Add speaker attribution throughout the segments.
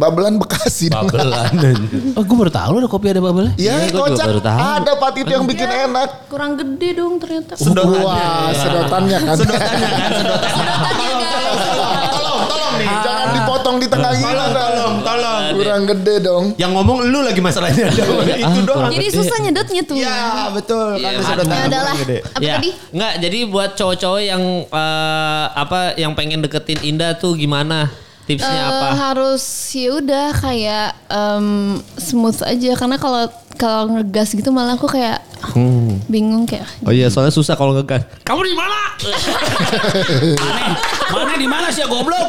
Speaker 1: Babelan Bekasi. dong.
Speaker 2: Babelan.
Speaker 3: Oh, gue baru tahu ada kopi ada bubble.
Speaker 1: Ya,
Speaker 2: Iya, gua juga
Speaker 1: kocak.
Speaker 2: baru tahu.
Speaker 1: Ada patit yang bikin enak.
Speaker 4: Kurang gede dong ternyata.
Speaker 2: Sedotannya.
Speaker 1: Wah, sedotannya kan.
Speaker 2: Sedotannya kan, sedotannya.
Speaker 4: ya,
Speaker 1: Tolong, tolong, tolong, tolong, tolong nih. Jangan dipotong di tengah gini.
Speaker 2: Tolong,
Speaker 1: Dong.
Speaker 2: tolong, tolong.
Speaker 1: Kurang gede dong.
Speaker 2: Yang ngomong lu lagi masalahnya. Itu doang.
Speaker 4: Jadi susah nyedotnya tuh.
Speaker 1: Iya,
Speaker 4: Eh,
Speaker 2: Ya, betul. Kan ada sedotan.
Speaker 4: Ya udahlah. Apa
Speaker 5: ya,
Speaker 4: tadi?
Speaker 5: Enggak, jadi buat cowok-cowok yang eh, apa yang pengen deketin Indah tuh gimana? Tipsnya
Speaker 4: Eh,
Speaker 5: apa?
Speaker 4: harus ya udah kayak em, smooth aja karena kalau kalau ngegas gitu malah aku kayak ah,
Speaker 1: Hmm.
Speaker 4: bingung kayak
Speaker 5: Oh iya, soalnya susah kalau ngegas.
Speaker 3: Kamu di mana? Aneh. Mana di mana sih ya, goblok?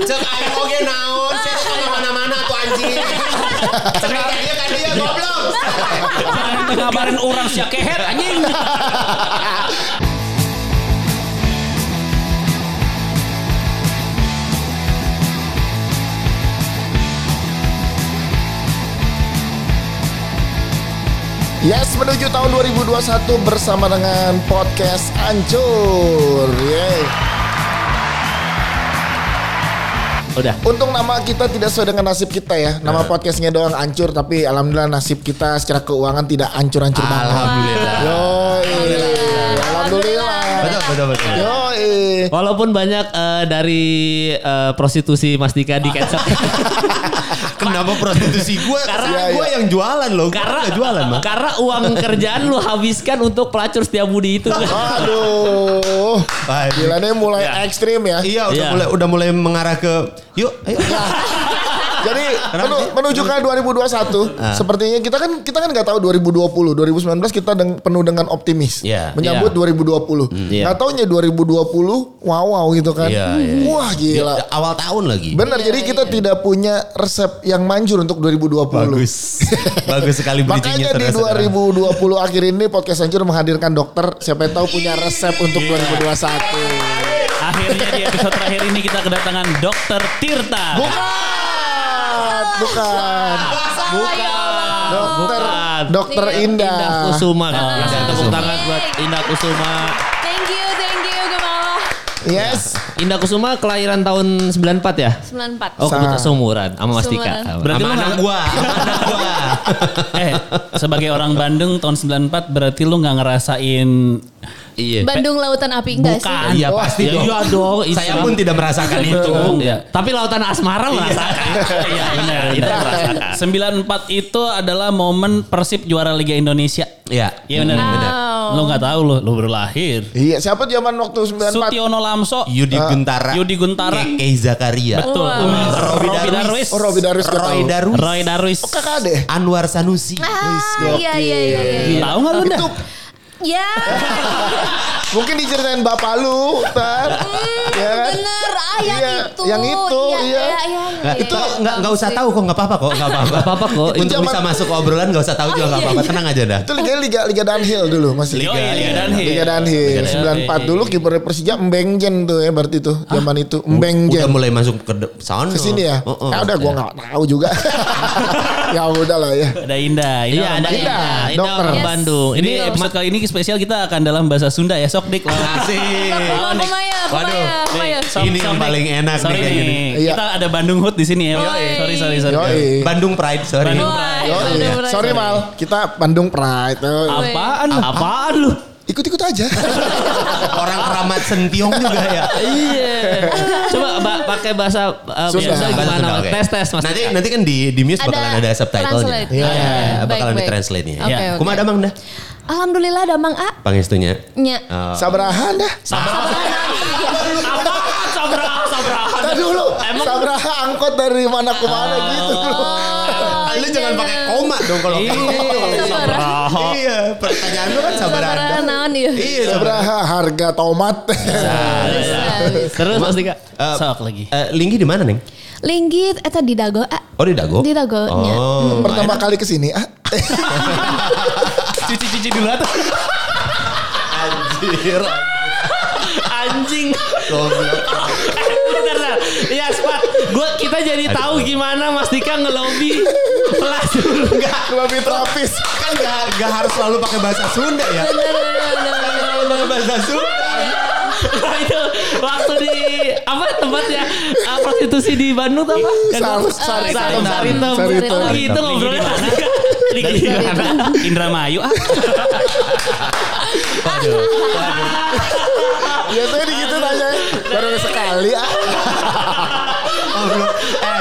Speaker 2: Cek ayo oke naon. Saya tuh kalau mana-mana tuh anjing. Cek ayo dia kan
Speaker 1: Iya.
Speaker 2: dia goblok.
Speaker 3: Jangan ngabarin orang sih ya, keher anjing.
Speaker 1: Yes, menuju tahun 2021 bersama dengan podcast Ancur. Yeay.
Speaker 5: Udah.
Speaker 1: Untung nama kita tidak sesuai dengan nasib kita ya.
Speaker 2: Iya.
Speaker 1: Nama podcastnya doang ancur, tapi alhamdulillah nasib kita secara keuangan tidak ancur-ancur banget.
Speaker 2: Alhamdulillah.
Speaker 1: Yoi. Alhamdulillah.
Speaker 2: Betul, betul, betul.
Speaker 1: Yoi.
Speaker 5: Walaupun banyak eh, dari eh, prostitusi Mas Dika di cancel.
Speaker 2: Kenapa Kan prostitusi gue?
Speaker 1: Iya,
Speaker 2: Karena gue
Speaker 1: iya.
Speaker 2: yang jualan loh. Gua
Speaker 5: karena
Speaker 2: nggak jualan mah.
Speaker 5: Karena uang kerjaan lu habiskan untuk pelacur setiap budi itu.
Speaker 1: Aduh.
Speaker 2: Wah,
Speaker 1: Gila nih mulai
Speaker 2: Ya.
Speaker 1: ekstrim ya.
Speaker 2: Iya, udah
Speaker 5: Iya.
Speaker 2: mulai udah mulai mengarah ke yuk, ayo.
Speaker 1: Jadi menu- menuju ke 2021,
Speaker 2: Ah.
Speaker 1: sepertinya kita kan kita kan nggak tahu 2020, 2019 kita deng- penuh dengan optimis
Speaker 2: Iya. Hmm,
Speaker 1: menyambut
Speaker 5: Iya.
Speaker 1: 2020.
Speaker 5: iya.
Speaker 1: Nggak taunya 2020 wow wow gitu kan.
Speaker 2: Iya, iya,
Speaker 1: Wah gila.
Speaker 2: Ya, Awal tahun lagi.
Speaker 1: Benar, jadi kita tidak punya resep yang manjur untuk 2020.
Speaker 2: Bagus. Bagus sekali
Speaker 1: Makanya
Speaker 2: bridgingnya
Speaker 1: di
Speaker 2: saudara-saudara.
Speaker 1: 2020 akhir ini podcast Hancur menghadirkan dokter siapa yang tahu punya resep untuk
Speaker 2: Iya.
Speaker 1: 2021.
Speaker 3: Akhirnya di episode terakhir ini kita kedatangan Dokter Tirta.
Speaker 1: Bukan, bukan.
Speaker 4: Bukan.
Speaker 1: Dokter
Speaker 5: Bukan.
Speaker 1: Dokter Indah.
Speaker 5: Indah Kusuma.
Speaker 2: Ah.
Speaker 3: Oh,
Speaker 4: Ah.
Speaker 5: Kasih
Speaker 2: Indah
Speaker 5: tepuk
Speaker 2: Kusuma.
Speaker 5: tangan buat Indah Kusuma.
Speaker 4: Thank you, thank you Gemala.
Speaker 1: Yes.
Speaker 5: Indah Kusuma kelahiran tahun 94 ya?
Speaker 4: 94.
Speaker 5: Oh, kebetulan
Speaker 1: Sa-
Speaker 5: seumuran sama Mas Dika.
Speaker 4: Seumuran.
Speaker 3: Berarti
Speaker 2: sama
Speaker 3: lu
Speaker 2: anak
Speaker 3: nggak-
Speaker 2: gua, sama anak gua.
Speaker 3: Eh, sebagai orang Bandung tahun 94 berarti lu nggak ngerasain
Speaker 5: Iya.
Speaker 4: Bandung Lautan Api enggak sih?
Speaker 3: bukan.
Speaker 2: Iya pasti
Speaker 5: Ya,
Speaker 2: dong.
Speaker 5: iya dong.
Speaker 2: Saya
Speaker 5: Islam.
Speaker 2: pun tidak merasakan itu.
Speaker 3: Iya.
Speaker 5: Tapi lautan asmara merasakan.
Speaker 3: Iya benar. benar. 94 itu adalah momen Persib juara Liga Indonesia.
Speaker 2: Iya.
Speaker 3: Iya benar.
Speaker 4: Wow.
Speaker 3: Lu nggak tahu lu, lu baru lahir.
Speaker 1: Iya, siapa zaman waktu 94?
Speaker 3: Sutiono Lamso,
Speaker 1: Eh,
Speaker 2: Yudi Guntara. Iya,
Speaker 3: Yudi Guntara.
Speaker 2: Kei Zakaria.
Speaker 3: Betul.
Speaker 4: Wow.
Speaker 3: Robi
Speaker 2: Robi
Speaker 3: Darwis.
Speaker 1: Oh, Robi Darwis gak
Speaker 2: Roy
Speaker 1: tahu.
Speaker 2: Darwis.
Speaker 3: Roy Darwis.
Speaker 1: Oh, kakak deh.
Speaker 2: Anwar Sanusi.
Speaker 4: Ah, iya iya iya iya.
Speaker 3: Tahu nggak lu dah?
Speaker 1: Itu
Speaker 4: Ya,
Speaker 1: mungkin diceritain bapak lu, ntar. Ya kan?
Speaker 4: bener. Ah, yang
Speaker 1: Iya,
Speaker 4: itu.
Speaker 1: yang itu, iya.
Speaker 4: iya, iya,
Speaker 5: Nah,
Speaker 4: iya.
Speaker 2: Itu nggak nggak usah tahu kok nggak apa-apa kok nggak apa-apa.
Speaker 5: Gak apa-apa kok.
Speaker 2: Untuk
Speaker 1: Zaman- Iya,
Speaker 2: bisa masuk ke obrolan nggak usah tahu juga nggak apa-apa tenang aja dah.
Speaker 1: Itu liga liga liga downhill dulu masih.
Speaker 3: Liga,
Speaker 2: Liga
Speaker 3: Danhill.
Speaker 1: Liga downhill. 94 dulu kiper Persija Mbengjen tuh ya berarti tuh zaman itu
Speaker 2: Udah
Speaker 1: Mbengjen.
Speaker 2: mulai masuk ke de- sana.
Speaker 1: Ke sini ya.
Speaker 2: Oh, oh.
Speaker 1: Ya udah gua nggak tahu juga. ya udah lah ya.
Speaker 3: Ada Indah. Indah
Speaker 5: Iya,
Speaker 1: Indah,
Speaker 3: orang Bandung.
Speaker 5: ada Indah. Indah
Speaker 1: dokter.
Speaker 5: orang
Speaker 4: Yes.
Speaker 5: Bandung.
Speaker 3: Ini
Speaker 5: Ini
Speaker 3: episode
Speaker 5: mak-
Speaker 3: kali ini spesial kita akan dalam bahasa Sunda ya. Sok dik lawan.
Speaker 2: Asik.
Speaker 4: Kumaya, kumaya, kumaya, kumaya.
Speaker 3: Sok-
Speaker 2: Ini yang
Speaker 3: sok dik.
Speaker 2: paling enak nih
Speaker 3: Sorry
Speaker 2: kayak gini.
Speaker 3: nih. Kita ada Bandung Hood di sini ya.
Speaker 4: Yoi.
Speaker 3: Sorry, sorry, sorry.
Speaker 1: Yoi.
Speaker 2: Bandung Pride, sorry.
Speaker 3: Bandung
Speaker 4: Wah,
Speaker 1: Yoi.
Speaker 4: bener, bener.
Speaker 1: Sorry Mal, kita Bandung Pride. Yoi.
Speaker 3: Apaan? Apaan lu?
Speaker 1: Ikut-ikut aja.
Speaker 2: Orang keramat Sentiong juga ya.
Speaker 5: Iya. Coba ba- pakai bahasa
Speaker 3: eh,
Speaker 5: uh,
Speaker 1: Sunda.
Speaker 5: Sunda
Speaker 2: Bahasa
Speaker 5: gimana?
Speaker 2: Sunda, Ah, oke.
Speaker 5: Tes tes Mas.
Speaker 2: Nanti
Speaker 5: Dika.
Speaker 2: nanti kan di di Muse bakalan ada subtitlenya.
Speaker 4: translate.
Speaker 1: Iya,
Speaker 4: Iya,
Speaker 2: Ya, bakalan
Speaker 4: baik, baik.
Speaker 2: di translate nya.
Speaker 5: Iya.
Speaker 4: Oke,
Speaker 2: Ya.
Speaker 4: oke.
Speaker 2: Kuma ada Bang dah.
Speaker 4: Alhamdulillah damang A.
Speaker 2: Pangestunya.
Speaker 4: Nya.
Speaker 2: Oh.
Speaker 1: Sabrahan dah.
Speaker 3: Apaan? Sabra, sabra.
Speaker 1: Tadi dulu. Sabraha angkot dari mana ke mana gitu loh.
Speaker 2: Ah, Lu
Speaker 3: Iya.
Speaker 2: jangan pakai koma Oh. dong kalau.
Speaker 4: Sabraha.
Speaker 2: Iya, pertanyaan lu kan sabaran.
Speaker 4: Sabraha naon iya.
Speaker 2: Iya, sabaran.
Speaker 1: Sabraha harga tomat.
Speaker 4: Bisa, bisa.
Speaker 5: Terus Mas Dika.
Speaker 2: Eh,
Speaker 3: Sok lagi.
Speaker 2: eh, Linggi di mana, Neng?
Speaker 4: Linggit eta di dago A.
Speaker 2: Oh, di Dago.
Speaker 4: Di Dago, ya.
Speaker 2: Oh.
Speaker 1: Pertama kali ke sini, ah.
Speaker 3: Cuci-cuci dulu atau?
Speaker 2: Anjir.
Speaker 5: Anjing.
Speaker 2: Goblok.
Speaker 5: Bentar, bentar. Iya, Spat. Gua kita jadi
Speaker 2: Aduh.
Speaker 5: tahu gimana Mas Dika ngelobi pelacur.
Speaker 2: Enggak,
Speaker 1: Lebih terapis.
Speaker 2: kan enggak enggak harus selalu pakai bahasa Sunda ya.
Speaker 4: Bener, bener, bener, bener.
Speaker 2: Pakai bahasa Sunda.
Speaker 6: Wah, itu waktu di apa tempatnya uh, prostitusi di Bandung tuh apa?
Speaker 1: Sar-
Speaker 6: Sar-
Speaker 2: Ah,
Speaker 1: Saritom.
Speaker 6: Saritom. Saritom.
Speaker 1: Saritom.
Speaker 6: Oh, gitu ngobrolnya.
Speaker 3: Ini gimana? Indra Mayu ah.
Speaker 1: Biasanya di gitu tanya baru sekali ah.
Speaker 2: Oh, lu, eh,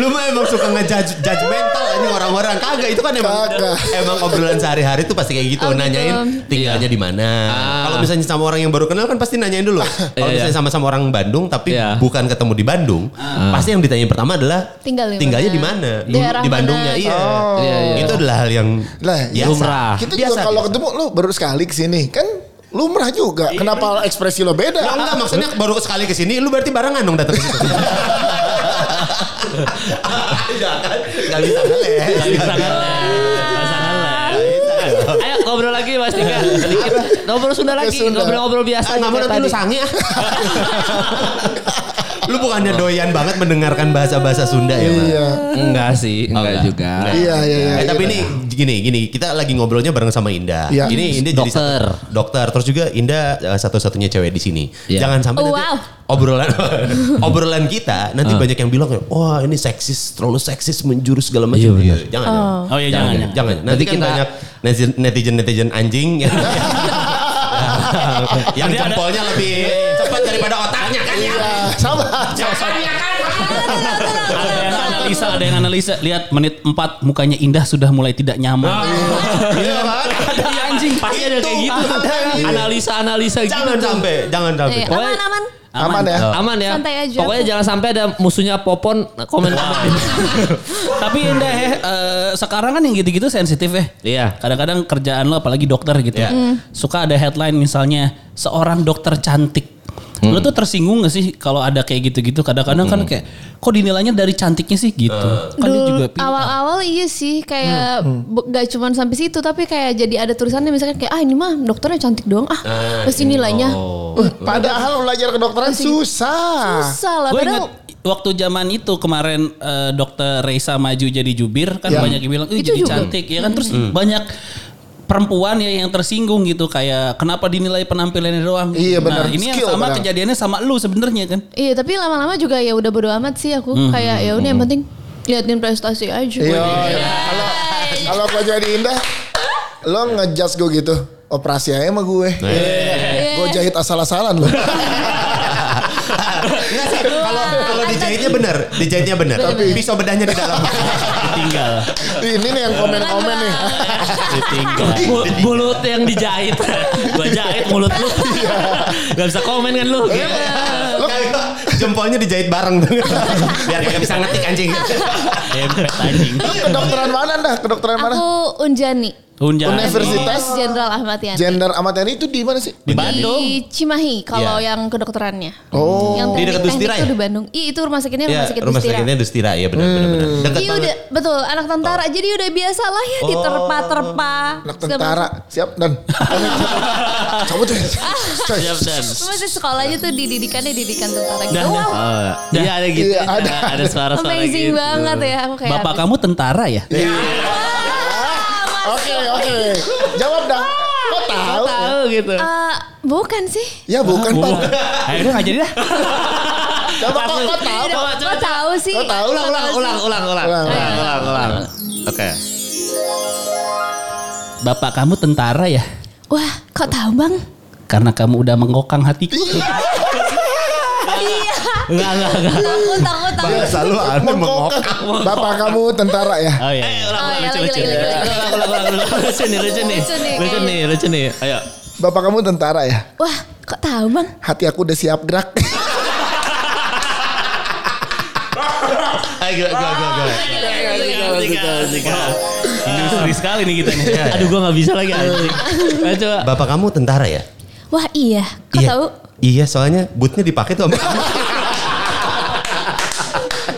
Speaker 2: lu mah emang suka ngejudge judgmental ini orang-orang kagak itu kan emang
Speaker 1: Kagak.
Speaker 2: emang obrolan sehari-hari tuh pasti kayak gitu
Speaker 4: Oh, gitu.
Speaker 2: nanyain tinggalnya di mana.
Speaker 6: Ah.
Speaker 2: Kalau misalnya sama orang yang baru kenal kan pasti nanyain dulu. Kalau
Speaker 6: Iya,
Speaker 2: misalnya sama-sama orang Bandung tapi
Speaker 6: Iya.
Speaker 2: bukan ketemu di Bandung, pasti yang ditanyain pertama adalah
Speaker 4: Ah. Tinggal di
Speaker 2: tinggalnya di mana?
Speaker 4: mana?
Speaker 2: Di,
Speaker 4: Daerah
Speaker 2: di Bandungnya
Speaker 4: mana?
Speaker 2: iya.
Speaker 6: Iya, iya.
Speaker 2: Itu adalah hal yang
Speaker 1: Oh. Lah, iya.
Speaker 2: biasa.
Speaker 6: lumrah.
Speaker 1: Kita juga kalau
Speaker 2: biasa.
Speaker 1: ketemu lu baru sekali kesini kan lumrah juga. Kenapa ekspresi lo beda?
Speaker 2: Lah, enggak maksudnya baru sekali ke sini lu berarti barengan dong datang ke situ. Jangan, enggak bisa ya. ngeles.
Speaker 6: Ayo ngobrol lagi Mas Tika. Sedikit. Ngobrol Sunda lagi,
Speaker 1: Sunda.
Speaker 6: ngobrol-ngobrol biasa. gitu
Speaker 2: Ah, nggak mau
Speaker 6: kayak
Speaker 2: nanti lu
Speaker 6: tadi.
Speaker 2: sange ah. lu bukannya doyan banget mendengarkan bahasa-bahasa Sunda ya, Pak?
Speaker 1: Iya.
Speaker 6: Enggak sih,
Speaker 3: Oh,
Speaker 6: enggak
Speaker 2: enggak.
Speaker 6: juga.
Speaker 1: Iya, iya, iya.
Speaker 2: Eh, tapi ini gini gini kita lagi ngobrolnya bareng sama Indah.
Speaker 1: Iya.
Speaker 2: Ini Indah jadi
Speaker 6: Dokter.
Speaker 2: satu- dokter terus juga Indah eh, satu-satunya cewek di sini.
Speaker 6: Iya.
Speaker 2: Jangan sampai nanti
Speaker 4: Wow.
Speaker 2: obrolan obrolan kita
Speaker 6: Ah.
Speaker 2: nanti banyak yang bilang wah ini seksis terlalu seksis menjurus segala
Speaker 6: Iya,
Speaker 2: macam.
Speaker 6: benar.
Speaker 2: Jangan. jangan.
Speaker 3: Oh iya
Speaker 2: jangan,
Speaker 3: jangan. jangan.
Speaker 2: jangan. Nanti
Speaker 6: Nanti
Speaker 2: kan
Speaker 6: kita-
Speaker 2: banyak netizen- netizen-netizen anjing yang, yang
Speaker 3: Nanti ada-
Speaker 2: jempolnya lebih cepat daripada otaknya kan ya.
Speaker 1: Iya, Sama.
Speaker 3: Iya, Ada yang analisa, ada yang analisa. Lihat menit 4 mukanya Indah sudah mulai tidak nyaman.
Speaker 2: Iya kan?
Speaker 6: Iya anjing, pasti ada kayak gitu. Analisa-analisa gitu.
Speaker 2: Jangan sampai, jangan sampai.
Speaker 4: Eh, aman aman.
Speaker 1: Aman ya.
Speaker 3: Oh.
Speaker 6: Aman ya.
Speaker 4: Santai aja.
Speaker 6: Pokoknya jangan sampai ada musuhnya popon komen-komen.
Speaker 3: Tapi Indah eh, eh, sekarang kan yang gitu-gitu sensitif eh.
Speaker 6: Iya.
Speaker 3: Kadang-kadang kerjaan lo apalagi dokter gitu.
Speaker 1: Ya.
Speaker 2: Iya.
Speaker 4: Hmm.
Speaker 3: Suka ada headline misalnya seorang dokter cantik.
Speaker 1: Hmm.
Speaker 3: Lo tuh tersinggung gak sih kalau ada kayak gitu-gitu? Kadang-kadang kan kayak kok dinilainya dari cantiknya sih gitu.
Speaker 1: Eh.
Speaker 3: kan dia juga Hmm,
Speaker 4: Dulu
Speaker 3: pintar.
Speaker 4: awal-awal iya sih kayak be- gak cuman sampai situ tapi kayak jadi ada tulisannya misalkan kayak ah ini mah dokternya cantik doang ah pasti nilainya
Speaker 1: Padahal belajar kedokteran susah.
Speaker 4: susah lah
Speaker 3: Gue inget
Speaker 4: padahal
Speaker 3: waktu zaman itu kemarin eh, dokter Reisa maju jadi jubir kan
Speaker 1: Ya. Hmm.
Speaker 3: banyak yang bilang, "Ih
Speaker 4: Itu
Speaker 3: jadi
Speaker 4: juga. Hmm.
Speaker 3: cantik." Ya kan terus banyak perempuan ya yang tersinggung gitu kayak kenapa dinilai penampilannya doang.
Speaker 1: Iya, benar.
Speaker 3: Nah, ini
Speaker 1: Skill
Speaker 3: yang sama
Speaker 1: padahal.
Speaker 3: kejadiannya sama lu sebenarnya kan.
Speaker 4: Iya tapi lama-lama juga ya udah bodo amat sih aku
Speaker 3: Hmm,
Speaker 4: kayak ya udah yang penting liatin prestasi aja.
Speaker 1: Iya. iya. Kalau kalau gue jadi Indah, lo ngejudge gue gitu. Operasi aja sama gue. Iya, Gue jahit asal-asalan lo.
Speaker 2: Enggak sih, kalau kalau
Speaker 4: Iya, kan
Speaker 2: dijahitnya benar, dijahitnya benar. Tapi pisau bedahnya di dalam.
Speaker 3: Tinggal.
Speaker 1: Ini nih yang komen-komen nih.
Speaker 2: Iya.
Speaker 6: Bu- mulut yang dijahit gua jahit mulut lu gak bisa komen kan lu
Speaker 2: Lo jempolnya dijahit bareng. Biar kagak bisa ngetik anjing.
Speaker 3: Dempet anjing.
Speaker 1: Lo kedokteran mana dah? Kedokteran mana?
Speaker 4: Aku Unjani.
Speaker 3: Unjani.
Speaker 1: Universitas
Speaker 4: Universitas Jenderal Ahmad Yani.
Speaker 1: Gender amat TNI itu di mana sih?
Speaker 3: di Bandung.
Speaker 4: Di Cimahi kalau
Speaker 2: Iya.
Speaker 4: yang kedokterannya.
Speaker 1: Oh.
Speaker 4: Yang
Speaker 2: Di dekat
Speaker 4: teknik-
Speaker 2: Dustira
Speaker 4: teknik itu
Speaker 2: ya?
Speaker 4: di Bandung. Iya itu rumah sakitnya rumah
Speaker 2: Ya,
Speaker 4: sakit
Speaker 2: rumah
Speaker 4: Dustira.
Speaker 2: sakitnya Dustira ya benar benar benar. Dekat
Speaker 4: Iya
Speaker 2: banget.
Speaker 4: udah betul anak tentara jadi udah biasa lah ya diterpa-terpa.
Speaker 1: Oh. Anak
Speaker 4: segala
Speaker 1: tentara. Siap dan. Cabut deh. Coy.
Speaker 6: siap dan
Speaker 4: macam. Masih sekolahnya tuh didikannya didikan tentara gitu.
Speaker 6: Dah,
Speaker 4: Wow,
Speaker 6: dia ada gitu
Speaker 1: Iya,
Speaker 6: ya,
Speaker 1: ada.
Speaker 6: ada ada suara-suara
Speaker 4: amazing
Speaker 6: gitu
Speaker 4: banget ya aku kayak.
Speaker 3: Bapak kamu tentara ya?
Speaker 1: Oke Iya, oke. Jawab dah. Kok tahu?
Speaker 6: tahu gitu
Speaker 4: Eh, bukan sih.
Speaker 1: Ya bukan pak.
Speaker 3: Akhirnya nggak jadi dah.
Speaker 1: Coba kok kok tahu?
Speaker 6: Coba, coba,
Speaker 4: Kok tahu sih?
Speaker 1: Kok tahu?
Speaker 6: ulang ulang ulang ulang ulang
Speaker 1: Ulang,
Speaker 6: ulang ulang ulang oke
Speaker 3: Bapak kamu tentara ya?
Speaker 4: Wah, kok tahu bang?
Speaker 3: Karena kamu udah mengokang hatiku.
Speaker 4: Iya.
Speaker 6: enggak enggak enggak
Speaker 4: Takut, takut, takut.
Speaker 2: Selalu aneh
Speaker 1: Mengkokak. Bapak kamu tentara ya?
Speaker 3: Oh iya.
Speaker 6: Eh,
Speaker 3: iya.
Speaker 6: ulang
Speaker 4: Oh,
Speaker 6: ulang
Speaker 4: ya,
Speaker 6: lucu
Speaker 4: lagi,
Speaker 6: lucu
Speaker 4: lagi, lagi, lagi.
Speaker 6: ulang ulang ulang ulang. lucu nih lucu nih lucu
Speaker 4: Lucu nih,
Speaker 6: nih
Speaker 4: kayaknya.
Speaker 6: lucu nih ayo
Speaker 1: Bapak kamu tentara ya?
Speaker 4: Wah, kok tahu bang?
Speaker 1: Hati aku udah siap gerak.
Speaker 2: Ayo gila gila gila. gila.
Speaker 3: Industri sekali nih kita nih.
Speaker 6: aduh gua nggak bisa lagi anjing Ayo, coba
Speaker 2: Bapak kamu tentara ya?
Speaker 4: Wah iya, kok tahu?
Speaker 2: Iya, soalnya bootnya dipakai tuh sama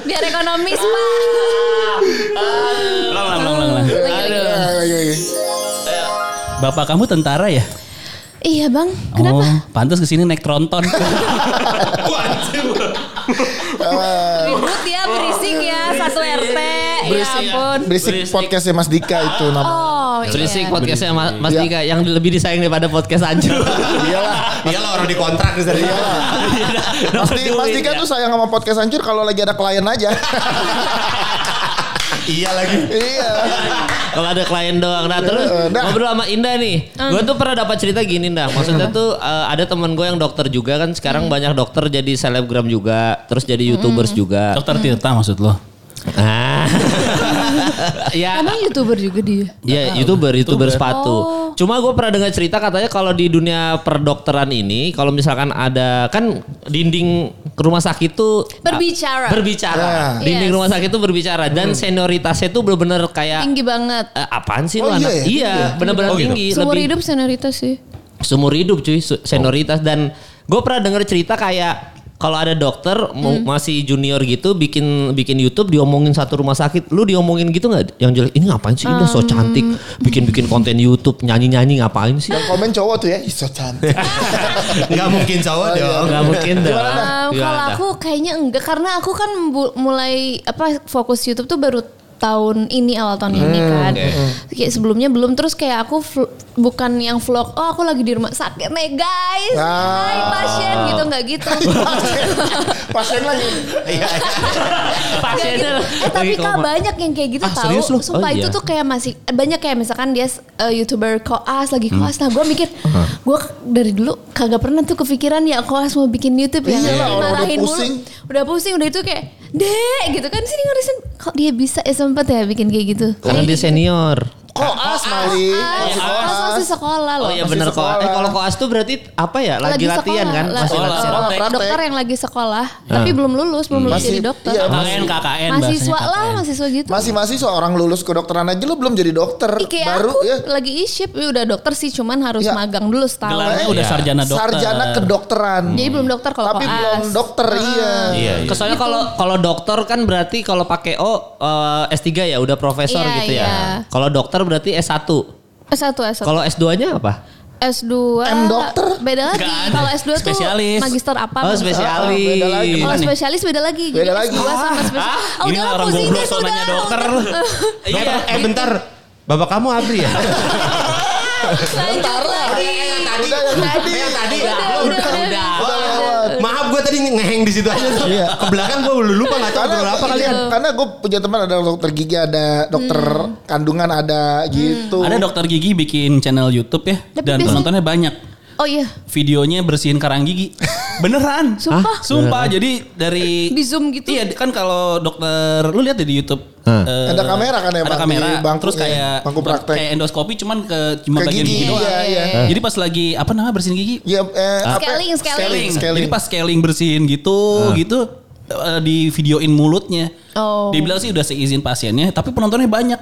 Speaker 4: Biar ekonomis pak. Ah.
Speaker 3: Ulang, ulang, ulang, ulang.
Speaker 1: Iya, iya, iya.
Speaker 3: Bapak kamu tentara ya?
Speaker 4: Iya bang, kenapa?
Speaker 3: Oh, pantas kesini naik tronton.
Speaker 4: Ribut ya, berisik ya, satu RT. Ya ampun.
Speaker 1: Berisik podcastnya Mas ya Dika itu namanya.
Speaker 4: Oh, iya.
Speaker 3: Selisih podcastnya Mas, Mas
Speaker 1: Iya.
Speaker 3: Dika yang lebih disayang daripada podcast Anju.
Speaker 1: Iyalah.
Speaker 7: Iyalah orang dikontrak di sana.
Speaker 2: Iya.
Speaker 1: Mas, Di- Mas Dika
Speaker 4: ya.
Speaker 1: tuh sayang sama podcast hancur kalau lagi ada klien aja.
Speaker 7: Iya lagi.
Speaker 1: iya.
Speaker 3: Kalau ada klien doang. Nah terus
Speaker 1: Eh, dah.
Speaker 3: ngobrol sama Indah nih.
Speaker 4: Hmm.
Speaker 3: Gue tuh pernah dapat cerita gini Indah. Maksudnya
Speaker 1: Hmm.
Speaker 3: tuh eh, ada teman gue yang dokter juga kan.
Speaker 4: Hmm.
Speaker 3: Sekarang banyak dokter jadi selebgram juga. Terus jadi youtubers juga.
Speaker 5: Dokter Tirta maksud lo?
Speaker 3: Ah. ya.
Speaker 4: Emang youtuber juga dia.
Speaker 3: Ya youtuber, youtuber sepatu.
Speaker 4: Oh.
Speaker 3: Cuma gue pernah dengar cerita katanya kalau di dunia perdokteran ini, kalau misalkan ada kan dinding rumah sakit tuh
Speaker 4: Berbicara.
Speaker 3: berbicara,
Speaker 1: Ah.
Speaker 3: dinding
Speaker 4: Yes.
Speaker 3: rumah sakit tuh berbicara dan
Speaker 1: Hmm.
Speaker 3: senioritasnya tuh bener-bener kayak
Speaker 4: Tinggi banget.
Speaker 3: "Eh, apaan sih
Speaker 1: Oh,
Speaker 3: lu
Speaker 1: iya
Speaker 3: anak?
Speaker 1: ya?
Speaker 3: Iya, bener-bener
Speaker 7: Oh, gitu.
Speaker 3: tinggi.
Speaker 4: Seumur
Speaker 3: lebih-
Speaker 4: hidup senioritas sih.
Speaker 3: seumur hidup cuy su- senioritas dan gue pernah denger cerita kayak kalau ada dokter mau masih junior gitu bikin bikin YouTube diomongin satu rumah sakit, lu diomongin gitu nggak? Yang jelek ini ngapain sih? Udah so cantik, bikin bikin konten YouTube nyanyi nyanyi ngapain sih?
Speaker 1: Yang komen cowok tuh ya, ih so cantik.
Speaker 7: Nggak mungkin
Speaker 2: Oh,
Speaker 7: cowok
Speaker 2: iya.
Speaker 7: dong.
Speaker 3: Gak mungkin dah.
Speaker 4: Um,
Speaker 3: Iya,
Speaker 4: kalau
Speaker 3: dah.
Speaker 4: aku kayaknya enggak karena aku kan bu- mulai apa fokus YouTube tuh baru tahun ini awal tahun ini kan. Kayak sebelumnya belum terus kayak aku vl- bukan yang vlog oh aku lagi di rumah sakit nih guys.
Speaker 1: Ah.
Speaker 4: Hai pasien gitu nggak gitu.
Speaker 1: Pasien lagi.
Speaker 7: Iya.
Speaker 3: pasiennya
Speaker 4: Eh
Speaker 3: lagi
Speaker 4: tapi kak
Speaker 3: koma.
Speaker 4: banyak yang kayak gitu
Speaker 3: Ah,
Speaker 4: tahu.
Speaker 3: serius lu?
Speaker 4: Sumpah
Speaker 3: Oh,
Speaker 4: itu
Speaker 3: iya.
Speaker 4: tuh kayak masih eh, banyak kayak misalkan dia eh, youtuber koas lagi
Speaker 3: Hmm.
Speaker 4: koas. Nah gue mikir gue k- dari dulu kagak pernah tuh kepikiran ya koas mau bikin YouTube
Speaker 3: Iya,
Speaker 4: ya.
Speaker 1: Iyalah, orang udah
Speaker 4: Marahin mulu.
Speaker 1: pusing.
Speaker 4: Udah pusing udah itu kayak deh gitu kan sini ngurusin kok dia bisa ya sempet ya bikin kayak gitu.
Speaker 3: Karena dia senior.
Speaker 1: Koas
Speaker 3: Iya,
Speaker 1: Mali.
Speaker 4: Ah,
Speaker 1: Masih
Speaker 4: koas masih sekolah
Speaker 3: Oh
Speaker 4: loh.
Speaker 3: iya
Speaker 1: masih
Speaker 3: bener kok.
Speaker 1: sekolah.
Speaker 3: Eh kalau koas tuh berarti apa ya? Lagi, latihan kan? Masih
Speaker 4: lagi
Speaker 3: Iya.
Speaker 4: sekolah.
Speaker 3: latihan.
Speaker 1: sekolah, praktek.
Speaker 4: dokter yang lagi sekolah tapi belum lulus belum lulus
Speaker 1: Masih-
Speaker 4: jadi dokter
Speaker 1: iya,
Speaker 5: KKN, KKN
Speaker 4: mahasiswa
Speaker 5: bahasanya,
Speaker 4: lah
Speaker 5: KKN.
Speaker 4: mahasiswa gitu
Speaker 1: Masih-masih seorang lulus kedokteran aja lu belum jadi dokter.
Speaker 4: Ih, kayak
Speaker 1: Baru
Speaker 4: aku
Speaker 1: ya.
Speaker 4: lagi e-ship ya udah dokter sih cuman harus
Speaker 1: Ya.
Speaker 4: magang dulu setahun.
Speaker 5: Gelarnya udah
Speaker 3: Iya.
Speaker 5: sarjana dokter.
Speaker 1: Sarjana kedokteran.
Speaker 4: Jadi belum dokter kalau
Speaker 1: Tapi
Speaker 4: koas.
Speaker 1: belum dokter,
Speaker 4: Ah.
Speaker 1: iya.
Speaker 3: Iya. Soalnya kalau kalau dokter kan berarti kalau pakai O eh, S3 ya udah profesor
Speaker 4: Iya,
Speaker 3: gitu ya.
Speaker 4: iya.
Speaker 3: Kalau dokter berarti S1.
Speaker 4: S1 S1.
Speaker 3: Kalau S2-nya apa?
Speaker 4: S2
Speaker 1: M dokter?
Speaker 4: beda lagi.
Speaker 5: Nggak ada.
Speaker 4: Kalau S2 tuh
Speaker 5: Spesialis.
Speaker 4: magister apa?
Speaker 3: Oh,
Speaker 4: magister-
Speaker 3: spesialis.
Speaker 1: beda lagi.
Speaker 4: Kalau spesialis beda lagi.
Speaker 1: Beda
Speaker 4: Jadi
Speaker 1: lagi.
Speaker 4: S2 sama spesialis.
Speaker 5: Ini
Speaker 4: udahlah,
Speaker 5: orang
Speaker 4: pusing
Speaker 5: goblok
Speaker 4: deh,
Speaker 5: soal nanya
Speaker 4: udah.
Speaker 5: dokter.
Speaker 3: Iya.
Speaker 7: Eh bentar. Bapak kamu Abri ya?
Speaker 4: Lanjut
Speaker 1: Udah
Speaker 4: lagi.
Speaker 1: yang
Speaker 4: Iya.
Speaker 1: tadi.
Speaker 7: Yang tadi.
Speaker 4: Udah, udah,
Speaker 3: udah,
Speaker 4: udah.
Speaker 7: Wah, Maaf gue tadi ngeheng di situ aja. tuh.
Speaker 1: Iya.
Speaker 7: Ke belakang gue lupa nggak tahu
Speaker 1: Karena,
Speaker 7: berapa kali.
Speaker 1: iya,
Speaker 5: ya?
Speaker 1: karena gue punya teman ada dokter gigi, ada dokter
Speaker 4: Hmm.
Speaker 1: kandungan, ada gitu.
Speaker 5: Ada dokter gigi bikin channel YouTube ya
Speaker 4: Tapi
Speaker 5: dan
Speaker 4: biasanya-
Speaker 5: penontonnya banyak.
Speaker 4: Oh iya,
Speaker 5: Videonya bersihin karang gigi. Beneran?
Speaker 4: Sumpah?
Speaker 5: Hah? Sumpah. Jadi dari
Speaker 4: Di zoom gitu?
Speaker 5: Iya, kan kalau dokter lu lihat ya di YouTube. eh,
Speaker 1: Ada kamera kan emang
Speaker 5: Ada
Speaker 1: di
Speaker 5: kamera.
Speaker 1: bangkunya,
Speaker 5: terus kayak
Speaker 1: bangku praktek.
Speaker 5: kayak endoskopi cuman ke cuma
Speaker 1: Ke
Speaker 5: bagian
Speaker 1: gigi,
Speaker 5: gigi doang.
Speaker 1: iya, iya.
Speaker 5: Jadi pas lagi apa namanya bersihin gigi?
Speaker 1: Ya, eh, apa?
Speaker 4: Scaling, scaling.
Speaker 5: scaling.
Speaker 1: scaling.
Speaker 5: Jadi pas scaling bersihin gitu, gitu eh, di videoin mulutnya.
Speaker 4: Oh.
Speaker 5: Dibilang sih udah seizin pasiennya, tapi penontonnya banyak.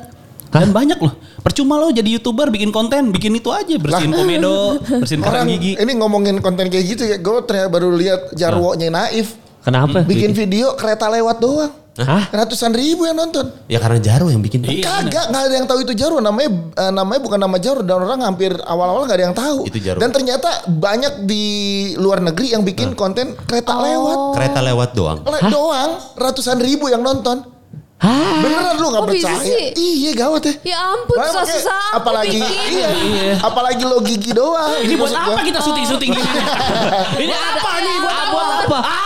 Speaker 5: Dan banyak loh. Percuma lo jadi YouTuber bikin konten, bikin itu aja, bersihin komedo, bersihin
Speaker 1: Orang
Speaker 5: kerang gigi.
Speaker 1: ini ngomongin konten kayak gitu ya, gue ternyata baru lihat Jarwo-nya Naif.
Speaker 5: Iya.
Speaker 3: Kenapa?
Speaker 1: Bikin video kereta lewat doang.
Speaker 3: Hah?
Speaker 1: Ratusan ribu yang nonton.
Speaker 7: Ya karena Jaro yang bikin.
Speaker 5: Iya,
Speaker 1: Kagak, nggak ada yang tahu itu Jarwo. Namanya eh, namanya bukan nama Jarwo dan orang hampir awal-awal nggak ada yang tahu.
Speaker 7: Itu Jarwo.
Speaker 1: Dan ternyata banyak di luar negeri yang bikin konten kereta
Speaker 3: Oh.
Speaker 1: lewat
Speaker 7: Kereta lewat doang.
Speaker 1: Le- doang, ratusan ribu yang nonton. Beneran lu nggak
Speaker 4: Kok bisa
Speaker 1: percaya?
Speaker 4: sih?
Speaker 1: Iya gawat ya.
Speaker 4: ya ampun
Speaker 1: Makanya
Speaker 4: susah-susah. aku
Speaker 1: apalagi
Speaker 4: bikin.
Speaker 1: iya, apalagi lo gigi doang.
Speaker 5: Ini
Speaker 1: Gitu
Speaker 5: buat
Speaker 1: maksud
Speaker 5: apa
Speaker 1: gua.
Speaker 5: kita syuting-syuting gini? Ini apa nih buat apa?
Speaker 3: apa? Ah,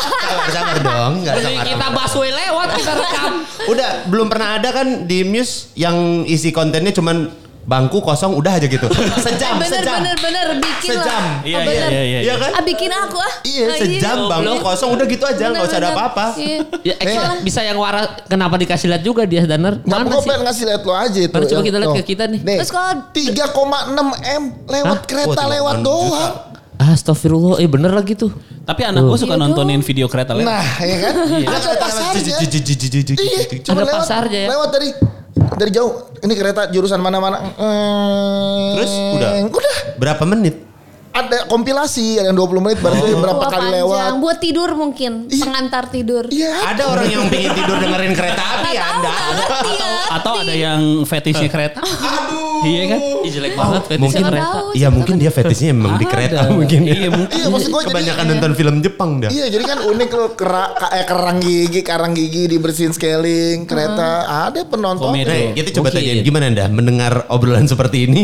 Speaker 7: Sabar, sabar dong. Gak sabar.
Speaker 3: kita busway lewat, kita rekam.
Speaker 7: Udah, belum pernah ada kan di Muse yang isi kontennya cuman bangku kosong udah aja gitu.
Speaker 4: Eh,
Speaker 7: Sejam,
Speaker 4: bener
Speaker 7: sejam.
Speaker 4: bener bener bikin
Speaker 7: Sejam.
Speaker 4: lah.
Speaker 5: Iya,
Speaker 4: Ah,
Speaker 5: iya,
Speaker 4: bener.
Speaker 5: iya, iya.
Speaker 7: Iya kan?
Speaker 4: Ah bikin aku ah.
Speaker 1: Iya,
Speaker 4: Ah,
Speaker 7: Sejam bangku
Speaker 3: Goblok.
Speaker 7: kosong udah gitu aja nggak usah ada
Speaker 4: Bener-bener.
Speaker 7: apa-apa.
Speaker 4: Iya.
Speaker 3: Ya, eh,
Speaker 4: Salah.
Speaker 3: bisa yang waras kenapa dikasih lihat juga dia Daner?
Speaker 1: Nah,
Speaker 3: Mana
Speaker 1: gue
Speaker 3: sih?
Speaker 1: pengen ngasih lihat lo aja itu.
Speaker 3: Mana coba
Speaker 1: yang-
Speaker 3: kita lihat
Speaker 1: tuh.
Speaker 3: ke kita nih.
Speaker 4: Terus kalau-
Speaker 1: 3,6 M lewat
Speaker 3: Hah?
Speaker 1: kereta
Speaker 7: Wah,
Speaker 1: lewat
Speaker 7: 3,6
Speaker 1: doang.
Speaker 3: Astagfirullah, eh bener lagi tuh.
Speaker 5: Tapi anak gua suka
Speaker 4: Iya
Speaker 5: nontonin video kereta lewat.
Speaker 1: Nah, ya kan?
Speaker 2: Iya.
Speaker 1: Ada pasarnya. Iya,
Speaker 2: Gitu.
Speaker 1: cuma
Speaker 3: Ada
Speaker 1: lewat,
Speaker 3: pasarnya ya.
Speaker 1: lewat dari dari jauh. Ini kereta jurusan mana-mana. Hmm,
Speaker 7: Terus udah.
Speaker 1: Udah.
Speaker 7: Berapa menit?
Speaker 1: Ada kompilasi, ada yang 20 menit, baru itu berapa
Speaker 4: Wah,
Speaker 1: kali
Speaker 4: panjang.
Speaker 1: lewat.
Speaker 4: Buat tidur mungkin,
Speaker 1: Iya.
Speaker 4: pengantar tidur.
Speaker 1: Iya.
Speaker 7: Ada orang yang pengen tidur dengerin kereta api ya Anda.
Speaker 4: Nggak ngerti ya.
Speaker 5: Atau ada yang fetishnya kereta.
Speaker 7: Aduh.
Speaker 5: Iya kan?
Speaker 3: Ih, jelek banget fetish
Speaker 2: Mungkin
Speaker 4: Siapa
Speaker 3: kereta.
Speaker 4: tahu,
Speaker 2: Iya
Speaker 4: siapa
Speaker 2: mungkin
Speaker 4: tahu.
Speaker 2: dia fetishnya memang di
Speaker 5: Ada.
Speaker 2: kereta mungkin ya.
Speaker 5: Iya mungkin.
Speaker 1: Iya maksud gue jadi
Speaker 2: Kebanyakan nonton film Jepang dah.
Speaker 1: Iya jadi kan unik loh kera, ka- eh, kerang gigi, karang gigi dibersihin scaling, kereta
Speaker 3: Hmm.
Speaker 1: ada penonton.
Speaker 5: Komedi.
Speaker 2: Nah, kita coba
Speaker 3: Mungkin.
Speaker 2: tanya gimana anda mendengar obrolan seperti ini?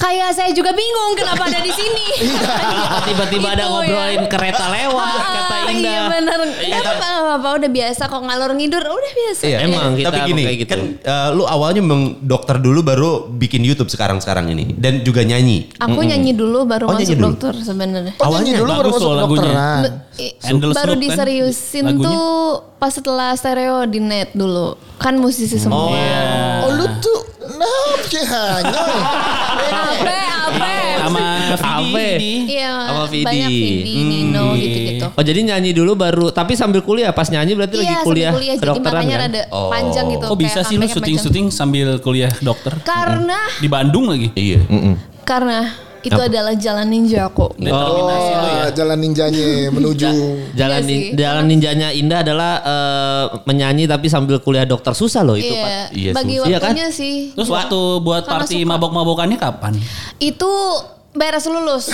Speaker 4: Kayak saya juga bingung kenapa ada di sini.
Speaker 1: Iya.
Speaker 3: Tiba-tiba ada
Speaker 4: Gitu ya.
Speaker 3: ngobrolin kereta lewat
Speaker 4: Ah,
Speaker 3: kata Indah.
Speaker 4: Iya benar. Enggak apa-apa, nggak apa-apa, udah biasa kok ngalor ngidur, udah biasa.
Speaker 3: Iya, emang kita
Speaker 2: Tapi gini,
Speaker 3: kayak gitu.
Speaker 2: kan eh, lu awalnya memang dokter dulu baru bikin YouTube sekarang-sekarang ini dan juga nyanyi.
Speaker 4: Aku nyanyi dulu baru
Speaker 2: Oh, nyanyi
Speaker 4: masuk
Speaker 2: dulu.
Speaker 4: dokter sebenarnya.
Speaker 1: Oh, nyanyi
Speaker 2: Awalnya
Speaker 1: dulu baru
Speaker 5: bagus
Speaker 1: masuk
Speaker 5: loh lagunya.
Speaker 1: dokteran.
Speaker 4: Be- i-
Speaker 5: Endless
Speaker 4: baru
Speaker 5: Loop kan
Speaker 4: diseriusin
Speaker 5: lagunya.
Speaker 4: tuh pas setelah stereo di net dulu. Kan musisi semua.
Speaker 1: Oh lu tuh nah sih hanya.
Speaker 4: Ape, ape.
Speaker 5: Sama
Speaker 3: Ape.
Speaker 5: Vidi.
Speaker 4: Iya,
Speaker 3: Sama Vidi.
Speaker 4: banyak Vidi, Nino gitu-gitu.
Speaker 3: Oh jadi nyanyi dulu baru tapi sambil kuliah pas nyanyi berarti lagi
Speaker 4: Iya,
Speaker 3: kuliah,
Speaker 4: sambil kuliah jadi
Speaker 3: kedokteran
Speaker 4: makanya
Speaker 3: kan?
Speaker 4: rada panjang gitu.
Speaker 5: Kok bisa
Speaker 4: kayak
Speaker 5: sih lu
Speaker 4: comeback macam-
Speaker 5: syuting-syuting sambil kuliah dokter?
Speaker 4: Karena
Speaker 5: Di Bandung lagi.
Speaker 2: Iya.
Speaker 4: karena itu adalah jalan ninja aku.
Speaker 1: Oh, jalan ninjanya menuju.
Speaker 3: Jalan
Speaker 4: Iya
Speaker 3: nin-
Speaker 4: sih.
Speaker 3: jalan ninjanya Indah adalah eh, menyanyi tapi sambil kuliah dokter susah loh itu Pak.
Speaker 4: Iya,
Speaker 2: Iya,
Speaker 4: bagi
Speaker 2: susah.
Speaker 3: Iya kan?
Speaker 4: waktunya sih.
Speaker 5: Terus waktu buat
Speaker 4: Karena
Speaker 5: party
Speaker 4: Iya. suka.
Speaker 5: mabok-mabokannya kapan?
Speaker 4: Itu beres lulus.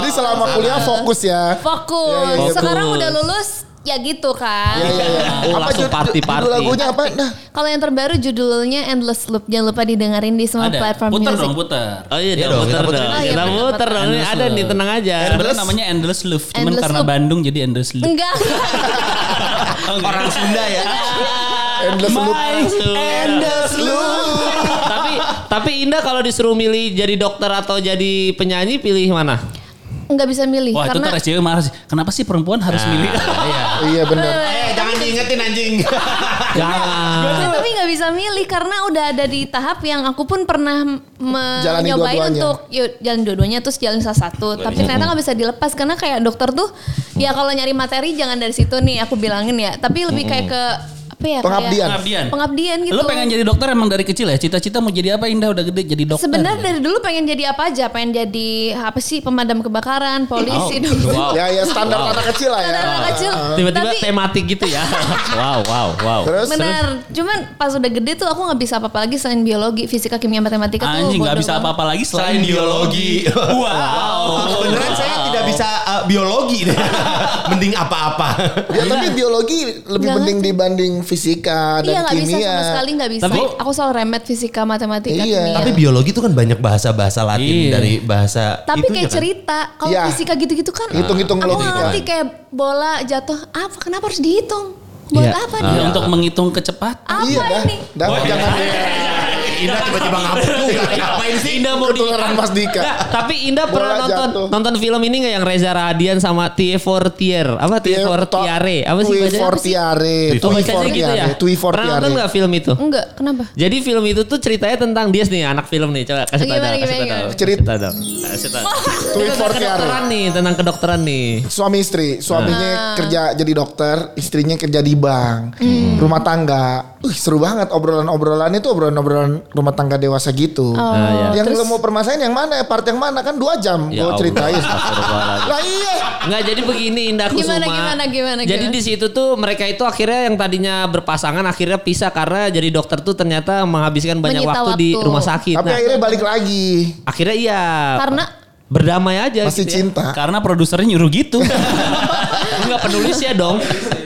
Speaker 1: Jadi selama kuliah fokus ya.
Speaker 4: Fokus.
Speaker 1: Iya, iya, iya.
Speaker 4: Sekarang
Speaker 3: Fokus.
Speaker 4: udah lulus ya gitu kan.
Speaker 1: Iya, iya, iya.
Speaker 3: Oh, langsung
Speaker 1: jud-
Speaker 3: party-party.
Speaker 1: judul lagunya apa? Nah,
Speaker 4: Kalau yang terbaru judulnya Endless Loop. Jangan lupa didengerin di semua platform
Speaker 5: Puter
Speaker 4: music.
Speaker 5: dong, puter.
Speaker 3: Oh iya,
Speaker 2: Iya
Speaker 3: dong,
Speaker 2: dong,
Speaker 3: muter
Speaker 2: kita puterin
Speaker 3: dong.
Speaker 4: aja.
Speaker 3: Kita
Speaker 4: Oh iya,
Speaker 3: muter dong. Ini
Speaker 5: Endless
Speaker 3: ada nih
Speaker 5: loop.
Speaker 3: tenang aja.
Speaker 5: Karena namanya Endless Love, cuman
Speaker 4: Endless
Speaker 5: karena
Speaker 4: Love.
Speaker 5: Bandung jadi Endless Oh, Love.
Speaker 4: Enggak.
Speaker 2: Orang Sunda ya.
Speaker 1: endless loop.
Speaker 3: Endless eh, tapi tapi Indah kalau disuruh milih jadi dokter atau jadi penyanyi pilih mana?
Speaker 4: Enggak bisa milih
Speaker 5: Wah itu
Speaker 4: karena
Speaker 5: ntar SJW marah sih. Kenapa sih perempuan harus milih?
Speaker 1: Iya benar.
Speaker 7: Eh, jangan diingetin anjing.
Speaker 3: Jangan.
Speaker 1: Ah.
Speaker 4: Tapi- tapi nggak bisa milih karena udah ada di tahap yang aku pun pernah me-
Speaker 1: Jalani
Speaker 4: nyobain
Speaker 1: dua-duanya.
Speaker 4: untuk yuk, jalan dua-duanya terus jalan salah satu tapi ternyata nggak bisa dilepas karena kayak dokter tuh ya kalau nyari materi jangan dari situ nih aku bilangin ya tapi lebih kayak ke apa ya kayak-
Speaker 1: Pengabdian.
Speaker 5: Pengabdian.
Speaker 4: pengabdian gitu
Speaker 5: Lo pengen jadi dokter emang dari kecil ya? Cita-cita mau jadi apa Indah udah gede jadi dokter?
Speaker 4: Sebenarnya dari dulu pengen jadi apa aja, pengen jadi apa sih pemadam kebakaran, polisi,
Speaker 5: Oh,
Speaker 4: dokter.
Speaker 1: Ya ya standar anak kecil lah ya.
Speaker 4: Anak kecil.
Speaker 3: Tiba-tiba
Speaker 4: Tapi-
Speaker 3: tematik gitu ya. wow, wow, wow.
Speaker 1: Terus
Speaker 4: Bener, cuman pas udah gede tuh aku nggak bisa apa-apa lagi selain biologi, fisika, kimia, matematika tuh.
Speaker 5: Anjing nggak
Speaker 4: bodoh
Speaker 5: bisa
Speaker 4: banget.
Speaker 5: apa-apa lagi
Speaker 2: Selain
Speaker 5: selain biologi.
Speaker 2: biologi.
Speaker 5: Wow.
Speaker 2: Kebenaran saya tidak bisa eh, biologi deh. Mending apa-apa.
Speaker 1: Ya tapi biologi lebih
Speaker 4: Jangan.
Speaker 1: penting dibanding fisika dan
Speaker 4: Iya nggak bisa
Speaker 1: kimia.
Speaker 4: sama sekali nggak bisa.
Speaker 5: Tapi-
Speaker 4: aku selalu remet fisika, matematika,
Speaker 1: Iya.
Speaker 4: kimia.
Speaker 2: Tapi biologi itu kan banyak bahasa-bahasa Latin
Speaker 5: Iya.
Speaker 2: dari bahasa
Speaker 4: Tapi
Speaker 2: itunya
Speaker 4: kayak
Speaker 2: kan.
Speaker 4: cerita, kalau
Speaker 1: Iya.
Speaker 4: fisika gitu-gitu kan,
Speaker 1: Hitung-hitung
Speaker 4: aku
Speaker 1: logika.
Speaker 4: nggak ngerti kayak bola jatuh, apa kenapa harus dihitung? Buat apa
Speaker 5: Ya,
Speaker 4: dia?
Speaker 5: untuk menghitung kecepatan.
Speaker 4: Apa
Speaker 1: Iya dah.
Speaker 4: ini?
Speaker 1: Dah jangan
Speaker 2: Indah tiba-tiba ngabuk.
Speaker 3: Ngapain sih Indah mau di
Speaker 1: ketularan Mas Dika.
Speaker 3: Nggak, tapi Indah
Speaker 1: Bola
Speaker 3: pernah nonton
Speaker 1: jatuh.
Speaker 3: nonton film ini nggak yang Reza Radian sama Tie Fortier? Apa Tie Fortiare? Apa
Speaker 1: Iya,
Speaker 3: sih
Speaker 1: Tui
Speaker 3: bacanya?
Speaker 1: Fortiare.
Speaker 3: Oh, bacanya gitu ya.
Speaker 1: Tui
Speaker 3: Pernah nonton
Speaker 1: Fortiare.
Speaker 3: nggak film itu?
Speaker 4: Enggak, kenapa?
Speaker 3: Jadi film itu tuh ceritanya tentang dia nih anak film nih. Coba kasih tau
Speaker 4: Gimana,
Speaker 3: dong, kasih
Speaker 4: gimana,
Speaker 3: tau.
Speaker 1: gimana? Cerit-
Speaker 3: Kasih tau dong. Kasih tau.
Speaker 1: Tui
Speaker 3: Tentang
Speaker 1: Fortiare.
Speaker 3: kedokteran nih, tentang kedokteran nih.
Speaker 1: Suami istri, suaminya
Speaker 4: Ah.
Speaker 1: kerja jadi dokter, istrinya kerja di bank,
Speaker 4: Hmm.
Speaker 1: rumah tangga. Uh, seru banget obrolan-obrolannya tuh obrolan-obrolan rumah tangga dewasa gitu.
Speaker 4: Oh,
Speaker 1: Yang lo mau permasalahan yang mana? Part yang mana? Kan dua jam
Speaker 3: Ya
Speaker 1: gue
Speaker 3: Allah,
Speaker 1: ceritain.
Speaker 3: astagfirullahaladzim.
Speaker 1: lah iya.
Speaker 3: Nggak jadi begini Indah Kusuma.
Speaker 4: Gimana, gimana, gimana,
Speaker 3: Jadi
Speaker 4: gimana?
Speaker 3: di situ tuh mereka itu akhirnya yang tadinya berpasangan akhirnya pisah karena jadi dokter tuh ternyata menghabiskan banyak
Speaker 4: Menyita
Speaker 3: waktu, di
Speaker 4: waktu.
Speaker 3: rumah sakit.
Speaker 1: Tapi
Speaker 3: Nah,
Speaker 1: akhirnya balik lagi.
Speaker 3: akhirnya iya.
Speaker 4: Karena-
Speaker 3: berdamai aja
Speaker 1: Masih
Speaker 3: gitu ya.
Speaker 1: cinta.
Speaker 5: Karena produsernya nyuruh gitu.
Speaker 3: Enggak penulisnya dong.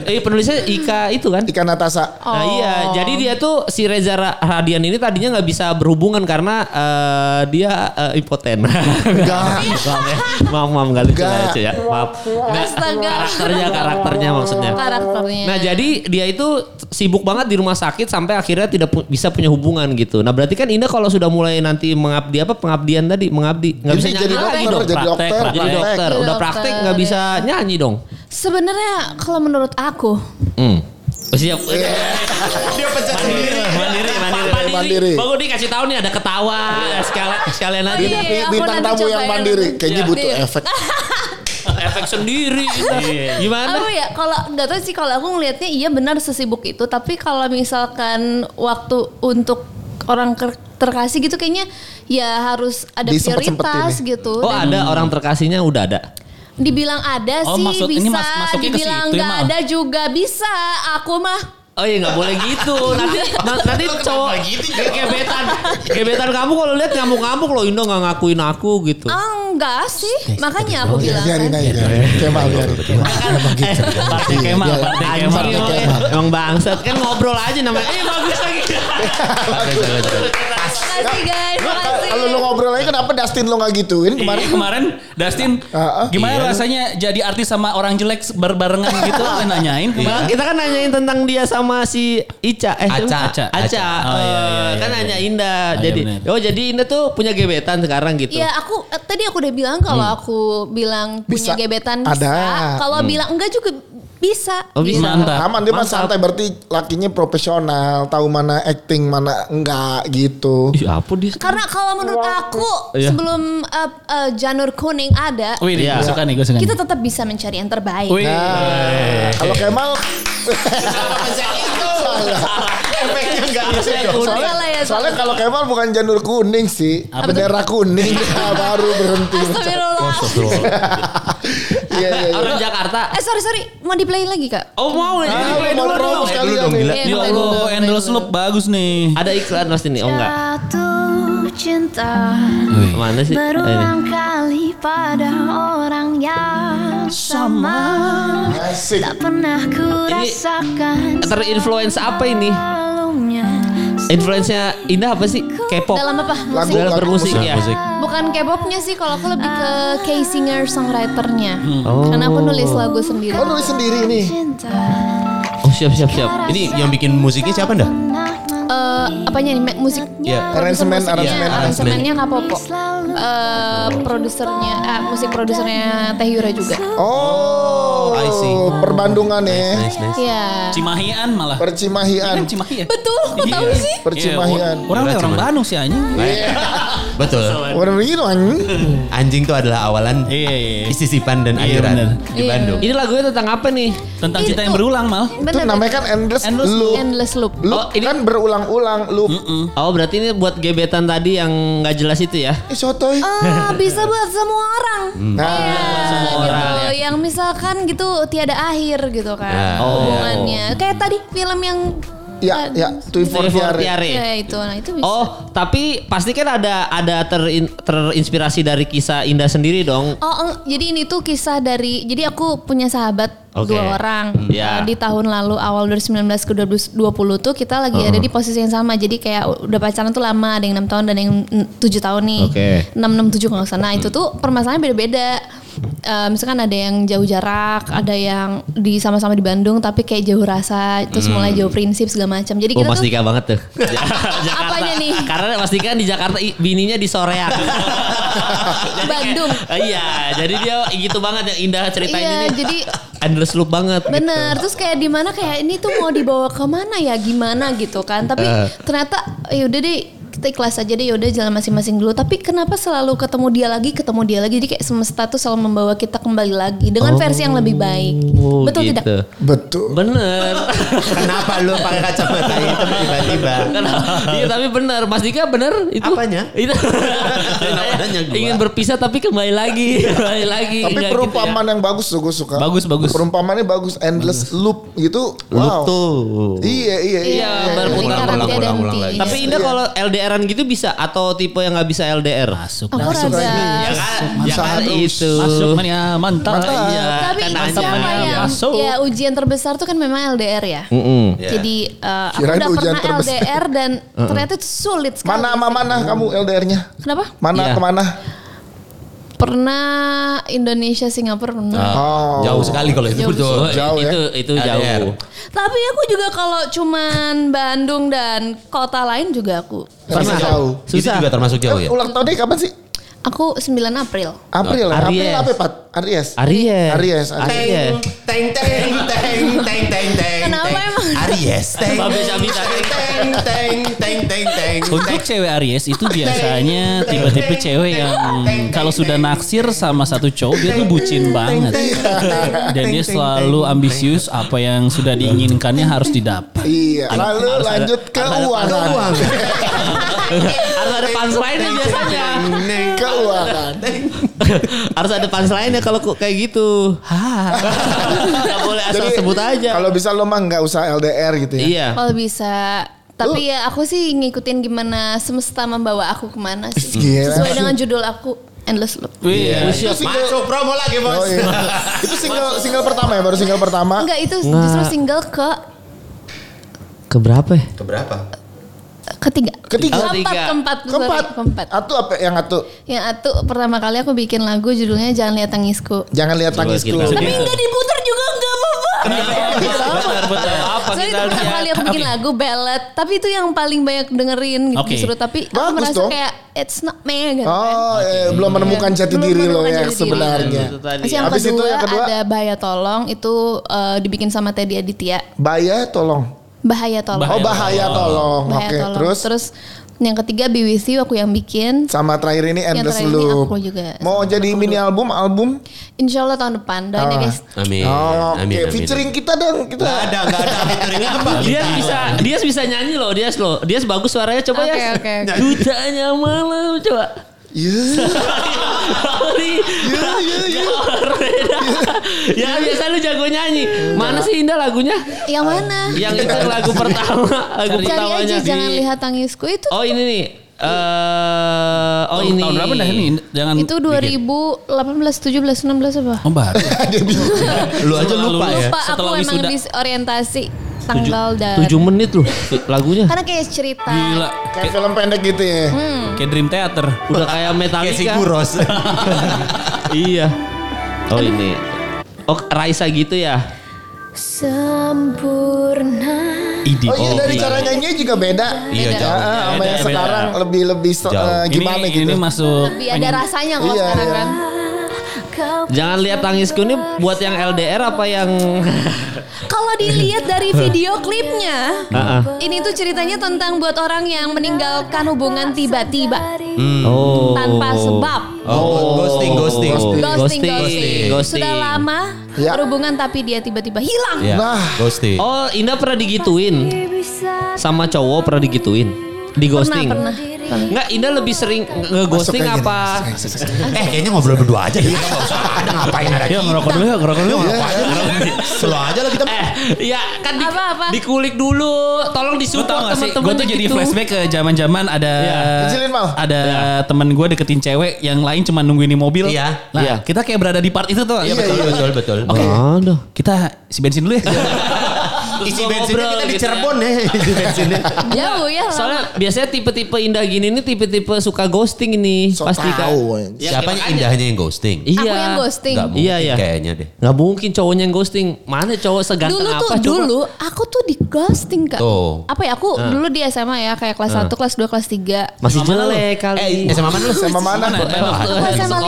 Speaker 3: Eh penulisnya Ika itu kan.
Speaker 1: Ikan Natasa.
Speaker 3: Nah iya, jadi dia tuh si Reza Ra- Radian ini tadinya nggak bisa berhubungan karena eh, dia eh, impoten.
Speaker 1: Enggak.
Speaker 3: Maaf ya. maaf maaf nggak lucu nggak lucu ya, maaf. Nggak,
Speaker 4: Astaga.
Speaker 3: karakternya karakternya maksudnya.
Speaker 4: Karakternya.
Speaker 3: Nah jadi dia itu sibuk banget di rumah sakit sampai akhirnya tidak pu- bisa punya hubungan gitu. Nah berarti kan Indah kalau sudah mulai nanti mengabdi apa pengabdian tadi mengabdi nggak
Speaker 1: Jadi
Speaker 3: bisa nyanyi
Speaker 1: jadi dokter,
Speaker 3: lagi dong.
Speaker 1: jadi dokter,
Speaker 3: Praktek,
Speaker 1: praktek.
Speaker 3: jadi dokter,
Speaker 4: Jadi
Speaker 3: udah
Speaker 4: dokter,
Speaker 3: praktek nggak bisa nyanyi dong.
Speaker 4: Sebenarnya kalau menurut aku,
Speaker 3: Hmm. Siap.
Speaker 7: Dia pecah
Speaker 2: Iya.
Speaker 7: sendiri.
Speaker 3: mandiri, mandiri, mandiri. Iya.
Speaker 1: Mandiri.
Speaker 3: Bang Udi kasih tahu nih ada ketawa, sekalian sekalian aja.
Speaker 1: Bi-
Speaker 4: Iya, aku
Speaker 1: Bintang
Speaker 4: nanti
Speaker 1: tamu yang
Speaker 4: cobain.
Speaker 1: mandiri. Kayaknya
Speaker 4: Iya.
Speaker 1: butuh
Speaker 4: Iya.
Speaker 1: efek.
Speaker 3: Efek sendiri. Gimana?
Speaker 4: Apa ya kalau nggak tahu sih kalau aku ngelihatnya iya benar sesibuk itu tapi kalau misalkan waktu untuk orang ker- terkasih gitu kayaknya ya harus ada
Speaker 1: Disempet-sempetin ya?
Speaker 4: prioritas
Speaker 1: nih.
Speaker 4: gitu.
Speaker 3: Oh
Speaker 4: Dan
Speaker 3: ada orang terkasihnya udah ada.
Speaker 4: dibilang ada
Speaker 5: Oh,
Speaker 4: sih
Speaker 5: maksud-
Speaker 4: bisa,
Speaker 5: ini mas- masuknya ke
Speaker 4: dibilang
Speaker 5: situ ya,
Speaker 4: nggak
Speaker 5: Mal.
Speaker 4: ada juga bisa. Aku mah
Speaker 3: Oh iya nggak boleh gitu. Nanti na- nanti
Speaker 7: Lo kenapa
Speaker 3: cowok
Speaker 7: gitu, Jo?
Speaker 3: ge- gebetan gebetan kamu kalau lihat ngamuk-ngamuk loh Indo nggak ngakuin aku gitu.
Speaker 4: Ah, enggak sih.
Speaker 5: Eh,
Speaker 4: Makanya aku bilang kan.
Speaker 1: Iya, biarin aja. Kemal biarin. Emang gitu.
Speaker 5: Partai Kemal,
Speaker 1: Iya,
Speaker 5: Partai
Speaker 1: iya.
Speaker 5: Kemal.
Speaker 1: Partai
Speaker 3: Emang-
Speaker 1: Kemal.
Speaker 3: Emang bangsat kan ngobrol aja namanya. Eh bagus lagi.
Speaker 5: Ya,
Speaker 4: Makasih guys,
Speaker 1: Ya.
Speaker 4: makasih.
Speaker 1: Nah, Kalau lu ngobrol aja kenapa Dustin lu gak gituin
Speaker 5: Kemarin,
Speaker 1: kemarin?
Speaker 5: Iya, kemarin Dustin
Speaker 1: Ah, ah.
Speaker 5: gimana rasanya jadi artis sama orang jelek berbarengan gitu Gue nanyain
Speaker 3: Bang, kita kan nanyain tentang dia sama si Ica eh
Speaker 2: Aca.
Speaker 3: siapa? Aca.
Speaker 5: Aca. Oh, iya, iya,
Speaker 3: Eh, kan
Speaker 5: iya,
Speaker 3: hanya Indah.
Speaker 5: Oh, iya,
Speaker 3: jadi
Speaker 5: bener.
Speaker 3: oh jadi Indah tuh punya gebetan sekarang gitu.
Speaker 4: Iya aku eh, tadi aku udah bilang kalau
Speaker 5: Hmm.
Speaker 4: aku bilang
Speaker 1: Bisa.
Speaker 4: punya gebetan bisa.
Speaker 1: Ada.
Speaker 4: Kalau bilang enggak juga bisa.
Speaker 3: Oh, bisa.
Speaker 5: Iya. Mantap.
Speaker 1: Aman dia mah
Speaker 3: Mantap.
Speaker 1: santai berarti lakinya profesional, tahu mana acting, mana enggak gitu.
Speaker 5: Iya.
Speaker 3: Ih, apa dia?
Speaker 4: Karena kalau menurut aku
Speaker 3: Iya.
Speaker 4: sebelum eh, eh, janur kuning ada,
Speaker 5: Wih,
Speaker 3: Iya.
Speaker 5: gue suka nih, gue suka nih.
Speaker 4: kita tetap bisa mencari yang terbaik.
Speaker 5: Wih.
Speaker 1: Nah, kalau Kemal
Speaker 7: Efeknya enggak bisa.
Speaker 1: soalnya,
Speaker 4: Salah
Speaker 1: Iya,
Speaker 4: ya,
Speaker 1: soalnya
Speaker 4: salah.
Speaker 1: kalau Kemal bukan janur kuning sih,
Speaker 5: Apa
Speaker 1: bendera kuning Nah, baru berhenti.
Speaker 4: Astagfirullah.
Speaker 1: Iya iya iya.
Speaker 3: Orang Jakarta.
Speaker 4: Eh sorry sorry, mau di play lagi kak?
Speaker 3: Oh mau ya.
Speaker 1: Ah, mau promo sekali ya
Speaker 2: dong,
Speaker 1: nih.
Speaker 2: gila.
Speaker 4: Iya,
Speaker 5: iya. Ini
Speaker 4: play
Speaker 5: lagu
Speaker 4: dulu, play
Speaker 5: endorse
Speaker 4: dulu.
Speaker 5: lu bagus nih.
Speaker 3: Ada iklan pasti nih. Oh enggak.
Speaker 8: Jatuh cinta
Speaker 3: Mana sih? Eh, ini.
Speaker 8: berulang kali pada orang yang sama
Speaker 1: Asik.
Speaker 8: Tak pernah ku
Speaker 3: Ini
Speaker 8: rasakan
Speaker 3: terinfluence apa ini?
Speaker 8: sebelumnya
Speaker 3: Influence-nya Indah apa sih? K-pop.
Speaker 4: Dalam apa?
Speaker 1: Lagu
Speaker 3: Dalam bermusik ya.
Speaker 4: Bukan K-popnya sih, kalau aku lebih ke K singer songwriternya. Karena aku nulis lagu sendiri.
Speaker 1: Hmm. Oh nulis sendiri nih.
Speaker 8: cinta
Speaker 3: Oh siap siap siap.
Speaker 4: Iya.
Speaker 2: Ini yang bikin musiknya siapa dah?
Speaker 8: Pernah
Speaker 4: Eh, apanya nih Mac- musik?
Speaker 2: Iya.
Speaker 1: Aransemen
Speaker 4: Musiknya,
Speaker 1: aransemen.
Speaker 4: aransemennya Kak Popo.
Speaker 8: selalu
Speaker 4: Eh, produsernya, eh, musik produsernya Teh Yura juga.
Speaker 1: Oh,
Speaker 2: I see.
Speaker 1: perbandungan ya.
Speaker 2: Nice nice.
Speaker 4: Iya.
Speaker 5: Cimahian malah.
Speaker 1: Percimahian.
Speaker 5: Kan Cimahi ya?
Speaker 4: Betul, kok tahu
Speaker 5: Iya.
Speaker 4: sih?
Speaker 1: Percimahian.
Speaker 5: Iya, Orang orang Bandung sih anjing.
Speaker 2: Betul.
Speaker 1: Orang begitu anjing.
Speaker 2: Anjing tuh adalah awalan
Speaker 5: Iya, iya, iya.
Speaker 2: sisipan dan
Speaker 5: Iya, bener.
Speaker 2: airan di
Speaker 4: Iya.
Speaker 2: Bandung.
Speaker 3: Ini lagunya tentang apa nih?
Speaker 5: Tentang cinta yang
Speaker 4: Itu.
Speaker 5: berulang mal.
Speaker 1: Itu
Speaker 4: Bener,
Speaker 1: namanya kan endless,
Speaker 5: Endless
Speaker 1: loop.
Speaker 4: Endless Loop.
Speaker 1: Loop
Speaker 3: Oh, ini-
Speaker 1: kan berulang-ulang loop.
Speaker 5: Hmm?
Speaker 3: Oh berarti ini buat gebetan tadi yang nggak jelas itu ya?
Speaker 1: Eh sotoy.
Speaker 4: Ah, bisa buat semua orang.
Speaker 1: Nah,
Speaker 4: Iya,
Speaker 3: semua orang,
Speaker 4: gitu.
Speaker 1: ya.
Speaker 4: Yang misalkan gitu tiada akhir gitu kan
Speaker 5: Ah,
Speaker 2: Ya.
Speaker 5: iya.
Speaker 3: Oh.
Speaker 4: hubungannya. Kayak tadi film yang
Speaker 1: ya ya Tui Fortiare.
Speaker 3: Fortiare.
Speaker 4: Ya itu, nah itu bisa.
Speaker 3: Oh tapi pasti kan ada ada terin- terinspirasi dari kisah Indah sendiri dong.
Speaker 4: Oh, eng- jadi ini tuh kisah dari jadi aku punya sahabat
Speaker 3: Oke.
Speaker 4: dua orang.
Speaker 3: Hmm. Iya.
Speaker 4: Nah, di tahun lalu awal 2019 ke 2020 tuh kita lagi
Speaker 3: Uh-huh.
Speaker 4: ada di posisi yang sama. Jadi kayak udah pacaran tuh lama, ada yang 6 tahun dan ada yang 7 tahun nih.
Speaker 3: Oke.
Speaker 4: 6 6 7 kalau nggak salah. Nah, itu tuh permasalahannya beda-beda. Eh, misalkan ada yang jauh jarak, ada yang di sama-sama di Bandung tapi kayak jauh rasa, terus mulai jauh prinsip segala macam. Jadi
Speaker 3: Hmm. Oh
Speaker 4: kita
Speaker 3: Mas
Speaker 4: tuh
Speaker 3: Dika banget tuh. Jakarta.
Speaker 4: Apanya Iya nih?
Speaker 3: Karena Mas Dika di Jakarta i- bininya di Soreang. Jadi kayak-
Speaker 4: Bandung.
Speaker 3: Iya, jadi dia gitu banget yang Indah ceritain
Speaker 4: Iya,
Speaker 3: ini.
Speaker 4: jadi
Speaker 3: endless loop banget. gitu.
Speaker 4: Bener, terus kayak di mana kayak ini tuh mau dibawa kemana ya, gimana gitu kan. Tapi
Speaker 3: Eh.
Speaker 4: ternyata yaudah deh kita ikhlas aja deh yaudah jalan masing-masing dulu tapi kenapa selalu ketemu dia lagi ketemu dia lagi jadi kayak semesta tuh selalu membawa kita kembali lagi dengan versi yang lebih baik
Speaker 3: Oh,
Speaker 4: betul
Speaker 3: gitu.
Speaker 4: tidak
Speaker 1: Betul.
Speaker 3: Bener.
Speaker 2: Kenapa lu pakai kacamata itu tiba-tiba?
Speaker 3: Iya tapi bener Mas Dika bener itu.
Speaker 2: Apanya?
Speaker 3: Itu.
Speaker 2: adanya gua.
Speaker 3: Ingin berpisah tapi kembali lagi, kembali lagi.
Speaker 1: Tapi
Speaker 3: Nggak gitu
Speaker 1: perumpamaan yang bagus tuh gue suka.
Speaker 5: Bagus, bagus.
Speaker 1: Perumpamaannya bagus. Endless loop gitu.
Speaker 2: Lu
Speaker 1: Wow.
Speaker 2: tuh.
Speaker 1: Iya iya iya.
Speaker 3: Iya, berputar.
Speaker 4: Lingkaran
Speaker 2: ulang, ulang,
Speaker 4: tiada henti.
Speaker 2: ulang lagi.
Speaker 3: ya. Tapi Indah kalau LDRan gitu bisa atau tipe yang nggak bisa LDR?
Speaker 5: Masuk.
Speaker 1: Nah,
Speaker 4: aku rada
Speaker 3: Ya kan, ya
Speaker 1: Usaha
Speaker 3: kan
Speaker 1: terus.
Speaker 3: itu.
Speaker 5: Masuk mania mantap.
Speaker 3: Iya,
Speaker 4: tapi
Speaker 3: kan
Speaker 4: siapa
Speaker 3: nanya.
Speaker 4: yang
Speaker 5: Masuk.
Speaker 4: ya ujian terbesar tuh kan memang LDR ya
Speaker 3: Mm-mm.
Speaker 4: jadi eh, aku
Speaker 1: Kirain
Speaker 4: udah
Speaker 1: ujian
Speaker 4: pernah
Speaker 1: terbesar.
Speaker 4: LDR dan ternyata itu sulit sekali
Speaker 1: Mana sama mana kamu LDR-nya?
Speaker 4: kenapa
Speaker 1: Mana
Speaker 3: Iya.
Speaker 1: kemana?
Speaker 4: pernah Indonesia Singapura pernah
Speaker 1: Oh.
Speaker 2: Jauh sekali kalau itu
Speaker 4: Jauh.
Speaker 2: betul.
Speaker 3: Oh,
Speaker 1: Jauh ya.
Speaker 3: itu itu
Speaker 2: LDR.
Speaker 3: jauh.
Speaker 4: Tapi aku juga kalau cuman Bandung dan kota lain juga aku.
Speaker 1: Terasa jauh.
Speaker 2: Itu
Speaker 3: Susah.
Speaker 2: juga termasuk jauh
Speaker 1: Eh,
Speaker 2: ya.
Speaker 1: Ulang tahunnya kapan sih?
Speaker 4: Aku 9 April.
Speaker 1: April. ya?
Speaker 3: Aries.
Speaker 1: April apa Pat? Aries.
Speaker 3: Aries.
Speaker 1: Aries,
Speaker 3: Aries.
Speaker 7: Teng teng teng teng teng teng.
Speaker 4: Kenapa
Speaker 7: teng.
Speaker 4: emang?
Speaker 2: Ah.
Speaker 7: Aries teng.
Speaker 3: Babe Jabi tadi.
Speaker 7: Teng teng teng teng teng.
Speaker 5: Untuk cewek Aries itu biasanya tipe-tipe cewek yang kalau sudah naksir sama satu cowok dia tuh bucin banget. Dan dia selalu ambisius apa yang sudah diinginkannya harus didapat.
Speaker 1: Iya. Lalu
Speaker 5: harus ada-
Speaker 1: lanjut ke
Speaker 5: harus ada-
Speaker 1: uang.
Speaker 3: Harus ada punchline-nya biasanya.
Speaker 1: Keuangan.
Speaker 3: Harus ada punchline ya kalau kok kayak gitu. Hah. Gak boleh asal sebut aja.
Speaker 1: Kalau bisa lo mah nggak usah LDR gitu ya.
Speaker 3: Iya.
Speaker 4: Kalau bisa. Tapi ya aku sih ngikutin gimana semesta membawa aku kemana sih.
Speaker 1: Gila.
Speaker 4: Sesuai dengan judul aku Endless Loop.
Speaker 3: Iya.
Speaker 5: Wih, lu siap.
Speaker 7: Masuk promo lagi bos.
Speaker 1: Oh, iya. Itu single single pertama ya, baru single pertama.
Speaker 4: Enggak itu justru single ke
Speaker 3: Keberapa ya?
Speaker 7: Keberapa?
Speaker 4: ketiga.
Speaker 1: Ketiga.
Speaker 4: Keempat,
Speaker 3: Ketiga.
Speaker 4: keempat, sorry,
Speaker 1: Keempat. Ah.
Speaker 4: keempat.
Speaker 1: Atu apa yang atu?
Speaker 4: Yang atu pertama kali aku bikin lagu judulnya Jangan Lihat Tangisku.
Speaker 1: Jangan lihat
Speaker 3: Coba
Speaker 1: tangisku.
Speaker 3: kita-
Speaker 4: Tapi enggak diputar juga enggak apa-apa.
Speaker 5: Iya.
Speaker 3: Benar, benar. Apa
Speaker 4: Soalnya itu
Speaker 3: kita
Speaker 4: pertama
Speaker 3: lihat?
Speaker 4: kali aku bikin lagu ballad, tapi itu yang paling banyak dengerin gitu
Speaker 5: Oke.
Speaker 4: justru. Tapi aku
Speaker 1: Bagus
Speaker 4: merasa
Speaker 1: dong.
Speaker 4: kayak it's not me gitu.
Speaker 1: Oh, eh, belum menemukan jati
Speaker 4: Belum
Speaker 1: diri lo
Speaker 4: menemukan
Speaker 1: yang
Speaker 4: jati diri.
Speaker 1: sebenarnya.
Speaker 3: Itu tadi.
Speaker 4: Terus yang
Speaker 1: Habis itu
Speaker 4: kedua,
Speaker 1: yang kedua?
Speaker 4: ada Bahaya Tolong itu eh, dibikin sama Teddy Aditya.
Speaker 1: Bahaya tolong.
Speaker 4: Bahaya Tolong.
Speaker 1: Oh, bahaya tolong.
Speaker 4: Bahaya
Speaker 1: Oke,
Speaker 4: Tolong.
Speaker 1: terus
Speaker 4: yang ketiga Be With You aku yang bikin.
Speaker 1: sama terakhir ini endless
Speaker 4: terakhir ini
Speaker 1: loop.
Speaker 4: aku juga.
Speaker 1: Mau jadi mini album, album?
Speaker 4: Insya Allah tahun depan. Doain ya
Speaker 1: Ah.
Speaker 4: guys.
Speaker 2: Amin.
Speaker 1: Oh, oke.
Speaker 2: amin, amin.
Speaker 1: Featuring kita dong, kita.
Speaker 2: Gak ada, gak ada featuringnya apa?
Speaker 3: Dia bisa, dia bisa nyanyi loh, dia loh, dia bagus suaranya coba
Speaker 4: Oke,
Speaker 3: ya.
Speaker 4: oke, oke.
Speaker 3: Dutanya malam coba.
Speaker 1: Iya.
Speaker 3: Iya,
Speaker 1: iya, iya.
Speaker 3: Ya biasa lu jago nyanyi. Mana sih Indah lagunya?
Speaker 4: Yang mana?
Speaker 3: Yang itu kan lagu pertama, lagu
Speaker 4: Cari aja
Speaker 3: pertamanya.
Speaker 4: jangan
Speaker 3: Di-
Speaker 4: lihat tangisku itu.
Speaker 3: Oh ini nih. Eh, oh ini.
Speaker 5: Tahun berapa dah ini? Jangan
Speaker 4: itu 2018, 17, 16 apa?
Speaker 5: Oh, baru.
Speaker 2: Lu aja
Speaker 5: Selalu
Speaker 2: lupa ya.
Speaker 4: Lupa aku
Speaker 5: Setelah
Speaker 4: emang
Speaker 5: wisuda.
Speaker 4: habis orientasi tanggal dan
Speaker 3: 7 menit loh lagunya.
Speaker 4: karena kayak cerita.
Speaker 5: Gila.
Speaker 1: Kayak film pendek gitu ya.
Speaker 4: Hmm.
Speaker 5: Kayak Dream Theater.
Speaker 3: Udah kayak
Speaker 2: Kayak si
Speaker 3: Metallica.
Speaker 2: Kuros.
Speaker 3: iya. Oh ini. Oh Raisa gitu ya.
Speaker 8: Sempurna
Speaker 5: Idi.
Speaker 1: Oh iya dari
Speaker 3: iya.
Speaker 1: cara nyanyinya juga beda.
Speaker 2: Iya,
Speaker 1: Ya,
Speaker 2: jauh.
Speaker 1: ah, sama yang
Speaker 5: Beda,
Speaker 1: sekarang
Speaker 5: beda.
Speaker 1: lebih lebih se-
Speaker 2: Jauh.
Speaker 1: eh, gimana
Speaker 5: ini,
Speaker 1: gitu.
Speaker 5: Ini masuk.
Speaker 4: Lebih ada rasanya kalau
Speaker 1: Iya,
Speaker 4: sekarang
Speaker 1: iya.
Speaker 4: kan.
Speaker 8: Kau
Speaker 3: Jangan lihat tangisku ini buat yang LDR apa yang
Speaker 4: Kalau dilihat dari video klipnya,
Speaker 3: Heeh.
Speaker 4: ini tuh ceritanya tentang buat orang yang meninggalkan hubungan tiba-tiba
Speaker 1: Hmm.
Speaker 3: Oh.
Speaker 4: tanpa sebab.
Speaker 2: Oh, ghosting, ghosting.
Speaker 3: Ghosting.
Speaker 4: Ghosting, ghosting,
Speaker 3: Ghosting.
Speaker 4: Sudah lama
Speaker 1: Ya.
Speaker 4: berhubungan tapi dia tiba-tiba hilang.
Speaker 2: Ya,
Speaker 1: Nah.
Speaker 2: ghosting.
Speaker 3: Oh, Indah pernah digituin
Speaker 8: bisa
Speaker 3: sama cowok pernah digituin. Di ghosting.
Speaker 4: Pernah, pernah.
Speaker 3: Enggak, Indah lebih sering nge-ghosting
Speaker 1: Masuk aja
Speaker 3: apa?
Speaker 2: Eh, kayaknya ngobrol berdua aja. Iya, nggak usah ada ngapain ada
Speaker 5: Ya
Speaker 2: kita.
Speaker 5: ngerokok dulu, ya, ngerokok dulu.
Speaker 2: Slow aja lah kita.
Speaker 3: Eh, ya kan di,
Speaker 4: Apa-apa?
Speaker 3: dikulik dulu. Tolong
Speaker 5: Lu tau
Speaker 3: disupport
Speaker 5: gak sih,
Speaker 3: teman-teman
Speaker 5: gue tuh
Speaker 3: yang
Speaker 5: jadi
Speaker 3: gitu.
Speaker 5: flashback ke zaman zaman ada
Speaker 3: Iya.
Speaker 1: Kecilin, Mal.
Speaker 5: ada teman gue deketin cewek yang lain cuma nungguin di mobil.
Speaker 2: Iya.
Speaker 5: Nah,
Speaker 3: Iya.
Speaker 5: kita kayak berada di part itu tuh.
Speaker 2: Iya, betul, betul, betul.
Speaker 5: Oke.
Speaker 3: Aduh.
Speaker 5: Kita isi bensin dulu ya.
Speaker 2: Isi
Speaker 3: Gua
Speaker 2: bensinnya
Speaker 3: ngobrol
Speaker 2: kita di
Speaker 3: gitu ya.
Speaker 2: Cirebon ya. Isi bensinnya.
Speaker 4: Jauh ya. lama.
Speaker 3: Soalnya biasanya tipe-tipe indah gini nih tipe-tipe suka ghosting ini
Speaker 1: So
Speaker 3: pasti kan.
Speaker 1: tahu, anjing.
Speaker 3: Ya,
Speaker 2: Siapa
Speaker 3: makanya.
Speaker 2: indahnya yang ghosting?
Speaker 4: Aku yang ghosting.
Speaker 2: Nggak
Speaker 3: Iya,
Speaker 2: mungkin
Speaker 3: iya.
Speaker 2: kayaknya deh.
Speaker 3: Gak mungkin cowoknya yang ghosting. Mana cowok seganteng
Speaker 4: dulu
Speaker 3: apa
Speaker 4: tuh
Speaker 3: coba?
Speaker 4: dulu aku tuh di ghosting kak.
Speaker 2: Tuh.
Speaker 4: Apa ya aku
Speaker 3: Nah.
Speaker 4: dulu di SMA ya kayak kelas 1, kelas 2, kelas 3.
Speaker 3: Masih
Speaker 5: Sama
Speaker 3: jelek kali.
Speaker 2: Eh, sama mana lu?
Speaker 1: Sama mana?
Speaker 4: Aku SMA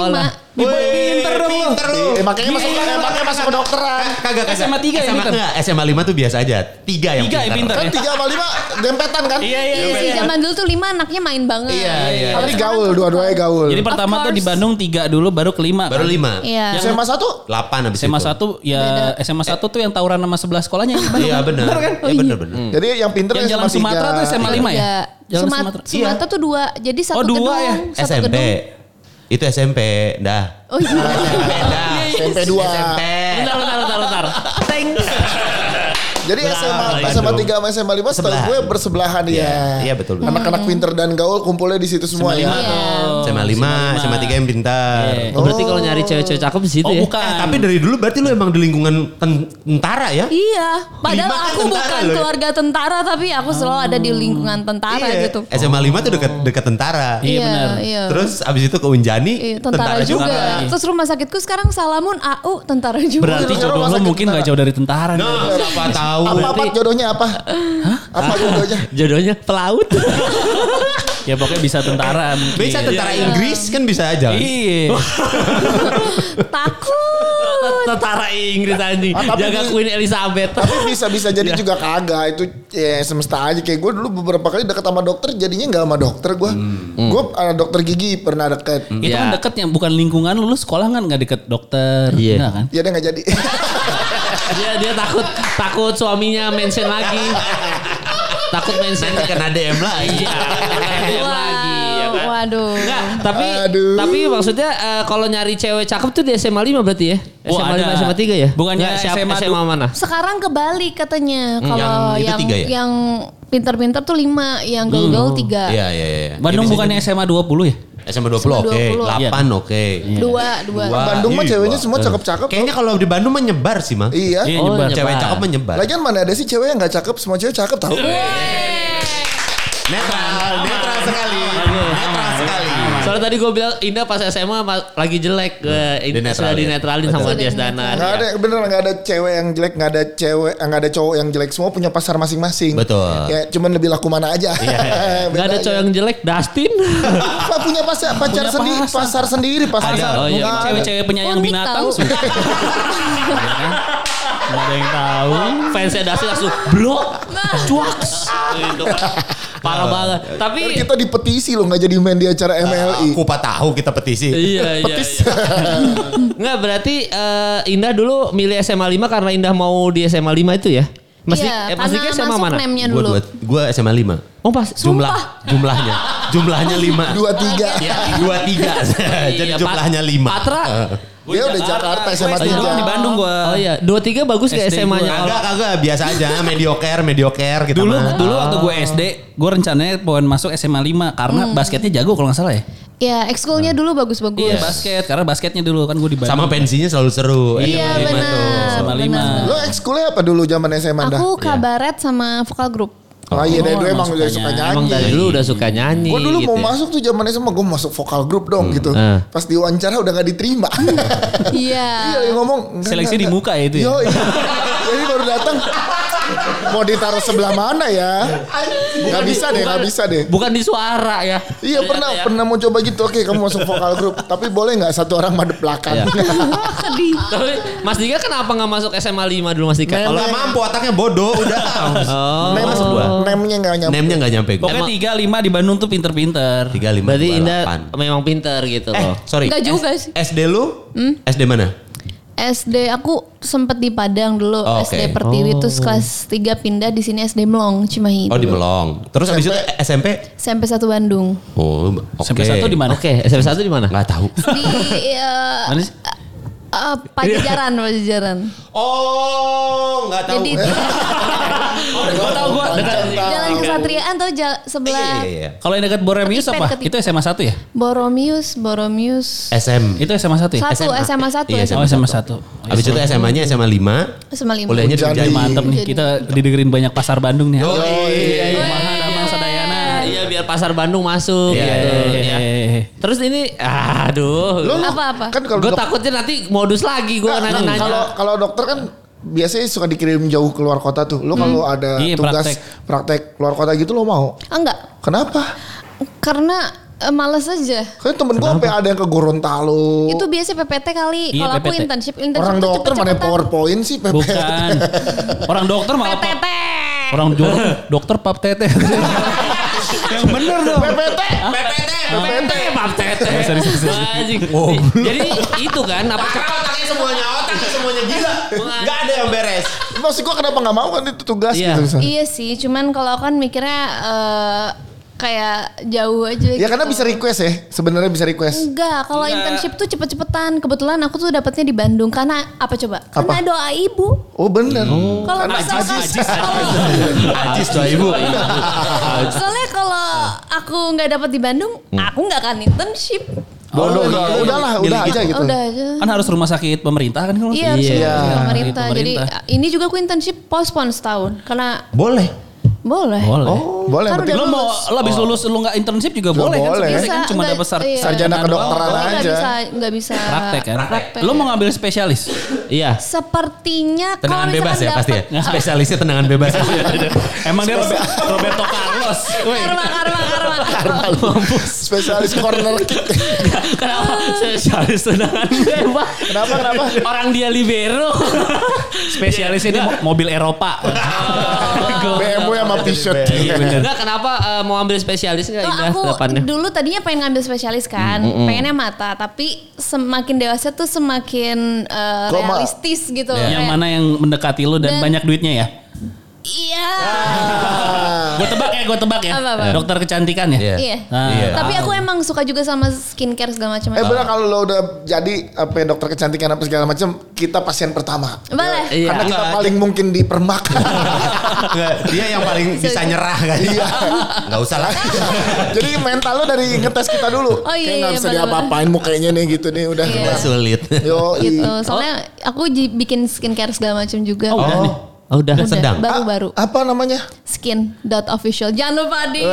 Speaker 4: 5.
Speaker 2: Pinter dong lu. Pinter lu.
Speaker 1: Eh, makanya masuk eh, makanya masuk kedokteran.
Speaker 2: Kagak, kagak.
Speaker 5: SMA tiga yang
Speaker 2: SMA,
Speaker 5: pinter.
Speaker 2: enggak, SMA 5 tuh biasa aja. Tiga yang
Speaker 5: Tiga yang pinter
Speaker 1: Kan
Speaker 5: ya.
Speaker 1: tiga sama lima dempetan kan?
Speaker 5: iya.
Speaker 4: Iya sih zaman dulu tuh lima anaknya main banget.
Speaker 2: Iya, iya.
Speaker 1: Tapi gaul, dua-duanya gaul.
Speaker 5: Jadi pertama tuh di
Speaker 4: course.
Speaker 5: Bandung tiga dulu baru kelima.
Speaker 2: Baru
Speaker 5: kan.
Speaker 2: lima. Gitu.
Speaker 4: Iya.
Speaker 5: Yang-
Speaker 1: SMA satu?
Speaker 2: Delapan abis itu.
Speaker 5: SMA satu ya SMA satu tuh yang tawuran sama sebelah sekolahnya. yang di Bandung.
Speaker 2: Iya benar.
Speaker 5: Bener kan?
Speaker 2: Iya benar benar.
Speaker 4: Hmm.
Speaker 1: Jadi yang pinter
Speaker 5: Yang jalan
Speaker 1: SMA tiga.
Speaker 5: Sumatera tuh SMA lima ya.
Speaker 4: Iya.
Speaker 5: Jalan
Speaker 4: Sumat-
Speaker 5: Sumatera. Iya.
Speaker 4: Sumatera tuh dua. Jadi satu
Speaker 5: Oh, dua
Speaker 4: gedung,
Speaker 5: ya?
Speaker 4: satu
Speaker 2: SMP.
Speaker 4: gedung.
Speaker 2: Itu SMP, dah.
Speaker 4: Oh iya.
Speaker 2: Dah.
Speaker 1: SMP dua.
Speaker 2: SMP.
Speaker 3: Bentar, bentar, bentar, bentar. Teng.
Speaker 1: Jadi SMA
Speaker 2: Nah,
Speaker 1: SMA
Speaker 2: itu.
Speaker 1: tiga sama SMA lima setahu
Speaker 2: Sebelahan.
Speaker 1: gue bersebelahan
Speaker 2: Iya,
Speaker 1: ya.
Speaker 2: iya, betul, betul.
Speaker 1: Anak-anak pinter dan gaul kumpulnya di situ semua ya.
Speaker 5: Lima tuh.
Speaker 2: SMA 5, SMA 3 yang pintar.
Speaker 5: Iya.
Speaker 3: Oh, berarti kalau nyari cewek-cewek cakep di situ
Speaker 5: Oh
Speaker 3: ya.
Speaker 5: bukan.
Speaker 2: Eh, tapi dari dulu berarti lu emang di lingkungan ten- tentara ya?
Speaker 4: Iya, padahal
Speaker 2: Lima kan
Speaker 4: aku
Speaker 2: tentara
Speaker 4: bukan
Speaker 2: loh ya.
Speaker 4: keluarga tentara tapi aku selalu ada di lingkungan tentara
Speaker 2: Iya.
Speaker 4: gitu.
Speaker 2: SMA 5 tuh dekat dekat tentara.
Speaker 5: Iya, benar.
Speaker 4: Iya.
Speaker 2: Terus abis itu ke Unjani,
Speaker 4: Iya, tentara, juga. Terus rumah sakitku sekarang Salamun AU tentara juga.
Speaker 1: Rumah
Speaker 5: Berarti jodoh lo
Speaker 1: sakit
Speaker 5: mungkin gak
Speaker 1: tentara.
Speaker 5: jauh dari tentara. nih.
Speaker 2: Nah, siapa tahu.
Speaker 1: Apa apa jodohnya apa? Apa jodohnya?
Speaker 3: Jodohnya pelaut.
Speaker 5: Ya pokoknya bisa tentara mungkin.
Speaker 2: Bisa tentara Inggris kan bisa aja. kan?
Speaker 5: Iya.
Speaker 4: Takut.
Speaker 3: Tentara Inggris anjing.
Speaker 1: Ah, tapi
Speaker 3: Jaga
Speaker 1: di-
Speaker 3: Queen Elizabeth.
Speaker 1: Tapi bisa bisa jadi juga kagak itu ya semesta aja kayak gue dulu beberapa kali deket sama dokter jadinya nggak sama dokter gue gue ada dokter gigi pernah deket
Speaker 5: Itu kan
Speaker 3: Iya.
Speaker 5: deketnya bukan lingkungan lu, lu sekolah kan gak deket dokter.
Speaker 3: Iya.
Speaker 5: Enggak kan?
Speaker 1: ya dia nggak jadi
Speaker 3: Dia dia takut takut suaminya mention lagi. takut mention
Speaker 2: Nanti kena DM lah.
Speaker 3: Iya, kena DM lagi ya kan.
Speaker 4: Waduh. Waduh.
Speaker 3: Enggak, tapi
Speaker 1: Aduh.
Speaker 3: tapi maksudnya eh, kalau nyari cewek cakep tuh di SMA 5 berarti ya?
Speaker 5: Wah,
Speaker 3: SMA 5
Speaker 5: ada.
Speaker 3: SMA 3 ya?
Speaker 5: Bukannya
Speaker 3: Nggak, siapa-
Speaker 5: SMA
Speaker 3: SMA, mana?
Speaker 4: Sekarang kebalik katanya kalau
Speaker 2: yang itu
Speaker 4: yang
Speaker 2: tiga ya?
Speaker 4: yang pinter-pinter tuh lima, yang gaul-gaul tiga.
Speaker 2: Iya, iya, iya.
Speaker 5: Bandung
Speaker 2: Iya, bisa
Speaker 5: bukannya
Speaker 2: jadi.
Speaker 5: SMA 20 ya?
Speaker 2: SMA 20 oke,
Speaker 4: 20,
Speaker 2: 8 oke.
Speaker 5: Iya.
Speaker 4: Dua, dua.
Speaker 2: iya. Dua.
Speaker 1: Bandung mah
Speaker 2: Iya.
Speaker 1: ceweknya semua cakep-cakep.
Speaker 2: Kayaknya kalau di Bandung mah nyebar sih, Mang.
Speaker 1: Iya.
Speaker 5: Iya,
Speaker 3: Oh,
Speaker 5: nyebar.
Speaker 3: nyebar.
Speaker 2: Cewek cakep menyebar.
Speaker 1: Lagian mana ada sih cewek yang gak cakep, semua cewek cakep tau.
Speaker 2: Netral, netral sekali. Netral sekali.
Speaker 3: Soalnya tadi gue bilang Indah pas SMA ma- lagi jelek eh, in-
Speaker 2: Dinetralin.
Speaker 3: sudah dinetralin sama
Speaker 4: Betul.
Speaker 3: dia Danar.
Speaker 1: Gak ada, bener gak ada cewek yang jelek, gak ada cewek, gak ada cowok yang jelek, semua punya pasar masing-masing.
Speaker 2: Betul.
Speaker 1: Ya, cuman lebih laku mana aja.
Speaker 3: Gak ada cowok yang jelek, Dustin.
Speaker 1: Apa punya pasar, pacar
Speaker 5: Punya
Speaker 1: sendiri,
Speaker 5: pasar.
Speaker 1: pasar sendiri, pasar.
Speaker 5: Ada.
Speaker 3: Oh, iya.
Speaker 5: Mungkin
Speaker 1: Nggak ada.
Speaker 5: cewek-cewek penyayang
Speaker 4: Unik
Speaker 5: binatang.
Speaker 4: tahu.
Speaker 5: suka. Ya kan? Nggak ada yang tahu.
Speaker 3: Fansnya Dustin langsung blok, cuaks. Gitu kan. Parah banget. Tapi
Speaker 1: Kita dipetisi loh gak jadi main di acara MLI.
Speaker 2: Kupa tahu kita petisi.
Speaker 3: Iya, iya, iya. Nggak, berarti eh, Indah dulu milih SMA 5 karena Indah mau di SMA 5 itu ya? Mas Dik- eh,
Speaker 4: Iya,
Speaker 3: Mas Diki SMA mana?
Speaker 4: Nemnya
Speaker 2: Gua
Speaker 4: dulu.
Speaker 2: dua- gua SMA 5.
Speaker 3: Oh pas
Speaker 2: Jumlah jumlahnya. Jumlahnya 5.
Speaker 1: Dua tiga.
Speaker 2: Iya. Dua tiga. Jadi
Speaker 3: Iya, Pat-
Speaker 2: jumlahnya 5.
Speaker 3: Patra.
Speaker 1: Dia udah Jakarta SMA
Speaker 5: Tadi doang
Speaker 1: tiga.
Speaker 5: di Bandung
Speaker 3: Oh
Speaker 5: gua.
Speaker 3: iya, 23 bagus gak
Speaker 5: SD
Speaker 3: SMA-nya?
Speaker 2: Kagak, kagak. Biasa aja. Medioker, medioker. Kita
Speaker 5: Dulu
Speaker 2: mah.
Speaker 5: dulu waktu gue SD, gue rencananya pengen masuk SMA 5 karena basketnya jago kalau nggak salah ya.
Speaker 4: Ya, ekskulnya
Speaker 2: Nah.
Speaker 4: dulu
Speaker 5: Iya,
Speaker 4: bagus-bagus.
Speaker 5: basket karena basketnya dulu kan gue di Bandung.
Speaker 2: Sama pensinya selalu seru. Eh,
Speaker 4: Iya,
Speaker 2: SMA 5 tuh.
Speaker 4: benar.
Speaker 5: SMA 5.
Speaker 1: Lo ekskulnya apa dulu zaman SMA dah?
Speaker 2: Iya.
Speaker 4: Aku kabaret sama vokal grup.
Speaker 1: Oh iya, dari dulu
Speaker 5: emang
Speaker 1: emang udah
Speaker 5: sukanya.
Speaker 1: suka
Speaker 3: Emang dari
Speaker 1: nyanyi.
Speaker 3: dulu udah suka nyanyi.
Speaker 1: Gue dulu mau
Speaker 3: gitu ya.
Speaker 1: masuk tuh zaman SMA, gue masuk vokal grup dong gitu.
Speaker 3: eh.
Speaker 1: Pas diwawancara udah gak diterima. Iya,
Speaker 4: Iya.
Speaker 1: yang ngomong. enggak,
Speaker 5: Seleksi
Speaker 1: enggak,
Speaker 5: di muka ya itu ya?
Speaker 1: enggak. Yoi. Jadi baru datang. Mau ditaruh sebelah mana ya? Gak bisa deh, gak bisa deh.
Speaker 3: Bukan di suara ya.
Speaker 1: Iya pernah pernah mau coba gitu. Oke, kamu masuk vokal grup, tapi boleh nggak satu orang madep belakang?
Speaker 4: Sedih.
Speaker 3: Tapi Mas Dika kenapa gak masuk SMA 5 dulu Mas Dika?
Speaker 1: Mel-
Speaker 2: Kalau nggak mampu otaknya bodoh udah.
Speaker 1: Nem nemnya nggak nyampe.
Speaker 2: Name-nya nggak nyampe. gua.
Speaker 5: Pokoknya tiga lima di Bandung tuh pinter-pinter.
Speaker 2: Tiga lima
Speaker 3: Berarti
Speaker 2: dua,
Speaker 3: Indah
Speaker 2: delapan.
Speaker 3: memang pinter gitu
Speaker 2: Eh
Speaker 3: loh.
Speaker 2: sorry.
Speaker 4: Nggak juga
Speaker 2: S-
Speaker 4: sih. Hmm?
Speaker 2: SD lu? SD mana?
Speaker 4: SD aku sempet di Padang dulu
Speaker 2: Oh,
Speaker 4: SD
Speaker 2: oke.
Speaker 4: Pertiwi terus kelas 3 pindah di sini SD Melong Cimahi.
Speaker 2: Oh di
Speaker 4: dulu.
Speaker 2: Melong. Terus abis itu eh, SMP?
Speaker 4: SMP 1 Bandung.
Speaker 2: Oh oke.
Speaker 5: Sampai satu di mana?
Speaker 3: Oke, SMP 1 di mana?
Speaker 2: Nggak tahu.
Speaker 4: Di eh,
Speaker 5: Mana sih?
Speaker 4: eh, Pajajaran, Pajajaran.
Speaker 2: Oh nggak Iya. tahu.
Speaker 4: Jadi
Speaker 5: Gue tau gue dekat.
Speaker 4: Jalan Kesatriaan atau jal-
Speaker 2: Iya,
Speaker 4: sebelah
Speaker 2: iya, iya.
Speaker 5: Kalau yang dekat Boremius
Speaker 4: Ketipen,
Speaker 5: apa?
Speaker 4: ketipen.
Speaker 5: Itu SMA 1 ya?
Speaker 4: Boromius, Boromius.
Speaker 2: SM.
Speaker 5: Itu SMA 1 ya?
Speaker 4: Satu SMA 1
Speaker 2: Iya,
Speaker 5: Oh SMA 1.
Speaker 2: Abis itu SMA-nya SMA 5.
Speaker 4: SMA 5.
Speaker 2: Kuliahnya di
Speaker 1: Jadi-
Speaker 2: Ujjayi.
Speaker 5: Mantep nih, kita didengerin banyak pasar Bandung nih.
Speaker 2: Oh, iya.
Speaker 5: Kumaha Damang Sadayana.
Speaker 3: Iya biar pasar Bandung masuk
Speaker 2: Iya,
Speaker 3: gitu.
Speaker 5: Iya, iya,
Speaker 3: ya.
Speaker 5: iya.
Speaker 3: Terus ini aduh.
Speaker 1: Lo
Speaker 4: Apa-apa?
Speaker 1: Kan kalau
Speaker 3: Gue
Speaker 1: dok-
Speaker 3: takutnya nanti modus lagi gue
Speaker 1: Nggak,
Speaker 3: nanya-nanya.
Speaker 1: Nah, Kalau kalau dokter kan biasanya suka dikirim jauh keluar kota tuh. Lo kalau ada
Speaker 5: Iya,
Speaker 1: tugas
Speaker 5: praktek.
Speaker 1: praktek. keluar kota gitu lo mau?
Speaker 4: Ah, enggak.
Speaker 1: Kenapa?
Speaker 4: Karena eh, males aja.
Speaker 1: Kan temen gue sampai ada yang ke Gorontalo.
Speaker 4: Itu biasa PPT kali.
Speaker 5: Iya,
Speaker 4: Kalau aku
Speaker 5: PPT.
Speaker 4: internship, internship
Speaker 1: Orang
Speaker 4: tuh
Speaker 1: dokter mana
Speaker 4: cepet-cepetan.
Speaker 1: PowerPoint sih PP.
Speaker 5: Bukan. Orang dokter malah pap,
Speaker 4: PPT.
Speaker 5: orang do- dokter pap tete. Yang bener dong.
Speaker 1: PPT.
Speaker 7: PPT.
Speaker 1: PPT.
Speaker 3: Pap tete. Anjing.
Speaker 1: Oh,
Speaker 3: Jadi itu kan apa
Speaker 7: Parah otaknya semuanya, otaknya semuanya gila.
Speaker 2: Nggak ada yang beres.
Speaker 1: Maksud gue kenapa nggak mau kan itu tugas
Speaker 3: Iya.
Speaker 1: gitu misalnya.
Speaker 4: Iya sih, cuman kalau aku kan mikirnya eh, kayak jauh aja gitu.
Speaker 1: Ya karena bisa request ya. Sebenarnya bisa request.
Speaker 4: Enggak, kalau
Speaker 5: Iya.
Speaker 4: internship tuh cepet-cepetan. Kebetulan aku tuh dapetnya di Bandung karena apa coba? Karena
Speaker 1: Apa?
Speaker 4: doa ibu.
Speaker 1: Oh bener.
Speaker 4: Kalau misalkan
Speaker 2: Ajis tuh ibu.
Speaker 4: soalnya kalau aku nggak dapet di Bandung,
Speaker 1: Hmm.
Speaker 4: aku nggak akan internship.
Speaker 1: Bodoh.
Speaker 2: iya, iya.
Speaker 1: Udahlah, udah
Speaker 2: Milih
Speaker 1: aja gitu.
Speaker 4: Udah aja.
Speaker 5: Kan harus rumah sakit pemerintah kan kalau
Speaker 4: Iya,
Speaker 5: nggak
Speaker 4: harus
Speaker 5: salah.
Speaker 4: ngurus
Speaker 1: Iya.
Speaker 4: pemerintah. Jadi
Speaker 5: Pemerintah.
Speaker 4: ini juga aku internship postpone setahun karena
Speaker 2: Boleh.
Speaker 4: boleh.
Speaker 5: Boleh.
Speaker 1: Oh, boleh.
Speaker 4: Kan
Speaker 1: berarti
Speaker 4: udah
Speaker 5: Lo mau lo habis lulus lo nggak internship juga
Speaker 1: Juga
Speaker 5: boleh,
Speaker 1: boleh.
Speaker 5: kan sebenarnya kan cuma
Speaker 4: nggak-
Speaker 5: dapat sar-
Speaker 4: iya.
Speaker 1: sarjana
Speaker 5: doang.
Speaker 1: kedokteran
Speaker 4: Pokoknya nggak
Speaker 1: aja.
Speaker 4: bisa nggak bisa
Speaker 5: Praktek kan.
Speaker 4: praktek.
Speaker 5: Lo mau ngambil spesialis?
Speaker 3: Iya.
Speaker 4: Sepertinya
Speaker 2: Tenangan
Speaker 4: kalau
Speaker 2: bebas
Speaker 4: misalkan
Speaker 2: ya pasti ya.
Speaker 4: dapet-
Speaker 2: Spesialisnya tenangan bebas.
Speaker 5: Emang dia Robe- Roberto Carlos. Woi.
Speaker 4: Karma, karma, karma.
Speaker 1: Spesialis corner kick.
Speaker 3: Kenapa spesialis tendangan bebas?
Speaker 1: Kenapa, kenapa?
Speaker 3: Orang dia libero.
Speaker 5: Spesialis ini mo- mobil Eropa.
Speaker 1: BMW sama Peugeot.
Speaker 5: Iya bener.
Speaker 3: Enggak kenapa eh, mau ambil spesialis enggak
Speaker 4: Tuh,
Speaker 5: Iya,
Speaker 3: Indah
Speaker 4: aku
Speaker 3: depannya?
Speaker 4: dulu tadinya pengen ngambil spesialis kan, pengennya mata, tapi semakin dewasa tuh semakin eh,
Speaker 1: Kok, Ma?
Speaker 4: realistis gitu.
Speaker 5: Yang
Speaker 4: Kayak,
Speaker 5: mana yang mendekati lo dan
Speaker 4: Dan-
Speaker 5: banyak duitnya ya?
Speaker 4: Iya,
Speaker 1: Ah.
Speaker 5: Gue tebak ya, gue tebak ya.
Speaker 4: Apa, apa?
Speaker 5: Dokter kecantikan ya.
Speaker 2: Iya.
Speaker 4: Iya.
Speaker 5: Ah.
Speaker 2: Iya.
Speaker 4: Tapi aku emang suka juga sama skincare segala macam.
Speaker 1: Eh bener kalau lo udah jadi apa ya, dokter kecantikan apa segala macam, kita pasien pertama.
Speaker 4: Boleh.
Speaker 3: Iya.
Speaker 1: Karena kita paling mungkin dipermak.
Speaker 2: Nggak, dia yang paling bisa nyerah kan. Iya. Enggak usah lah.
Speaker 1: Jadi mental lo dari ngetes kita dulu.
Speaker 4: Oh,
Speaker 1: Kayak nggak
Speaker 4: iya, iya,
Speaker 1: bisa
Speaker 4: bener-bener.
Speaker 1: diapa-apain mukanya nih gitu nih udah.
Speaker 4: Iya.
Speaker 2: Sulit.
Speaker 1: Yo,
Speaker 4: Gitu. Soalnya aku ji- bikin skincare segala macam juga.
Speaker 5: Oh, udah nih.
Speaker 3: Oh, udah.
Speaker 4: Udah,
Speaker 3: sedang.
Speaker 4: Baru-baru.
Speaker 1: apa namanya?
Speaker 4: Skin dot official. Jangan lupa di.
Speaker 1: Eh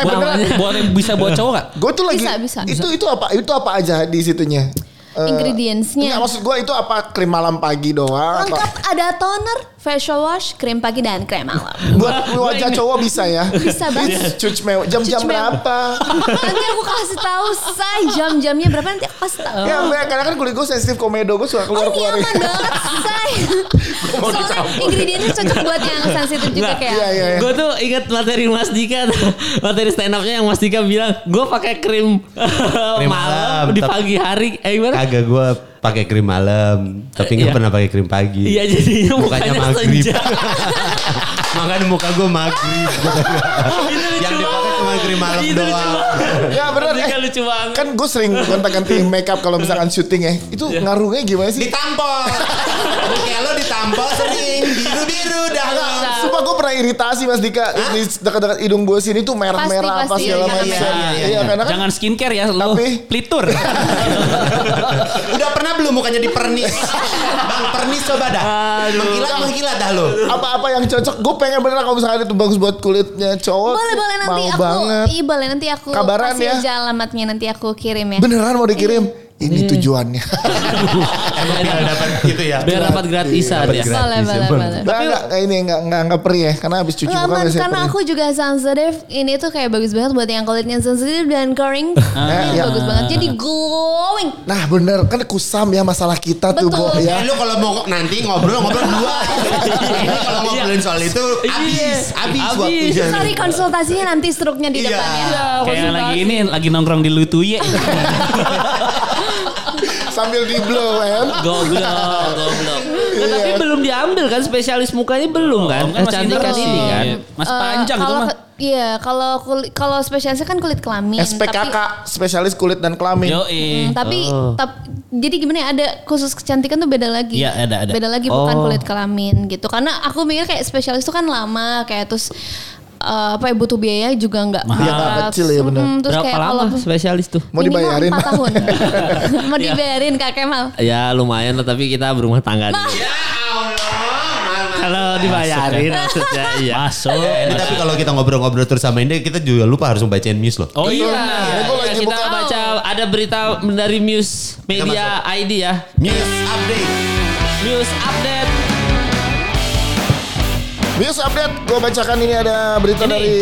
Speaker 5: Buat,
Speaker 1: beneran.
Speaker 5: buat- bisa buat cowok gak?
Speaker 1: Gue tuh lagi.
Speaker 4: Bisa, bisa.
Speaker 1: Itu itu apa? Itu apa aja di situnya? Eh,
Speaker 4: Ingredientsnya.
Speaker 1: Enggak, maksud gue itu apa krim malam pagi doang?
Speaker 4: Lengkap
Speaker 1: Apa?
Speaker 4: ada toner, facial wash, krim pagi dan krim malam.
Speaker 1: Buat wajah cowok bisa ya?
Speaker 4: Bisa banget.
Speaker 1: Cucmeu. Jam-jam
Speaker 4: Cucmeu.
Speaker 1: berapa?
Speaker 4: nanti aku kasih tahu say jam-jamnya berapa nanti aku kasih tahu.
Speaker 1: Ya, gue- karena kan kulit gue sensitif komedo, gue suka
Speaker 4: Oh ini
Speaker 1: keluar-keluar.
Speaker 4: aman banget say. Soalnya ingredientnya cocok buat yang sensitif juga
Speaker 3: Nggak.
Speaker 4: kayak.
Speaker 1: Iya, iya, iya.
Speaker 3: Gue tuh ingat materi Mas Dika Materi stand up-nya yang Mas Dika bilang Gue pakai krim, malam,
Speaker 2: malam,
Speaker 3: Di
Speaker 2: tapi-
Speaker 3: pagi hari Eh gimana?
Speaker 2: Kagak gue pakai krim malam, tapi nggak
Speaker 3: Iya.
Speaker 2: pernah pakai krim pagi.
Speaker 3: Iya jadinya
Speaker 2: Mukanya
Speaker 3: mukanya,
Speaker 2: maghrib.
Speaker 3: senja
Speaker 2: Makanya muka gue magrib. yang dipakai cuma krim malam
Speaker 3: Itu Iya, lucu
Speaker 2: doang.
Speaker 1: Ya bener.
Speaker 3: Dika
Speaker 1: eh,
Speaker 3: lucu banget
Speaker 1: kan gue sering gonta-ganti makeup kalau misalkan syuting ya. Itu
Speaker 7: Iya.
Speaker 1: ngaruhnya gimana sih?
Speaker 7: Ditampol. Kayak lo ditampol sering biru-biru dah lo.
Speaker 1: Sumpah gue pernah iritasi Mas Dika di dekat-dekat hidung gue sini tuh merah-merah
Speaker 4: Pasti,
Speaker 1: apa
Speaker 4: pasti.
Speaker 1: segala
Speaker 4: Iya,
Speaker 1: macam.
Speaker 7: iya, iya, iya.
Speaker 1: Iya, karena kan
Speaker 5: Jangan skincare ya lo
Speaker 1: Tapi-
Speaker 5: pelitur.
Speaker 7: Udah pernah belum mukanya dipernis? Bang pernis coba dah. Mengkilat mengkilat dah lo.
Speaker 1: apa-apa yang cocok gue pengen bener kalau misalkan itu bagus buat kulitnya cowok.
Speaker 4: Boleh boleh nanti
Speaker 1: Oh, mau
Speaker 4: aku.
Speaker 1: banget.
Speaker 4: Iya boleh nanti aku
Speaker 1: Kabaran
Speaker 4: kasih
Speaker 1: ya.
Speaker 4: aja alamatnya nanti aku kirim ya.
Speaker 1: Beneran mau dikirim?
Speaker 4: Iya. Hmm.
Speaker 1: Ini tujuannya.
Speaker 2: Emang biar dapat gitu ya.
Speaker 3: Biar dapat gratisan ya
Speaker 4: Boleh boleh boleh.
Speaker 1: Nah, enggak, enggak, ini enggak, enggak, enggak perih ya. Karena habis cuci muka
Speaker 4: Laman
Speaker 1: biasanya
Speaker 4: karena
Speaker 1: perih.
Speaker 4: aku juga sensitif ini tuh kayak bagus banget buat yang kulitnya sensitif dan kering Ini
Speaker 1: iya.
Speaker 4: bagus banget jadi glowing
Speaker 1: Nah bener, kan kusam ya masalah kita tuh
Speaker 4: Betul.
Speaker 1: Bo
Speaker 7: Eh,
Speaker 1: ya.
Speaker 7: lu kalau mau nanti ngobrol ngobrol dua. Ini
Speaker 2: Iya.
Speaker 7: kalau ngobrolin soal itu habis, habis
Speaker 3: Iya.
Speaker 1: Iya,
Speaker 3: Habis.
Speaker 7: waktunya.
Speaker 4: sorry konsultasinya nanti struknya di
Speaker 7: Iya.
Speaker 4: depan ya
Speaker 5: Kayak lagi ini lagi nongkrong di Lutuye.
Speaker 2: Iya.
Speaker 1: Sambil di blow kan.
Speaker 3: Goblok, goblok. Nah, tapi
Speaker 1: Iya.
Speaker 3: belum diambil kan spesialis mukanya belum kan?
Speaker 5: kan masih
Speaker 3: Kecantikan
Speaker 5: belum.
Speaker 3: ini kan.
Speaker 5: Iya. Mas
Speaker 4: Eh,
Speaker 5: panjang itu
Speaker 4: kalau
Speaker 5: mah.
Speaker 4: ke- Iya, kalau kulit kalau spesialisnya kan kulit kelamin.
Speaker 1: SPKK, spesialis kulit dan kelamin.
Speaker 5: Yo
Speaker 4: Tapi, hmm, tapi
Speaker 1: Oh.
Speaker 4: tap- jadi gimana ya ada khusus kecantikan tuh beda lagi.
Speaker 5: Iya, ada, ada.
Speaker 4: Beda lagi
Speaker 1: Oh.
Speaker 4: bukan kulit kelamin gitu. Karena aku mikir kayak spesialis itu kan lama kayak terus eh, apa ya butuh biaya juga
Speaker 1: Iya,
Speaker 4: nggak
Speaker 1: nggak
Speaker 4: murah.
Speaker 1: kecil ya, benar.
Speaker 4: Mm, terus
Speaker 3: Berapa
Speaker 4: kayak kalau
Speaker 3: lama spesialis tuh?
Speaker 1: Mau
Speaker 4: minimal
Speaker 1: dibayarin.
Speaker 4: empat tahun. Mau
Speaker 5: Iya.
Speaker 4: dibayarin Kak Kemal.
Speaker 3: Ya lumayan lah tapi kita berumah tangga nih.
Speaker 7: Ya Allah, ya. Mama.
Speaker 3: Kalau dibayarin maksudnya iya.
Speaker 5: Masuk.
Speaker 2: Ini tapi kalau kita ngobrol-ngobrol terus sama ini kita juga lupa harus bacain news loh.
Speaker 5: Oh iya.
Speaker 1: Ini gua lagi
Speaker 3: kita
Speaker 1: buka-
Speaker 3: baca ada berita dari Muse Media ID ya.
Speaker 2: News update.
Speaker 3: Muse update.
Speaker 1: News update, gue bacakan ini ada berita
Speaker 3: Ini.
Speaker 1: dari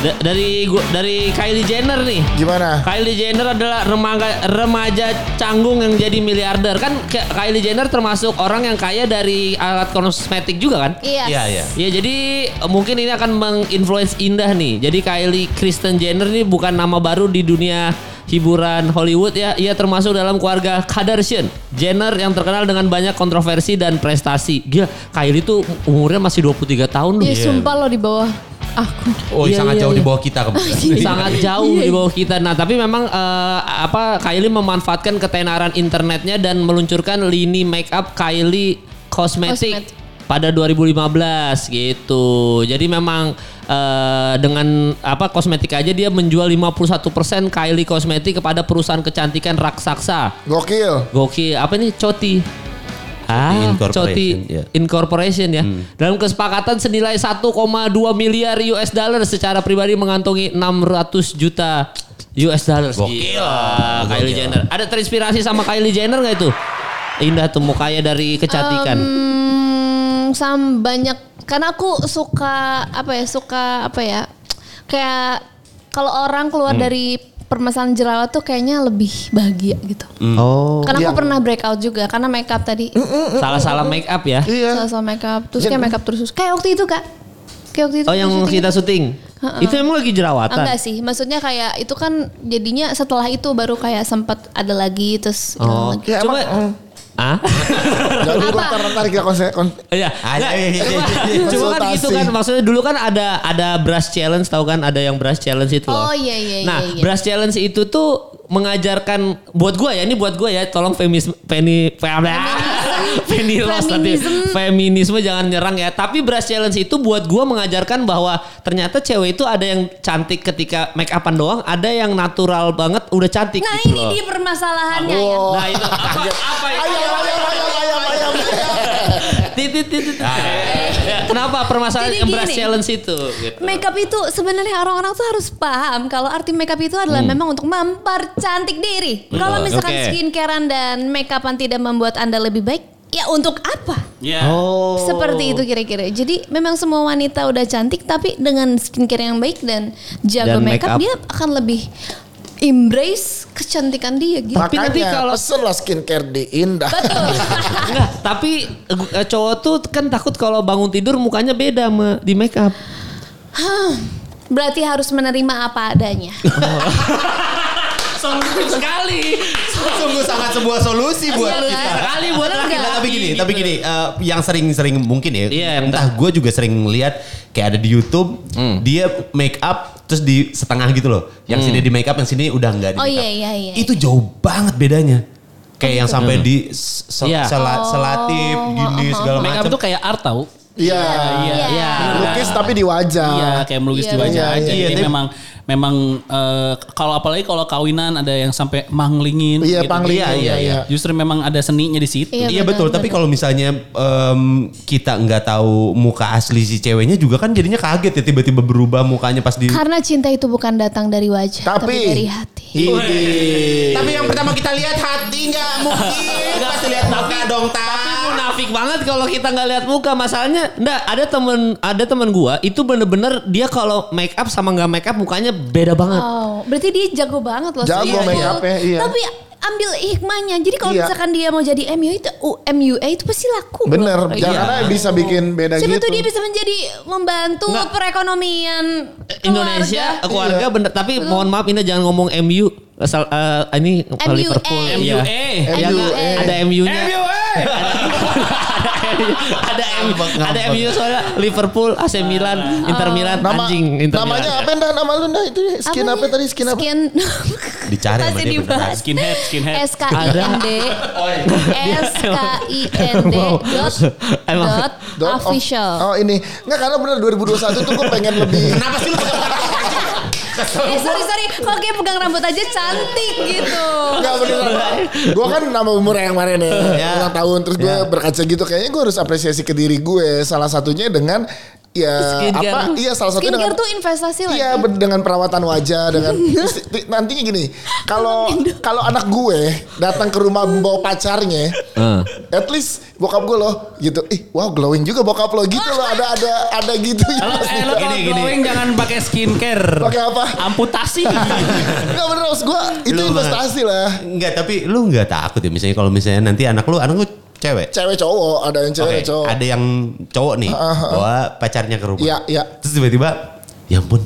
Speaker 3: Da- dari gua- dari Kylie Jenner nih.
Speaker 1: gimana?
Speaker 3: Kylie Jenner adalah remaja remaja canggung yang jadi miliarder kan Ke- Kylie Jenner termasuk orang yang kaya dari alat kosmetik juga kan
Speaker 4: Iya.
Speaker 2: Iya, iya.
Speaker 3: Ya jadi eh, mungkin ini akan menginfluence Indah nih. Jadi Kylie Kristen Jenner ini bukan nama baru di dunia hiburan Hollywood ya. Ia termasuk dalam keluarga Kardashian. Jenner yang terkenal dengan banyak kontroversi dan prestasi. Gila, Kylie tuh umurnya masih 23 tahun loh.
Speaker 4: Iya, sumpah lo di bawah aku.
Speaker 2: Oh,
Speaker 3: Iya,
Speaker 2: sangat
Speaker 3: iya,
Speaker 2: jauh
Speaker 3: iya.
Speaker 2: di bawah kita kebetulan.
Speaker 3: sangat jauh di bawah kita. Nah, tapi memang eh, apa Kylie memanfaatkan ketenaran internetnya dan meluncurkan lini makeup Kylie Cosmetic
Speaker 4: Cosmetic.
Speaker 3: pada 2015 gitu. Jadi memang eh, dengan apa kosmetik aja dia menjual 51% Kylie Cosmetic kepada perusahaan kecantikan raksasa.
Speaker 1: Gokil.
Speaker 3: Gokil. Apa ini Coti?
Speaker 2: Coti
Speaker 3: Ah,
Speaker 2: Incorporation,
Speaker 3: Coti
Speaker 2: ya. Hmm.
Speaker 3: Incorporation ya. Dalam kesepakatan senilai 1,2 miliar US dollar secara pribadi mengantongi 600 juta US dollar.
Speaker 2: Gokil.
Speaker 3: Gila,
Speaker 2: Gokil.
Speaker 3: Kylie Jenner. Ada terinspirasi sama Kylie Jenner nggak itu? Indah tuh mukanya dari
Speaker 4: Um,
Speaker 3: kecantikan.
Speaker 4: Hmm, sam banyak karena aku suka apa ya suka apa ya kayak kalau orang keluar
Speaker 3: Hmm.
Speaker 4: dari permasalahan jerawat tuh kayaknya lebih bahagia gitu.
Speaker 3: Oh,
Speaker 4: Karena
Speaker 1: Iya.
Speaker 4: aku pernah breakout juga karena makeup tadi
Speaker 3: salah-salah make up ya.
Speaker 1: Iya.
Speaker 4: salah makeup terus kayak makeup terus terus. kayak waktu itu kak kayak waktu itu
Speaker 3: Oh, yang
Speaker 4: syuting.
Speaker 3: kita syuting. Itu emang lagi
Speaker 4: Ah,
Speaker 3: jerawatan.
Speaker 4: enggak sih maksudnya kayak itu kan jadinya setelah itu baru kayak sempat ada lagi terus hilang
Speaker 3: Oh,
Speaker 4: lagi.
Speaker 1: Ya,
Speaker 3: coba
Speaker 1: emang,
Speaker 3: Ah?
Speaker 1: Gak dulu
Speaker 4: Apa?
Speaker 1: dokter ntar kita konse- kon-
Speaker 3: Iya.
Speaker 2: Ada,
Speaker 3: Nggak,
Speaker 2: iya, iya,
Speaker 3: cuma-
Speaker 2: iya.
Speaker 3: Cuma kan
Speaker 1: Konsultasi.
Speaker 3: gitu kan maksudnya dulu kan ada ada brush challenge tahu kan ada yang brush challenge itu loh.
Speaker 4: Oh, iya, iya,
Speaker 3: Nah,
Speaker 4: iya, iya.
Speaker 3: brush challenge itu tuh mengajarkan buat gua ya ini buat gua ya tolong femis femi Feni Rose nanti.
Speaker 4: Feminism.
Speaker 3: feminisme jangan nyerang ya tapi brush challenge itu buat gua mengajarkan bahwa ternyata cewek itu ada yang cantik ketika make upan doang ada yang natural banget udah cantik
Speaker 4: Nah
Speaker 3: gitu
Speaker 4: ini
Speaker 3: loh.
Speaker 4: dia permasalahannya ya.
Speaker 1: Wow.
Speaker 3: Nah itu apa, apa itu?
Speaker 1: Ayam, ayam, ayam, ayam, ayam.
Speaker 3: Titit, titit. Kenapa
Speaker 4: Jadi
Speaker 3: permasalahan
Speaker 4: gini.
Speaker 3: brush challenge itu? Gitu.
Speaker 4: Makeup itu sebenarnya orang-orang tuh harus paham kalau arti makeup itu adalah memang untuk mempercantik diri. Kalau misalkan
Speaker 3: Oke.
Speaker 4: skincarean dan makeupan tidak membuat Anda lebih baik, ya untuk apa?
Speaker 5: Iya.
Speaker 4: Seperti itu kira-kira. Jadi memang semua wanita udah cantik tapi dengan skincare yang baik dan jaga
Speaker 3: Dan
Speaker 4: makeup,
Speaker 3: makeup.
Speaker 4: dia akan lebih embrace kecantikan dia gitu.
Speaker 3: Tapi nanti
Speaker 1: Makanya
Speaker 3: kalau-
Speaker 1: pesen lah skincare di Indah.
Speaker 3: Enggak, tapi eh, cowok tuh kan takut kalau bangun tidur mukanya beda sama di make up.
Speaker 4: Hah, Berarti harus menerima apa adanya.
Speaker 3: Solutif sekali.
Speaker 2: Sungguh sangat sebuah solusi buat
Speaker 4: Iya,
Speaker 2: kita.
Speaker 4: kan?
Speaker 3: Sekali buat
Speaker 4: Bener
Speaker 3: laki
Speaker 4: nggak?
Speaker 2: Nah, tapi gini, tapi gini, eh, yang sering-sering mungkin ya,
Speaker 3: gitu. Iya, yang
Speaker 2: entah gue juga sering lihat kayak ada di YouTube, dia make up terus di setengah gitu loh, yang sini di make up, yang sini udah nggak di
Speaker 4: Oh
Speaker 2: make
Speaker 4: iya
Speaker 2: up.
Speaker 4: iya iya. Oh, gitu.
Speaker 2: Itu jauh banget bedanya, kayak yang sampai di se-
Speaker 3: Iya.
Speaker 2: sela- selatip gini
Speaker 4: oh,
Speaker 2: segala
Speaker 5: Make up
Speaker 2: macam.
Speaker 5: tuh kayak art tau.
Speaker 1: Iya.
Speaker 3: Iya.
Speaker 1: Lukis tapi di wajah.
Speaker 5: Iya,
Speaker 3: Ah.
Speaker 5: kayak melukis
Speaker 4: Iya,
Speaker 5: di wajah
Speaker 1: iya,
Speaker 5: aja.
Speaker 2: iya.
Speaker 5: Jadi
Speaker 2: Tapi-
Speaker 5: memang memang eh, kalau apalagi kalau kawinan ada yang sampai manglingin gitu.
Speaker 1: Iya, panglingin,
Speaker 5: Jadi,
Speaker 1: iya, iya.
Speaker 5: Justru memang ada seninya di situ.
Speaker 4: Iya,
Speaker 2: Iya
Speaker 4: benar,
Speaker 2: betul, tapi kalau misalnya em, kita nggak tahu muka asli si ceweknya juga kan jadinya kaget ya tiba-tiba berubah mukanya pas di
Speaker 4: Karena cinta itu bukan datang dari wajah, tapi,
Speaker 1: Tapi-
Speaker 4: dari hati.
Speaker 1: Ini.
Speaker 7: Tapi yang pertama kita lihat hati nggak mungkin. Pasti lihat muka dong
Speaker 3: Tapi
Speaker 7: tak.
Speaker 3: munafik banget kalau kita nggak lihat muka. Masalahnya enggak ada temen ada temen gua itu bener-bener dia kalau make up sama nggak make up mukanya beda banget.
Speaker 4: Oh, berarti dia jago banget loh.
Speaker 1: Jago
Speaker 4: Sil.
Speaker 1: make up-nya, iya.
Speaker 4: Tapi ambil hikmahnya. Jadi kalau
Speaker 1: Iya.
Speaker 4: misalkan dia mau jadi MUA itu U- MUA itu pasti laku.
Speaker 1: Bener,
Speaker 4: loh. Iya.
Speaker 1: ya, karena bisa bikin beda
Speaker 4: Siapa
Speaker 1: gitu.
Speaker 4: tuh dia bisa menjadi membantu perekonomian
Speaker 3: Eh, Indonesia
Speaker 4: keluarga.
Speaker 3: keluarga
Speaker 2: Iya.
Speaker 3: bener tapi mohon maaf ini jangan ngomong MU asal eh, ini
Speaker 4: MUA.
Speaker 3: Liverpool Iya.
Speaker 5: MUA.
Speaker 3: Ya, nggak,
Speaker 4: MUA.
Speaker 3: ada MU-nya. ada M, ada MU soalnya Liverpool, AC Milan, Inter Milan,
Speaker 1: Nama,
Speaker 3: anjing Inter
Speaker 1: namanya
Speaker 3: Milan.
Speaker 1: apa Nda? Nama lu Nda? Itu skin apa, tadi? Skin apa?
Speaker 4: ya? Skin
Speaker 2: Dicari sama
Speaker 4: Masih
Speaker 2: dia
Speaker 4: dibahas.
Speaker 5: Skinhead, skinhead.
Speaker 4: S K I N D S K I N D dot
Speaker 3: Emang.
Speaker 4: dot
Speaker 1: Dot of-
Speaker 4: official.
Speaker 1: Oh ini. Nggak karena bener 2021 tuh gue pengen lebih.
Speaker 7: Kenapa sih lu pakai muka anjing? Kesel.
Speaker 4: Eh sorry sorry, kok kayak pegang rambut aja cantik gitu.
Speaker 1: Enggak beneran. Gue kan nama umur yang kemarin ya. Ulang tahun. Terus gue berkaca gitu. Kayaknya gue harus apresiasi ke diri gue. Salah satunya dengan. Ya
Speaker 3: Skincare.
Speaker 1: apa? Iya salah satunya
Speaker 4: Skincare
Speaker 1: dengan.
Speaker 4: tuh investasi lagi.
Speaker 1: Iya ber- dengan perawatan wajah dengan Ti- nantinya gini kalau kalau anak gue datang ke rumah membawa pacarnya at least bokap gue loh gitu ih wow glowing juga bokap lo gitu loh ada ada ada gitu
Speaker 5: Kalau eh, lo kalau
Speaker 2: Gini, gini.
Speaker 5: glowing jangan pakai skincare.
Speaker 1: Pakai apa?
Speaker 5: Amputasi.
Speaker 1: Enggak bener maksud gue itu
Speaker 2: Lu, Mas.
Speaker 1: investasi lah
Speaker 2: Enggak, tapi lu nggak takut ya misalnya kalau misalnya nanti anak lu, anak lu cewek.
Speaker 1: cewek cowok ada yang cewek
Speaker 2: Oke,
Speaker 1: ada cowok
Speaker 2: ada yang cowok
Speaker 7: Uh,
Speaker 2: nih bawa pacarnya ke rumah.
Speaker 1: Iya, iya.
Speaker 2: Terus tiba-tiba, ya ampun,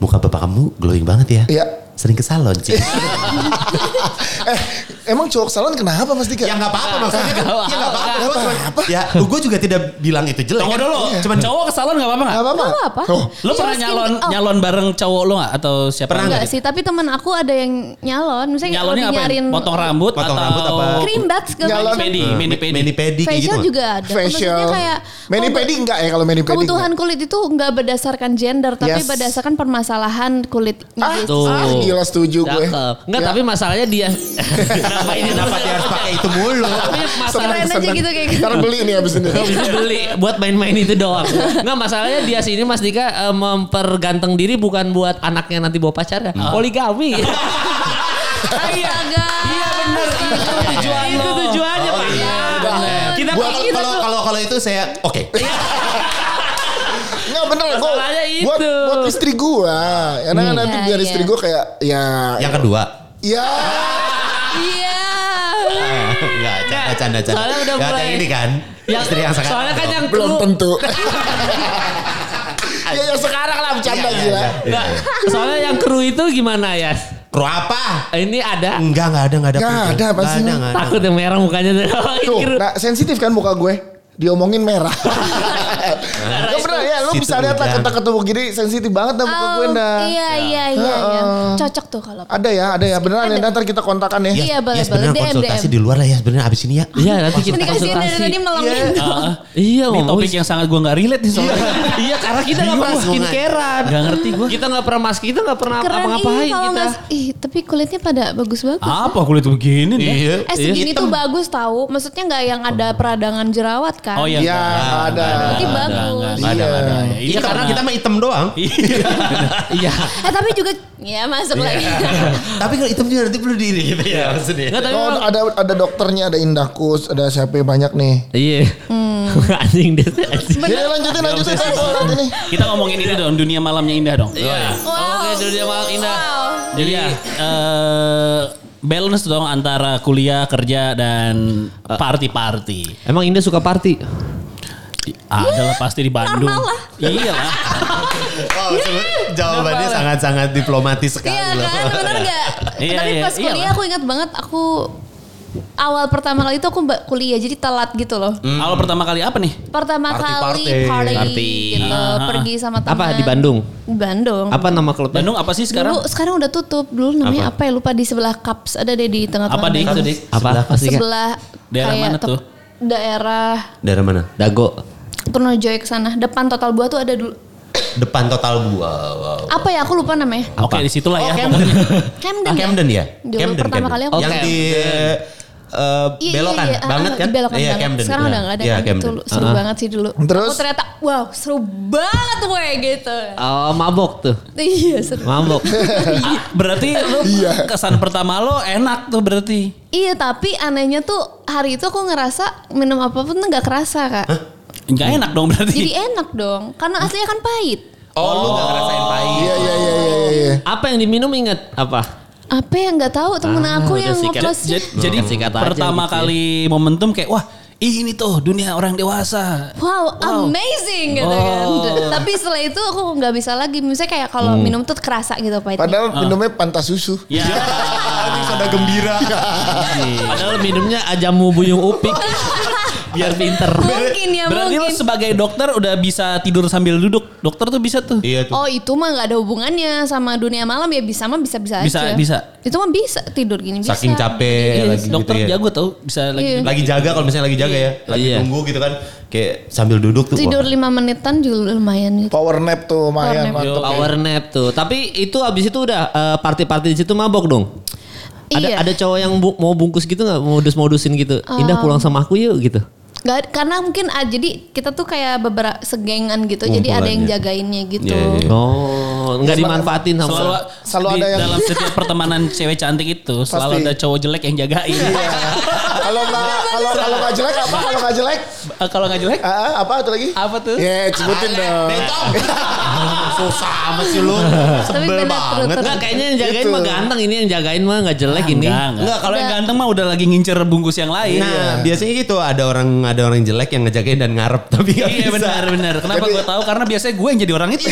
Speaker 2: muka bapak kamu glowing banget ya.
Speaker 1: Iya.
Speaker 2: Sering ke salon sih.
Speaker 7: Iya.
Speaker 1: eh emang cowok salon kenapa mas Dika
Speaker 2: ya nggak apa-apa maksudnya. kan. Ya nggak apa-apa. Gua cuma-
Speaker 1: Apa?
Speaker 2: Ya, gue juga tidak bilang itu jelek.
Speaker 5: Tunggu
Speaker 2: kan.
Speaker 5: dulu.
Speaker 2: Cuman
Speaker 5: cowok ke salon gak apa-apa gak?
Speaker 1: nggak apa-apa
Speaker 4: Nggak apa-apa.
Speaker 1: Oh,
Speaker 5: Lo pernah
Speaker 4: Cuma
Speaker 5: nyalon
Speaker 4: skincare- oh.
Speaker 5: nyalon bareng cowok lo gak? Atau siapa?
Speaker 2: Pernah
Speaker 4: Enggak
Speaker 2: nggak?
Speaker 4: sih, tapi teman aku ada yang nyalon. Misalnya kalau
Speaker 5: Nyalonnya apa?
Speaker 4: nyariin
Speaker 5: Potong rambut
Speaker 2: Potong
Speaker 5: atau
Speaker 2: rambut apa?
Speaker 4: krim bat segala
Speaker 1: Nyalon.
Speaker 4: macam.
Speaker 5: pedi, mini pedi.
Speaker 2: mani pedi kayak gitu.
Speaker 4: Facial
Speaker 2: mah.
Speaker 4: juga ada. Maksudnya
Speaker 1: facial
Speaker 4: kayak
Speaker 1: mani
Speaker 4: kebutuhan-
Speaker 1: pedi enggak ya kalau mani pedi
Speaker 4: Kebutuhan kulit itu nggak berdasarkan gender, tapi
Speaker 1: Yes.
Speaker 4: berdasarkan permasalahan kulitnya.
Speaker 1: Ah,
Speaker 4: gitu.
Speaker 3: Tuh.
Speaker 1: ah, gila setuju gue.
Speaker 3: Cakep. Enggak,
Speaker 1: Ya.
Speaker 3: tapi masalahnya dia kenapa ini
Speaker 2: Kenapa dia harus pakai itu mulu?
Speaker 3: Tapi masalah
Speaker 4: Keren aja gitu kayak gitu. Iya.
Speaker 1: Ntar beli nih abis ini.
Speaker 3: Habis itu beli buat main-main itu doang. Nggak masalahnya dia sini Mas Dika eh, memperganteng diri bukan buat anaknya nanti bawa ya? Ah, pacarnya. Hmm. Poligami.
Speaker 4: Astaga. Iya benar.
Speaker 3: itu tujuannya. Itu
Speaker 2: Iya,
Speaker 3: tujuannya, Pak.
Speaker 1: Udah.
Speaker 3: Oh, iya. Kita
Speaker 2: Gua
Speaker 3: pikir
Speaker 2: kalau kalau kalau itu saya oke.
Speaker 1: Enggak bener gue.
Speaker 3: Masalahnya
Speaker 1: Buat,
Speaker 3: itu.
Speaker 1: buat istri gue. Karena kan nanti
Speaker 4: Iya,
Speaker 1: biar
Speaker 4: iya.
Speaker 1: istri gue kayak ya.
Speaker 2: Yang kedua.
Speaker 1: Ya.
Speaker 2: Ah,
Speaker 4: Iya.
Speaker 2: Enggak, canda canda canda.
Speaker 3: Soalnya udah
Speaker 2: Nggak,
Speaker 3: mulai-
Speaker 2: kayak ini kan. istri yang sekarang.
Speaker 3: Soalnya kan yang
Speaker 1: Belum
Speaker 3: lu-
Speaker 1: tentu. ya yang sekarang lah bercanda
Speaker 2: Iya,
Speaker 1: gila.
Speaker 2: iya, iya.
Speaker 3: Nggak, soalnya yang kru itu gimana ya?
Speaker 2: Kro apa?
Speaker 3: Ini
Speaker 1: Nah.
Speaker 3: ada
Speaker 2: Enggak, enggak ada, enggak ada.
Speaker 1: Nggak
Speaker 2: Enggak
Speaker 1: ada, pasti mah.
Speaker 2: ada, enggak ada.
Speaker 3: takut yang merah mukanya.
Speaker 1: Tuh, nah, sensitif kan muka gue. Diomongin merah. ya bener ya, lo
Speaker 2: Situ
Speaker 1: bisa lihat lah
Speaker 2: udang.
Speaker 1: kata ketemu gini sensitif banget dah muka gue nah. dah.
Speaker 4: Iya iya iya. iya. Cocok tuh kalau.
Speaker 5: Ah,
Speaker 1: Ada ya, ada ya. Beneran ya, ntar kita kontakan ya.
Speaker 4: Iya
Speaker 2: Ya
Speaker 4: boleh boleh
Speaker 2: sebenarnya
Speaker 4: DM
Speaker 2: konsultasi
Speaker 4: DM.
Speaker 2: di luar lah ya sebenarnya abis ini ya.
Speaker 3: Iya nanti kita
Speaker 4: Ini kan dia dari tadi
Speaker 3: konsultasi. Ah,
Speaker 4: melemin.
Speaker 3: Iya
Speaker 5: Ini
Speaker 3: ngomong.
Speaker 5: topik yang sangat gue gak relate nih soalnya.
Speaker 3: Iya karena kita nggak pernah skincarean.
Speaker 5: Gak ngerti gue.
Speaker 3: Kita nggak pernah mask, kita nggak pernah
Speaker 4: Keren
Speaker 3: apa-ngapain
Speaker 4: ih kalau
Speaker 3: kita.
Speaker 4: nggak- Ih tapi kulitnya pada bagus-bagus.
Speaker 5: Apa kulit begini nih?
Speaker 2: Iya.
Speaker 1: Iya.
Speaker 4: Eh segini tuh bagus tahu. Maksudnya nggak yang ada peradangan jerawat kan?
Speaker 5: Oh iya.
Speaker 1: Iya, ada.
Speaker 4: Tapi bagus.
Speaker 1: Iya.
Speaker 2: Iya karena kita mah hitam doang.
Speaker 3: Iya.
Speaker 4: Eh tapi juga ya masuk
Speaker 5: Iya.
Speaker 4: lagi.
Speaker 2: Tapi kalau hitam juga nanti perlu diri gitu ya maksudnya.
Speaker 3: Nggak tapi
Speaker 1: Oh,
Speaker 3: emang-
Speaker 1: ada ada dokternya, ada Indakus, ada siapa banyak nih.
Speaker 3: Iya. Anjing deh. anjing.
Speaker 1: Ya lanjutin lanjutin kan buat ini.
Speaker 5: Kita ngomongin ini dong, dunia malamnya indah dong. Oh, iya.
Speaker 4: Wow.
Speaker 3: Oke dunia malam indah.
Speaker 4: Wow.
Speaker 5: Jadi eh, balance dong antara kuliah, kerja dan party-party.
Speaker 3: Emang Indah suka party?
Speaker 5: Adalah pasti di Bandung.
Speaker 4: normal lah.
Speaker 5: Iya lah.
Speaker 2: Oh, sebe- jawabannya sangat-sangat diplomatis sekali.
Speaker 4: Iya
Speaker 2: loh.
Speaker 4: kan bener gak?
Speaker 5: Iya,
Speaker 4: Tapi
Speaker 5: iya,
Speaker 4: pas kuliah
Speaker 5: iyalah.
Speaker 4: aku ingat banget aku awal pertama kali itu aku ba- kuliah jadi telat gitu loh.
Speaker 5: Awal pertama kali apa nih?
Speaker 4: Pertama
Speaker 2: Party-party.
Speaker 4: kali party,
Speaker 3: Party.
Speaker 4: gitu
Speaker 5: Ah, ah.
Speaker 4: pergi sama teman.
Speaker 3: Apa di Bandung?
Speaker 4: Di Bandung.
Speaker 3: Apa nama klubnya?
Speaker 5: Bandung apa sih
Speaker 4: Sekarang?
Speaker 5: sekarang?
Speaker 4: Dulu sekarang udah tutup. Dulu namanya apa, ya lupa di sebelah Cups ada deh di tengah-tengah.
Speaker 5: Apa dik? Itu, Dik?
Speaker 3: Apa? Pasti kan?
Speaker 4: Sebelah
Speaker 5: Daerah
Speaker 4: kayak
Speaker 5: mana
Speaker 4: tok-
Speaker 5: tuh?
Speaker 4: Daerah
Speaker 2: Dari mana?
Speaker 3: Dago.
Speaker 4: Purnojoy ke sana. Depan Total Buah tuh ada dulu.
Speaker 2: Depan total gua. Wow.
Speaker 4: Apa ya aku lupa namanya.
Speaker 5: Oke, di situ lah ya.
Speaker 4: Oh, Camden.
Speaker 2: Ah, Camden ya?
Speaker 4: Dulu
Speaker 2: Camden,
Speaker 4: pertama
Speaker 2: Camden.
Speaker 4: kali aku
Speaker 2: Yang di eh,
Speaker 4: Iya,
Speaker 2: belokan
Speaker 4: iya, iya.
Speaker 2: banget
Speaker 4: Ah,
Speaker 2: kan?
Speaker 4: di Belokan
Speaker 2: iya,
Speaker 4: banget.
Speaker 2: Camden.
Speaker 4: Sekarang udah gak ada
Speaker 2: Iya,
Speaker 4: kan.
Speaker 2: Camden.
Speaker 4: Itu lu- seru banget sih dulu.
Speaker 1: Terus?
Speaker 4: Aku ternyata wow seru banget gue gitu.
Speaker 3: Oh, mabok tuh.
Speaker 4: Iya seru.
Speaker 3: Mabok.
Speaker 5: Ah, berarti lu
Speaker 1: Iya.
Speaker 5: kesan pertama lo enak tuh berarti.
Speaker 4: Iya tapi anehnya tuh hari itu aku ngerasa minum apapun tuh gak kerasa kak.
Speaker 5: Enggak enak dong berarti.
Speaker 4: Jadi enak dong. Karena aslinya kan pahit.
Speaker 2: Oh, lu gak ngerasain pahit.
Speaker 1: Iya iya iya iya iya.
Speaker 3: apa yang diminum inget? Apa?
Speaker 4: Apa yang gak tahu temen
Speaker 3: Ah,
Speaker 4: aku
Speaker 3: udah
Speaker 4: yang
Speaker 3: sikat.
Speaker 4: ngeplosnya.
Speaker 5: Jadi, jadi
Speaker 3: Kasih kata aja gitu
Speaker 5: pertama
Speaker 3: ya.
Speaker 5: kali momentum kayak wah ih, ini tuh dunia orang dewasa.
Speaker 4: Wow, amazing gitu kan.
Speaker 2: Oh.
Speaker 4: Tapi setelah itu aku nggak bisa lagi. Misalnya kayak kalau
Speaker 2: Hmm.
Speaker 4: minum tuh kerasa gitu pahitnya.
Speaker 1: Padahal minumnya pantas susu.
Speaker 5: Ya.
Speaker 2: Ini Soda gembira.
Speaker 3: Padahal minumnya ajamu buyung upik. Biar pinter.
Speaker 4: Mungkin ya
Speaker 5: Berarti lo
Speaker 4: mungkin.
Speaker 5: sebagai dokter udah bisa tidur sambil duduk. Dokter tuh bisa tuh.
Speaker 2: Iya tuh.
Speaker 4: Oh itu mah nggak ada hubungannya sama dunia malam ya bisa mah bisa bisa aja.
Speaker 5: Bisa, bisa.
Speaker 4: Itu mah bisa tidur gini bisa.
Speaker 2: Saking capek lagi
Speaker 5: dokter
Speaker 2: gitu ya.
Speaker 5: jago tau bisa lagi
Speaker 4: Iya.
Speaker 5: duduk.
Speaker 2: Lagi jaga kalau misalnya lagi jaga ya. Lagi
Speaker 3: Iya.
Speaker 2: nunggu gitu kan. Kayak sambil duduk tuh.
Speaker 4: Tidur
Speaker 2: wah.
Speaker 4: lima menitan juga udah lumayan gitu.
Speaker 1: Power nap tuh lumayan
Speaker 4: Power
Speaker 1: mantep.
Speaker 3: Power nap tuh. Tapi itu abis itu udah eh, party-party di situ mabok dong. Ada
Speaker 4: iya.
Speaker 3: ada cowok yang bu- mau bungkus gitu nggak modus-modusin gitu. Indah pulang sama aku yuk gitu.
Speaker 4: Nggak ada- karena mungkin ah, jadi kita tuh kayak beberapa segengan gitu. Jadi ada yang
Speaker 2: Kumpulannya.
Speaker 4: jagainnya gitu.
Speaker 2: Iya, iya.
Speaker 3: Oh, nggak dimanfaatin sama.
Speaker 5: Selalu,
Speaker 1: Selalu
Speaker 5: di
Speaker 1: ada yang-
Speaker 5: dalam setiap pertemanan cewek cantik itu selalu
Speaker 1: Pasti. Iya.
Speaker 5: ada cowok jelek yang jagain.
Speaker 1: Kalau nggak kalau kalau nggak jelek apa? Kalau nggak jelek
Speaker 5: Eh, Kalau nggak jelek
Speaker 1: ah, ah, apa tuh lagi?
Speaker 5: apa tuh?
Speaker 1: Ya sebutin dong.
Speaker 2: Susah amat sih lu.
Speaker 4: Tapi
Speaker 2: Sebel
Speaker 4: bener
Speaker 2: banget.
Speaker 4: terus-
Speaker 3: Nggak, kayaknya yang jagain
Speaker 1: Gitu.
Speaker 3: mah ganteng ini yang jagain mah nggak jelek ini.
Speaker 5: Ah, Enggak, enggak. kalau yang ganteng mah udah lagi ngincer bungkus yang lain.
Speaker 2: Nah, biasanya gitu ada orang ada orang jelek yang ngejagain dan ngarep tapi nggak
Speaker 5: Iya
Speaker 2: bisa.
Speaker 5: benar benar. Kenapa
Speaker 1: Jadi- Iya.
Speaker 5: gue tahu? Karena biasanya gue yang jadi orang itu.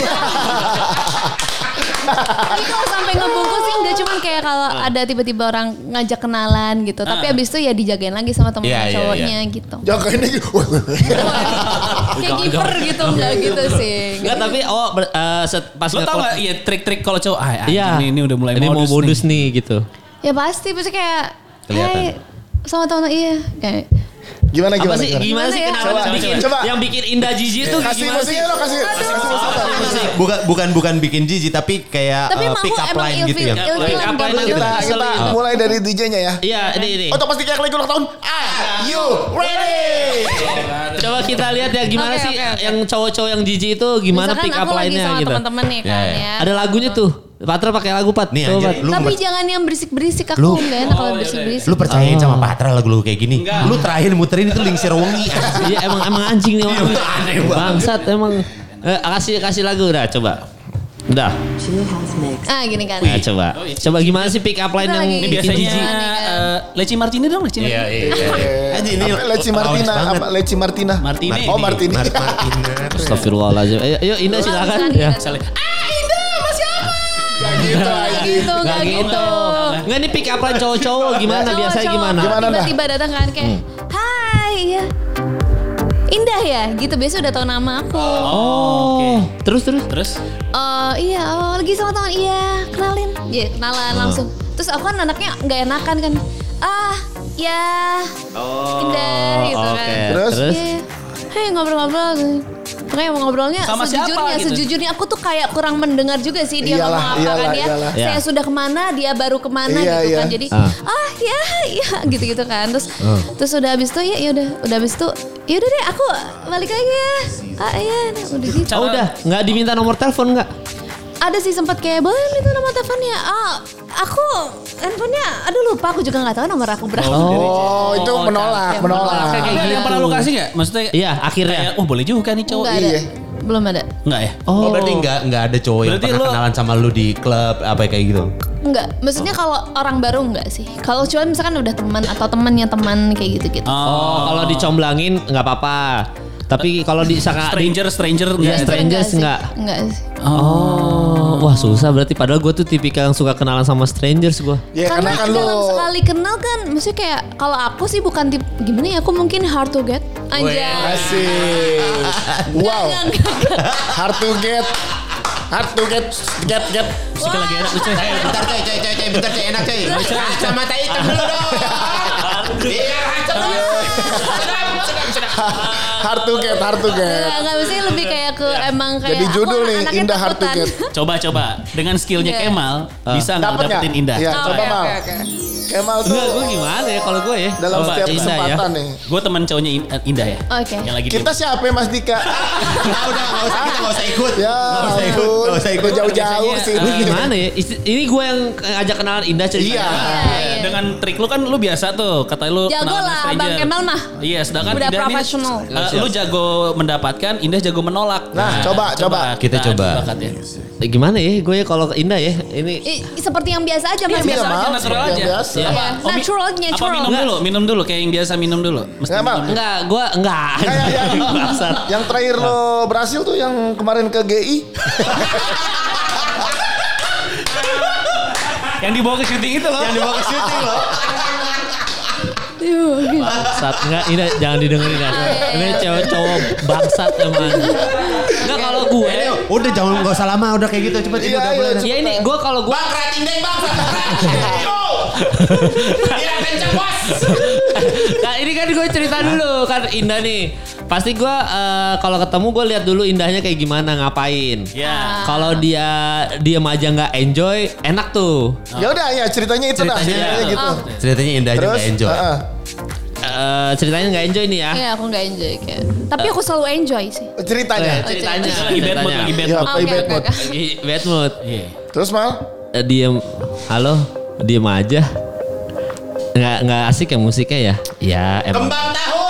Speaker 4: Tapi kalau sampai ngebungkus sih nggak cuman kayak kalau
Speaker 2: Ah.
Speaker 4: ada tiba-tiba orang ngajak kenalan gitu. Tapi abis itu ya dijagain lagi sama temen
Speaker 2: Iya, iya,
Speaker 4: cowoknya gitu.
Speaker 1: Jangan ini. Wah, wah, wah.
Speaker 4: kayak giver gitu nggak gitu sih.
Speaker 3: Enggak, tapi oh ber- eh, set- pas
Speaker 5: Lo tau
Speaker 3: ngekon-
Speaker 5: gak ya trik-trik kalau cowok ah, anjing
Speaker 3: Iya.
Speaker 5: nih, ini, udah mulai
Speaker 3: Ini mau modus
Speaker 5: modus, nih.
Speaker 3: nih. gitu.
Speaker 4: Ya pasti, pasti kayak
Speaker 2: Kelihatan.
Speaker 4: Hai sama teman iya kayak
Speaker 1: Gimana
Speaker 3: Apa
Speaker 1: gimana?
Speaker 3: sih
Speaker 1: gimana?
Speaker 3: gimana
Speaker 4: Gimana
Speaker 3: sih
Speaker 4: ya?
Speaker 3: kenapa
Speaker 1: Coba,
Speaker 3: yang bikin
Speaker 1: coba.
Speaker 3: yang bikin Indah jijik tuh
Speaker 1: Kasih
Speaker 3: gimana sih?
Speaker 1: musiknya lo kasih kasih musiknya.
Speaker 2: Iya Bukan bukan bukan bikin jijik tapi kayak
Speaker 4: tapi
Speaker 2: eh,
Speaker 4: emang
Speaker 2: pick
Speaker 4: aku
Speaker 2: up
Speaker 4: emang iya,
Speaker 2: line
Speaker 4: ilfil
Speaker 2: gitu ya.
Speaker 4: ilfilan
Speaker 3: Pick up line
Speaker 4: gitu.
Speaker 3: gitu.
Speaker 1: Kita
Speaker 3: Ngeselin.
Speaker 1: kita
Speaker 3: Oh.
Speaker 1: mulai dari DJ-nya ya.
Speaker 3: Iya, ini ini.
Speaker 1: Oh, pasti kayak lagi ulang tahun. Are you ready?
Speaker 3: Coba kita lihat ya gimana
Speaker 4: Oke,
Speaker 3: sih
Speaker 4: oke, oke.
Speaker 3: yang cowok-cowok yang jijik itu gimana
Speaker 4: Misalkan
Speaker 3: pick up
Speaker 4: aku lagi
Speaker 3: line-nya
Speaker 4: sama
Speaker 3: gitu.
Speaker 4: teman-teman nih
Speaker 2: Ya,
Speaker 4: kan
Speaker 2: ya.
Speaker 4: ya.
Speaker 3: Ada lagunya tuh. Patra pakai lagu Pat.
Speaker 2: Nih,
Speaker 3: Coba,
Speaker 2: anjir,
Speaker 3: Pat.
Speaker 2: lu
Speaker 4: Tapi
Speaker 2: mer-
Speaker 4: jangan yang berisik-berisik aku
Speaker 2: Lu-
Speaker 4: nggak enak kalau berisik-berisik.
Speaker 2: Lu percayain sama Patra lagu-lagu kayak gini. Lu terakhir muterin itu Lingsir Wengi.
Speaker 3: Iya emang emang anjing nih orang.
Speaker 2: Iya, aneh banget.
Speaker 3: Bangsat emang. Eh, kasih kasih lagu udah coba. Udah.
Speaker 4: Ah gini kan.
Speaker 3: Nah, coba.
Speaker 5: Oh, iya.
Speaker 3: Coba gimana sih pick up line yang
Speaker 4: Kita lagi-
Speaker 5: Ini
Speaker 3: bikin
Speaker 5: biasanya
Speaker 3: jijik?
Speaker 5: eh, Leci Martini dong
Speaker 1: Iya,
Speaker 5: Leci Martini.
Speaker 2: Aji, ini
Speaker 1: Eh, Apa, Leci
Speaker 2: lawas
Speaker 1: Martina,
Speaker 2: banget.
Speaker 1: apa Leci Martina?
Speaker 5: Martini.
Speaker 1: Oh, Martini.
Speaker 2: Mart- Martina.
Speaker 3: Astagfirullahaladzim. Ayo, ayo Eh, Indah silakan.
Speaker 4: silakan,
Speaker 3: Ya.
Speaker 4: Indah. Ah Indah masih apa?
Speaker 1: Gak gitu anjing.
Speaker 4: gitu, gak gitu.
Speaker 3: Enggak nih pick up line cowok-cowok gimana
Speaker 4: Cowok,
Speaker 3: biasanya
Speaker 4: cowok
Speaker 3: gimana?
Speaker 1: Gimana, Dah?
Speaker 4: Tiba-tiba datang kan kayak, hai, ya. Indah ya, gitu. Biasa udah tau nama aku.
Speaker 3: Oh, terus terus
Speaker 5: Terus?
Speaker 4: Eh, iya, oh, lagi sama teman. Iya, kenalin. Ya,
Speaker 1: Ah.
Speaker 4: kenalan langsung. Terus aku kan anaknya nggak enakan kan. Ah, ya.
Speaker 3: Oh,
Speaker 4: Indah gitu kan.
Speaker 3: Eh,
Speaker 1: Terus?
Speaker 4: Iya. Hei ngobrol-ngobrol. Makanya mau ngobrolnya
Speaker 5: Sama siapa
Speaker 4: sejujurnya,
Speaker 5: gitu?
Speaker 4: sejujurnya aku tuh kayak kurang mendengar juga sih dia
Speaker 1: Iyalah,
Speaker 4: ngomong apa
Speaker 1: iyalah,
Speaker 4: kan dia.
Speaker 1: iyalah.
Speaker 4: Saya sudah kemana, dia baru kemana
Speaker 1: Iya,
Speaker 4: gitu kan.
Speaker 1: iya.
Speaker 4: Jadi
Speaker 3: Ah.
Speaker 4: ah ya ya gitu-gitu kan. Terus
Speaker 1: Ah.
Speaker 4: terus udah habis tuh ya ya udah udah habis tuh ya udah deh aku balik lagi ya. Ah iya nah, udah gitu.
Speaker 3: Oh udah, nggak diminta nomor telepon nggak?
Speaker 4: Ada sih sempat kayak boleh itu nomor teleponnya. Ah aku handphonenya aduh lupa aku juga nggak tahu nomor aku berapa.
Speaker 1: Oh, itu menolak, menolak.
Speaker 5: Kayak yang pernah lu kasih nggak? Maksudnya
Speaker 3: Iya, akhirnya.
Speaker 5: kayak, oh boleh juga nih cowok.
Speaker 4: Nggak ada.
Speaker 1: iya.
Speaker 4: Belum ada.
Speaker 5: Enggak ya?
Speaker 2: Oh, berarti nggak nggak ada cowok yang
Speaker 5: Berarti
Speaker 2: pernah
Speaker 5: lo-
Speaker 2: kenalan sama lu di klub apa kayak gitu?
Speaker 4: Enggak, maksudnya kalau orang baru enggak sih. Kalau cuman misalkan udah teman atau temannya teman kayak gitu-gitu.
Speaker 3: Oh, kalau dicomblangin nggak apa-apa. Tapi kalau di sangat
Speaker 5: Stranger, stranger.
Speaker 3: Iya,
Speaker 5: nggak.
Speaker 3: stranger. strangers
Speaker 4: sih.
Speaker 3: enggak?
Speaker 4: Enggak sih.
Speaker 3: Oh, wah susah berarti padahal gue tuh tipikal yang suka kenalan sama strangers gue.
Speaker 1: Ya karena,
Speaker 4: karena,
Speaker 1: kan lu.
Speaker 4: dalam sekali kenal kan maksudnya kayak kalau aku sih bukan tip gimana ya aku mungkin hard to get aja.
Speaker 1: Asik. Wow.
Speaker 4: Enggak, enggak, enggak.
Speaker 1: Hard to get. Hard to get. Get get.
Speaker 5: Pasti lagi enak tuh, Coy.
Speaker 7: Bentar coy, coy, coy, coy, bentar coy, enak coy. Kacamata hitam dulu dong. Iya, Biar hancur dulu. Sedap, sedap, sedap.
Speaker 1: Hard to get. Hard to
Speaker 4: Enggak,
Speaker 1: get.
Speaker 4: enggak maksudnya lebih kayak ke emang kayak
Speaker 1: Iya. Jadi judul nih Indah Hard
Speaker 4: hard
Speaker 1: to get.
Speaker 5: Coba coba dengan skillnya
Speaker 4: Iya.
Speaker 5: Kemal
Speaker 3: Ah.
Speaker 5: bisa nggak
Speaker 1: Dapat nggak?
Speaker 5: dapetin indah?
Speaker 4: Oh,
Speaker 1: Iya, coba mal. Kemal tuh
Speaker 3: Enggak, gue gimana ya kalau gue ya?
Speaker 1: dalam
Speaker 5: Coba,
Speaker 1: setiap
Speaker 5: Indah ya.
Speaker 1: kesempatan nih.
Speaker 5: Gue teman cowoknya In- Indah ya.
Speaker 4: Oke.
Speaker 5: Yang lagi
Speaker 1: Kita siapa ya, Mas Dika?
Speaker 7: Nah, udah, nggak usah, kita nggak usah ikut.
Speaker 1: Ya,
Speaker 7: Nggak usah ikut,
Speaker 1: ampun.
Speaker 7: nggak usah ikut.
Speaker 1: Udah jauh-jauh Nah,
Speaker 5: Biasanya,
Speaker 1: sih.
Speaker 3: Gue gimana ya? Isti- Ini gue yang ngajak kenalan Indah ceritanya.
Speaker 1: Iya.
Speaker 5: Nah, Dengan trik lu kan lu biasa tuh, kata lu
Speaker 4: Jago
Speaker 5: kenalan sama
Speaker 4: lah,
Speaker 5: stranger.
Speaker 4: Bang Kemal mah.
Speaker 5: Iya, sedangkan
Speaker 4: Udah
Speaker 5: Indah nih,
Speaker 4: profesional.
Speaker 5: eh, lu jago mendapatkan, Indah jago menolak.
Speaker 1: Nah, coba, coba.
Speaker 2: Kita Nah, coba. kan.
Speaker 5: adu bakat ya.
Speaker 3: Eh, Gimana ya? Gue ya kalau Indah ya ini
Speaker 4: Eh, seperti yang biasa aja
Speaker 1: Iya,
Speaker 4: Mas.
Speaker 5: biasa
Speaker 1: Mal.
Speaker 5: aja, natural
Speaker 1: Yang
Speaker 5: aja.
Speaker 1: biasa.
Speaker 5: Iya.
Speaker 4: Iya,
Speaker 5: Oh, mi-
Speaker 4: natural,
Speaker 5: Apa
Speaker 4: natural.
Speaker 5: minum dulu? Minum dulu kayak yang biasa minum dulu. Mesti
Speaker 1: Nggak, Mal.
Speaker 5: minum dulu.
Speaker 3: enggak, gue enggak.
Speaker 1: Kayak yang,
Speaker 3: Bangsat.
Speaker 1: yang terakhir lo berhasil tuh yang kemarin ke GI.
Speaker 5: Yang dibawa ke syuting itu loh.
Speaker 7: Yang dibawa ke syuting loh.
Speaker 3: Bangsat enggak ini jangan didengerin kan. Ini cowok-cowok bangsat Eh, emang. Enggak kalau gue
Speaker 7: Ini,
Speaker 2: Udah jangan nggak usah lama, udah kayak gitu cepet
Speaker 1: Iya,
Speaker 2: udah,
Speaker 1: iya,
Speaker 2: udah.
Speaker 3: Ya ini gue kalau gue
Speaker 7: Bang, keratin deh bang. Yo. Tidak kencang bos.
Speaker 3: Nah ini kan gue cerita dulu kan Indah nih. Pasti gue eh, kalau ketemu gue lihat dulu Indahnya kayak gimana ngapain.
Speaker 5: Ya.
Speaker 3: Kalau dia diem aja nggak enjoy, enak tuh.
Speaker 1: Ya udah ya ceritanya itu dah.
Speaker 5: Ceritanya.
Speaker 1: Ceritanya gitu.
Speaker 2: Ceritanya Indah aja
Speaker 1: Terus Ah,
Speaker 2: nggak enjoy.
Speaker 1: heeh.
Speaker 3: Eh, ceritanya nggak enjoy nih ya.
Speaker 4: Iya, aku enggak enjoy kayak. Tapi aku selalu enjoy sih. Oh,
Speaker 1: ceritanya.
Speaker 3: Eh, ceritanya,
Speaker 5: Itu Lagi bad mood,
Speaker 3: ceritanya.
Speaker 5: lagi bad
Speaker 1: Ya,
Speaker 5: mood.
Speaker 1: play
Speaker 4: Oke,
Speaker 1: bad
Speaker 4: oke,
Speaker 1: mood.
Speaker 4: oke.
Speaker 3: Lagi bad mood.
Speaker 5: Iya.
Speaker 1: Terus Mal,
Speaker 3: Eh, diem, halo, diem aja. Nggak nggak asik ya musiknya ya? Ya emang.
Speaker 7: Kembang tahu.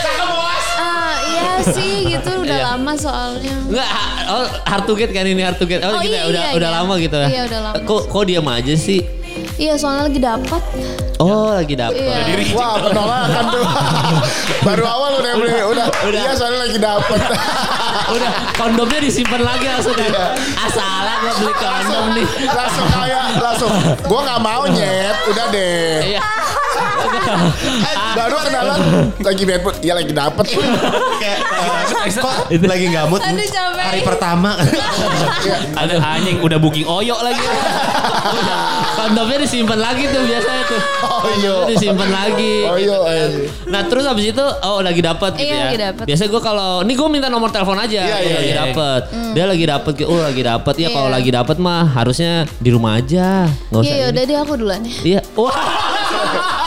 Speaker 7: Cakep bos.
Speaker 4: Ah, iya sih gitu udah
Speaker 3: Iya.
Speaker 4: lama soalnya.
Speaker 3: Enggak, oh, hard to get kan ini hard to get. Oh,
Speaker 4: Oh,
Speaker 3: gitu ya,
Speaker 4: iya,
Speaker 3: udah
Speaker 4: iya,
Speaker 3: udah
Speaker 4: iya.
Speaker 3: lama gitu ya.
Speaker 4: Iya, udah lama.
Speaker 3: Kok kok diem aja sih?
Speaker 4: Iya, soalnya lagi Iya. dapat.
Speaker 3: Oh, lagi dapet.
Speaker 4: Iya.
Speaker 1: wah penolakan tuh. Baru awal udah udah udah. Iya soalnya lagi dapet.
Speaker 3: Ah, Udah kondomnya disimpan lagi maksudnya.
Speaker 1: Iya.
Speaker 3: Asalan gua beli kondom nih.
Speaker 1: langsung kayak langsung. Gua nggak mau nyet, udah deh.
Speaker 3: Iya.
Speaker 1: Baru kenalan lagi bad mood. Iya lagi dapet.
Speaker 2: Kayak, eh, kok lagi nggak mood?
Speaker 4: Aduh, capek.
Speaker 2: Hari pertama.
Speaker 5: Ada anjing udah booking oyok lagi.
Speaker 3: Kondomnya disimpan lagi tuh biasanya tuh.
Speaker 1: Oh iya.
Speaker 3: Kondomnya disimpan lagi.
Speaker 1: Oh iya. eh.
Speaker 3: Nah terus abis itu oh lagi dapat gitu
Speaker 4: Iya,
Speaker 3: ya.
Speaker 4: lagi dapet.
Speaker 3: Biasanya gue kalau ini gue minta nomor telepon aja.
Speaker 1: Iya,
Speaker 3: kalau
Speaker 1: iya,
Speaker 3: lagi
Speaker 1: iya.
Speaker 3: dapet. Dia lagi dapet. kayak, Oh lagi dapet ya kalau
Speaker 4: Hmm. Iya.
Speaker 3: lagi dapet mah harusnya di rumah aja. Nggak usah.
Speaker 4: Iya,
Speaker 3: ini.
Speaker 4: udah deh aku duluan ya.
Speaker 3: Iya. Wah.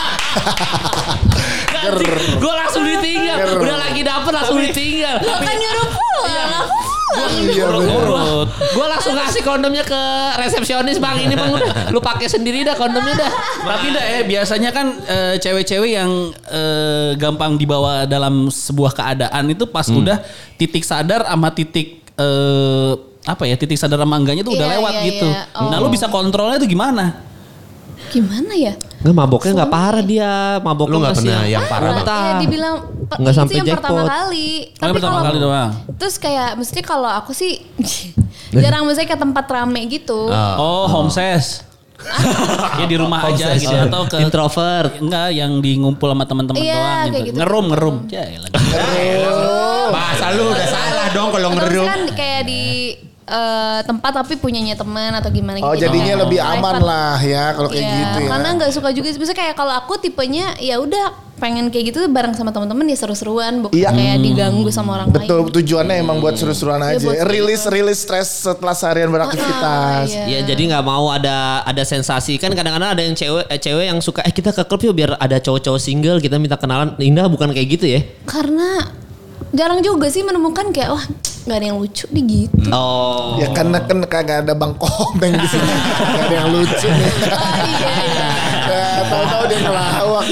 Speaker 3: Gue langsung ditinggal.
Speaker 1: Ger.
Speaker 3: Udah lagi dapet langsung ditinggal.
Speaker 4: Lo kan nyuruh pulang, aku pulang.
Speaker 1: Iya bener.
Speaker 5: Urut.
Speaker 3: Gue langsung ngasih kondomnya ke resepsionis bang ini bang udah lu pakai sendiri dah kondomnya dah.
Speaker 5: Tapi enggak ya, biasanya kan eh, cewek-cewek yang eh, gampang dibawa dalam sebuah keadaan itu pas udah titik sadar sama titik eh, apa ya titik sadar sama enggaknya tuh udah
Speaker 4: Iya,
Speaker 5: lewat
Speaker 4: iya,
Speaker 5: gitu.
Speaker 4: iya. Oh.
Speaker 5: Nah lu bisa kontrolnya tuh gimana?
Speaker 4: Gimana ya?
Speaker 3: Nggak maboknya nggak parah dia mabok Iya,
Speaker 2: Lu nggak pernah yang parah, Bang?
Speaker 4: Ya dibilang Pe-
Speaker 3: Nggak sampai
Speaker 4: itu yang pertama
Speaker 3: jackpot.
Speaker 4: kali.
Speaker 5: Oh, yang pertama
Speaker 4: kalau-
Speaker 5: kali doang.
Speaker 4: Terus kayak mesti kalau aku sih jarang misalnya ke tempat rame gitu.
Speaker 3: Ah.
Speaker 5: Oh, home ses. ya di rumah aja gitu atau ke
Speaker 3: introvert.
Speaker 5: enggak yang di ngumpul sama teman-teman
Speaker 4: Iya,
Speaker 5: doang
Speaker 4: kayak
Speaker 5: gitu.
Speaker 4: gitu.
Speaker 5: Ngerum ngerum. Ya, elah.
Speaker 2: Bahasa lu udah salah dong kalau
Speaker 4: Atau
Speaker 2: ngerum.
Speaker 4: kan kayak di eh, tempat tapi punyanya teman atau gimana
Speaker 1: Oh
Speaker 4: gitu.
Speaker 1: jadinya
Speaker 4: Kayak
Speaker 1: lebih aman
Speaker 4: private.
Speaker 1: lah ya kalau kayak
Speaker 4: Iya,
Speaker 1: gitu ya.
Speaker 4: Karena nggak suka juga. Bisa kayak kalau aku tipenya ya udah pengen kayak gitu bareng sama teman-teman ya seru-seruan bukan
Speaker 1: Iya.
Speaker 5: Hmm.
Speaker 4: kayak diganggu sama orang
Speaker 1: Betul
Speaker 4: lain. Ah, Hmm. Iya,
Speaker 1: tujuannya emang buat seru-seruan aja.
Speaker 4: buat seru.
Speaker 1: rilis rilis stres setelah seharian beraktivitas.
Speaker 5: Iya.
Speaker 4: Ah,
Speaker 3: Ya jadi nggak mau ada ada sensasi kan kadang-kadang ada yang cewek eh, cewek yang suka eh kita ke klub yuk biar ada cowok-cowok single kita minta kenalan Indah bukan kayak gitu ya
Speaker 4: Karena jarang juga sih menemukan kayak wah nggak ada yang lucu nih gitu.
Speaker 3: oh
Speaker 1: Ya karena kan kagak ada bang komeng di sini. Gak ada yang lucu nih.
Speaker 4: Oh, iya,
Speaker 1: Nah, tahu-tahu dia ngelawak.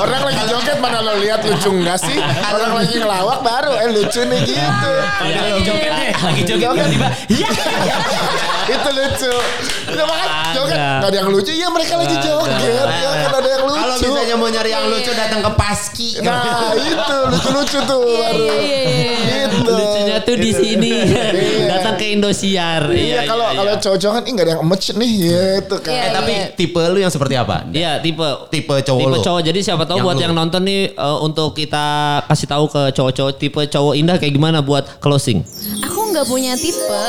Speaker 1: Orang lagi joget mana lo lihat lucu enggak sih? Orang lagi ngelawak baru eh lucu nih gitu.
Speaker 3: Iya.
Speaker 5: Lagi joget nih, lagi joget
Speaker 1: Joget.
Speaker 5: tiba-tiba. Iya.
Speaker 1: Itu lucu. Udah makan joget. Gak ada yang lucu. Iya mereka lagi joget. Ya kan ada yang lucu.
Speaker 7: Kalau misalnya mau nyari
Speaker 4: Iya,
Speaker 7: yang lucu datang ke Paski.
Speaker 2: Eh,
Speaker 1: Nah itu lucu-lucu tuh
Speaker 4: Iya,
Speaker 1: baru. Gitu.
Speaker 3: lucunya tuh di sini datang ke Indosiar
Speaker 1: Iya kalau kalau cowok-cowok kan "Ih, nggak ada yang match nih gitu kan.
Speaker 4: Iya,
Speaker 2: Eh, tapi
Speaker 4: iya.
Speaker 2: tipe lu yang seperti apa?
Speaker 3: Iya tipe
Speaker 2: Tipe cowok
Speaker 3: tipe
Speaker 2: lu.
Speaker 3: cowok jadi siapa tahu
Speaker 2: Yang
Speaker 3: buat
Speaker 2: lu.
Speaker 3: yang nonton nih eh, untuk kita kasih tahu ke cowok-cowok tipe cowok Indah kayak gimana buat closing
Speaker 4: Aku nggak punya tipe.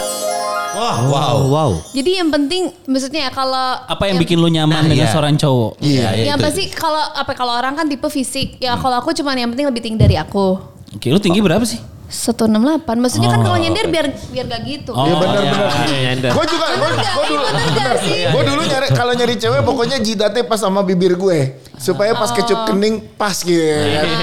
Speaker 2: Wah, wow.
Speaker 3: wow
Speaker 4: Jadi yang penting maksudnya ya kalau
Speaker 5: Apa yang bikin gitu? lu nyaman
Speaker 2: Nah,
Speaker 5: dengan
Speaker 2: iya.
Speaker 5: seorang cowok?
Speaker 2: Iya, iya,
Speaker 4: yang
Speaker 2: itu.
Speaker 4: pasti kalau apa kalau orang kan tipe fisik ya kalau aku cuman yang penting lebih tinggi dari aku
Speaker 5: Oke, lu tinggi berapa sih?
Speaker 4: 168 maksudnya kan
Speaker 5: Oh.
Speaker 4: kalau nyender biar biar gak gitu
Speaker 1: Iya benar
Speaker 5: iya,
Speaker 1: benar.
Speaker 5: iya, iya, iya.
Speaker 1: Gue juga gue
Speaker 4: Bener nggak?
Speaker 1: dulu
Speaker 4: Eh, bener nggak
Speaker 1: bener.
Speaker 4: sih?
Speaker 1: Gua dulu nyari kalau nyari cewek pokoknya jidatnya pas sama bibir gue supaya pas kecup
Speaker 4: Oh.
Speaker 1: kening pas gitu. kan.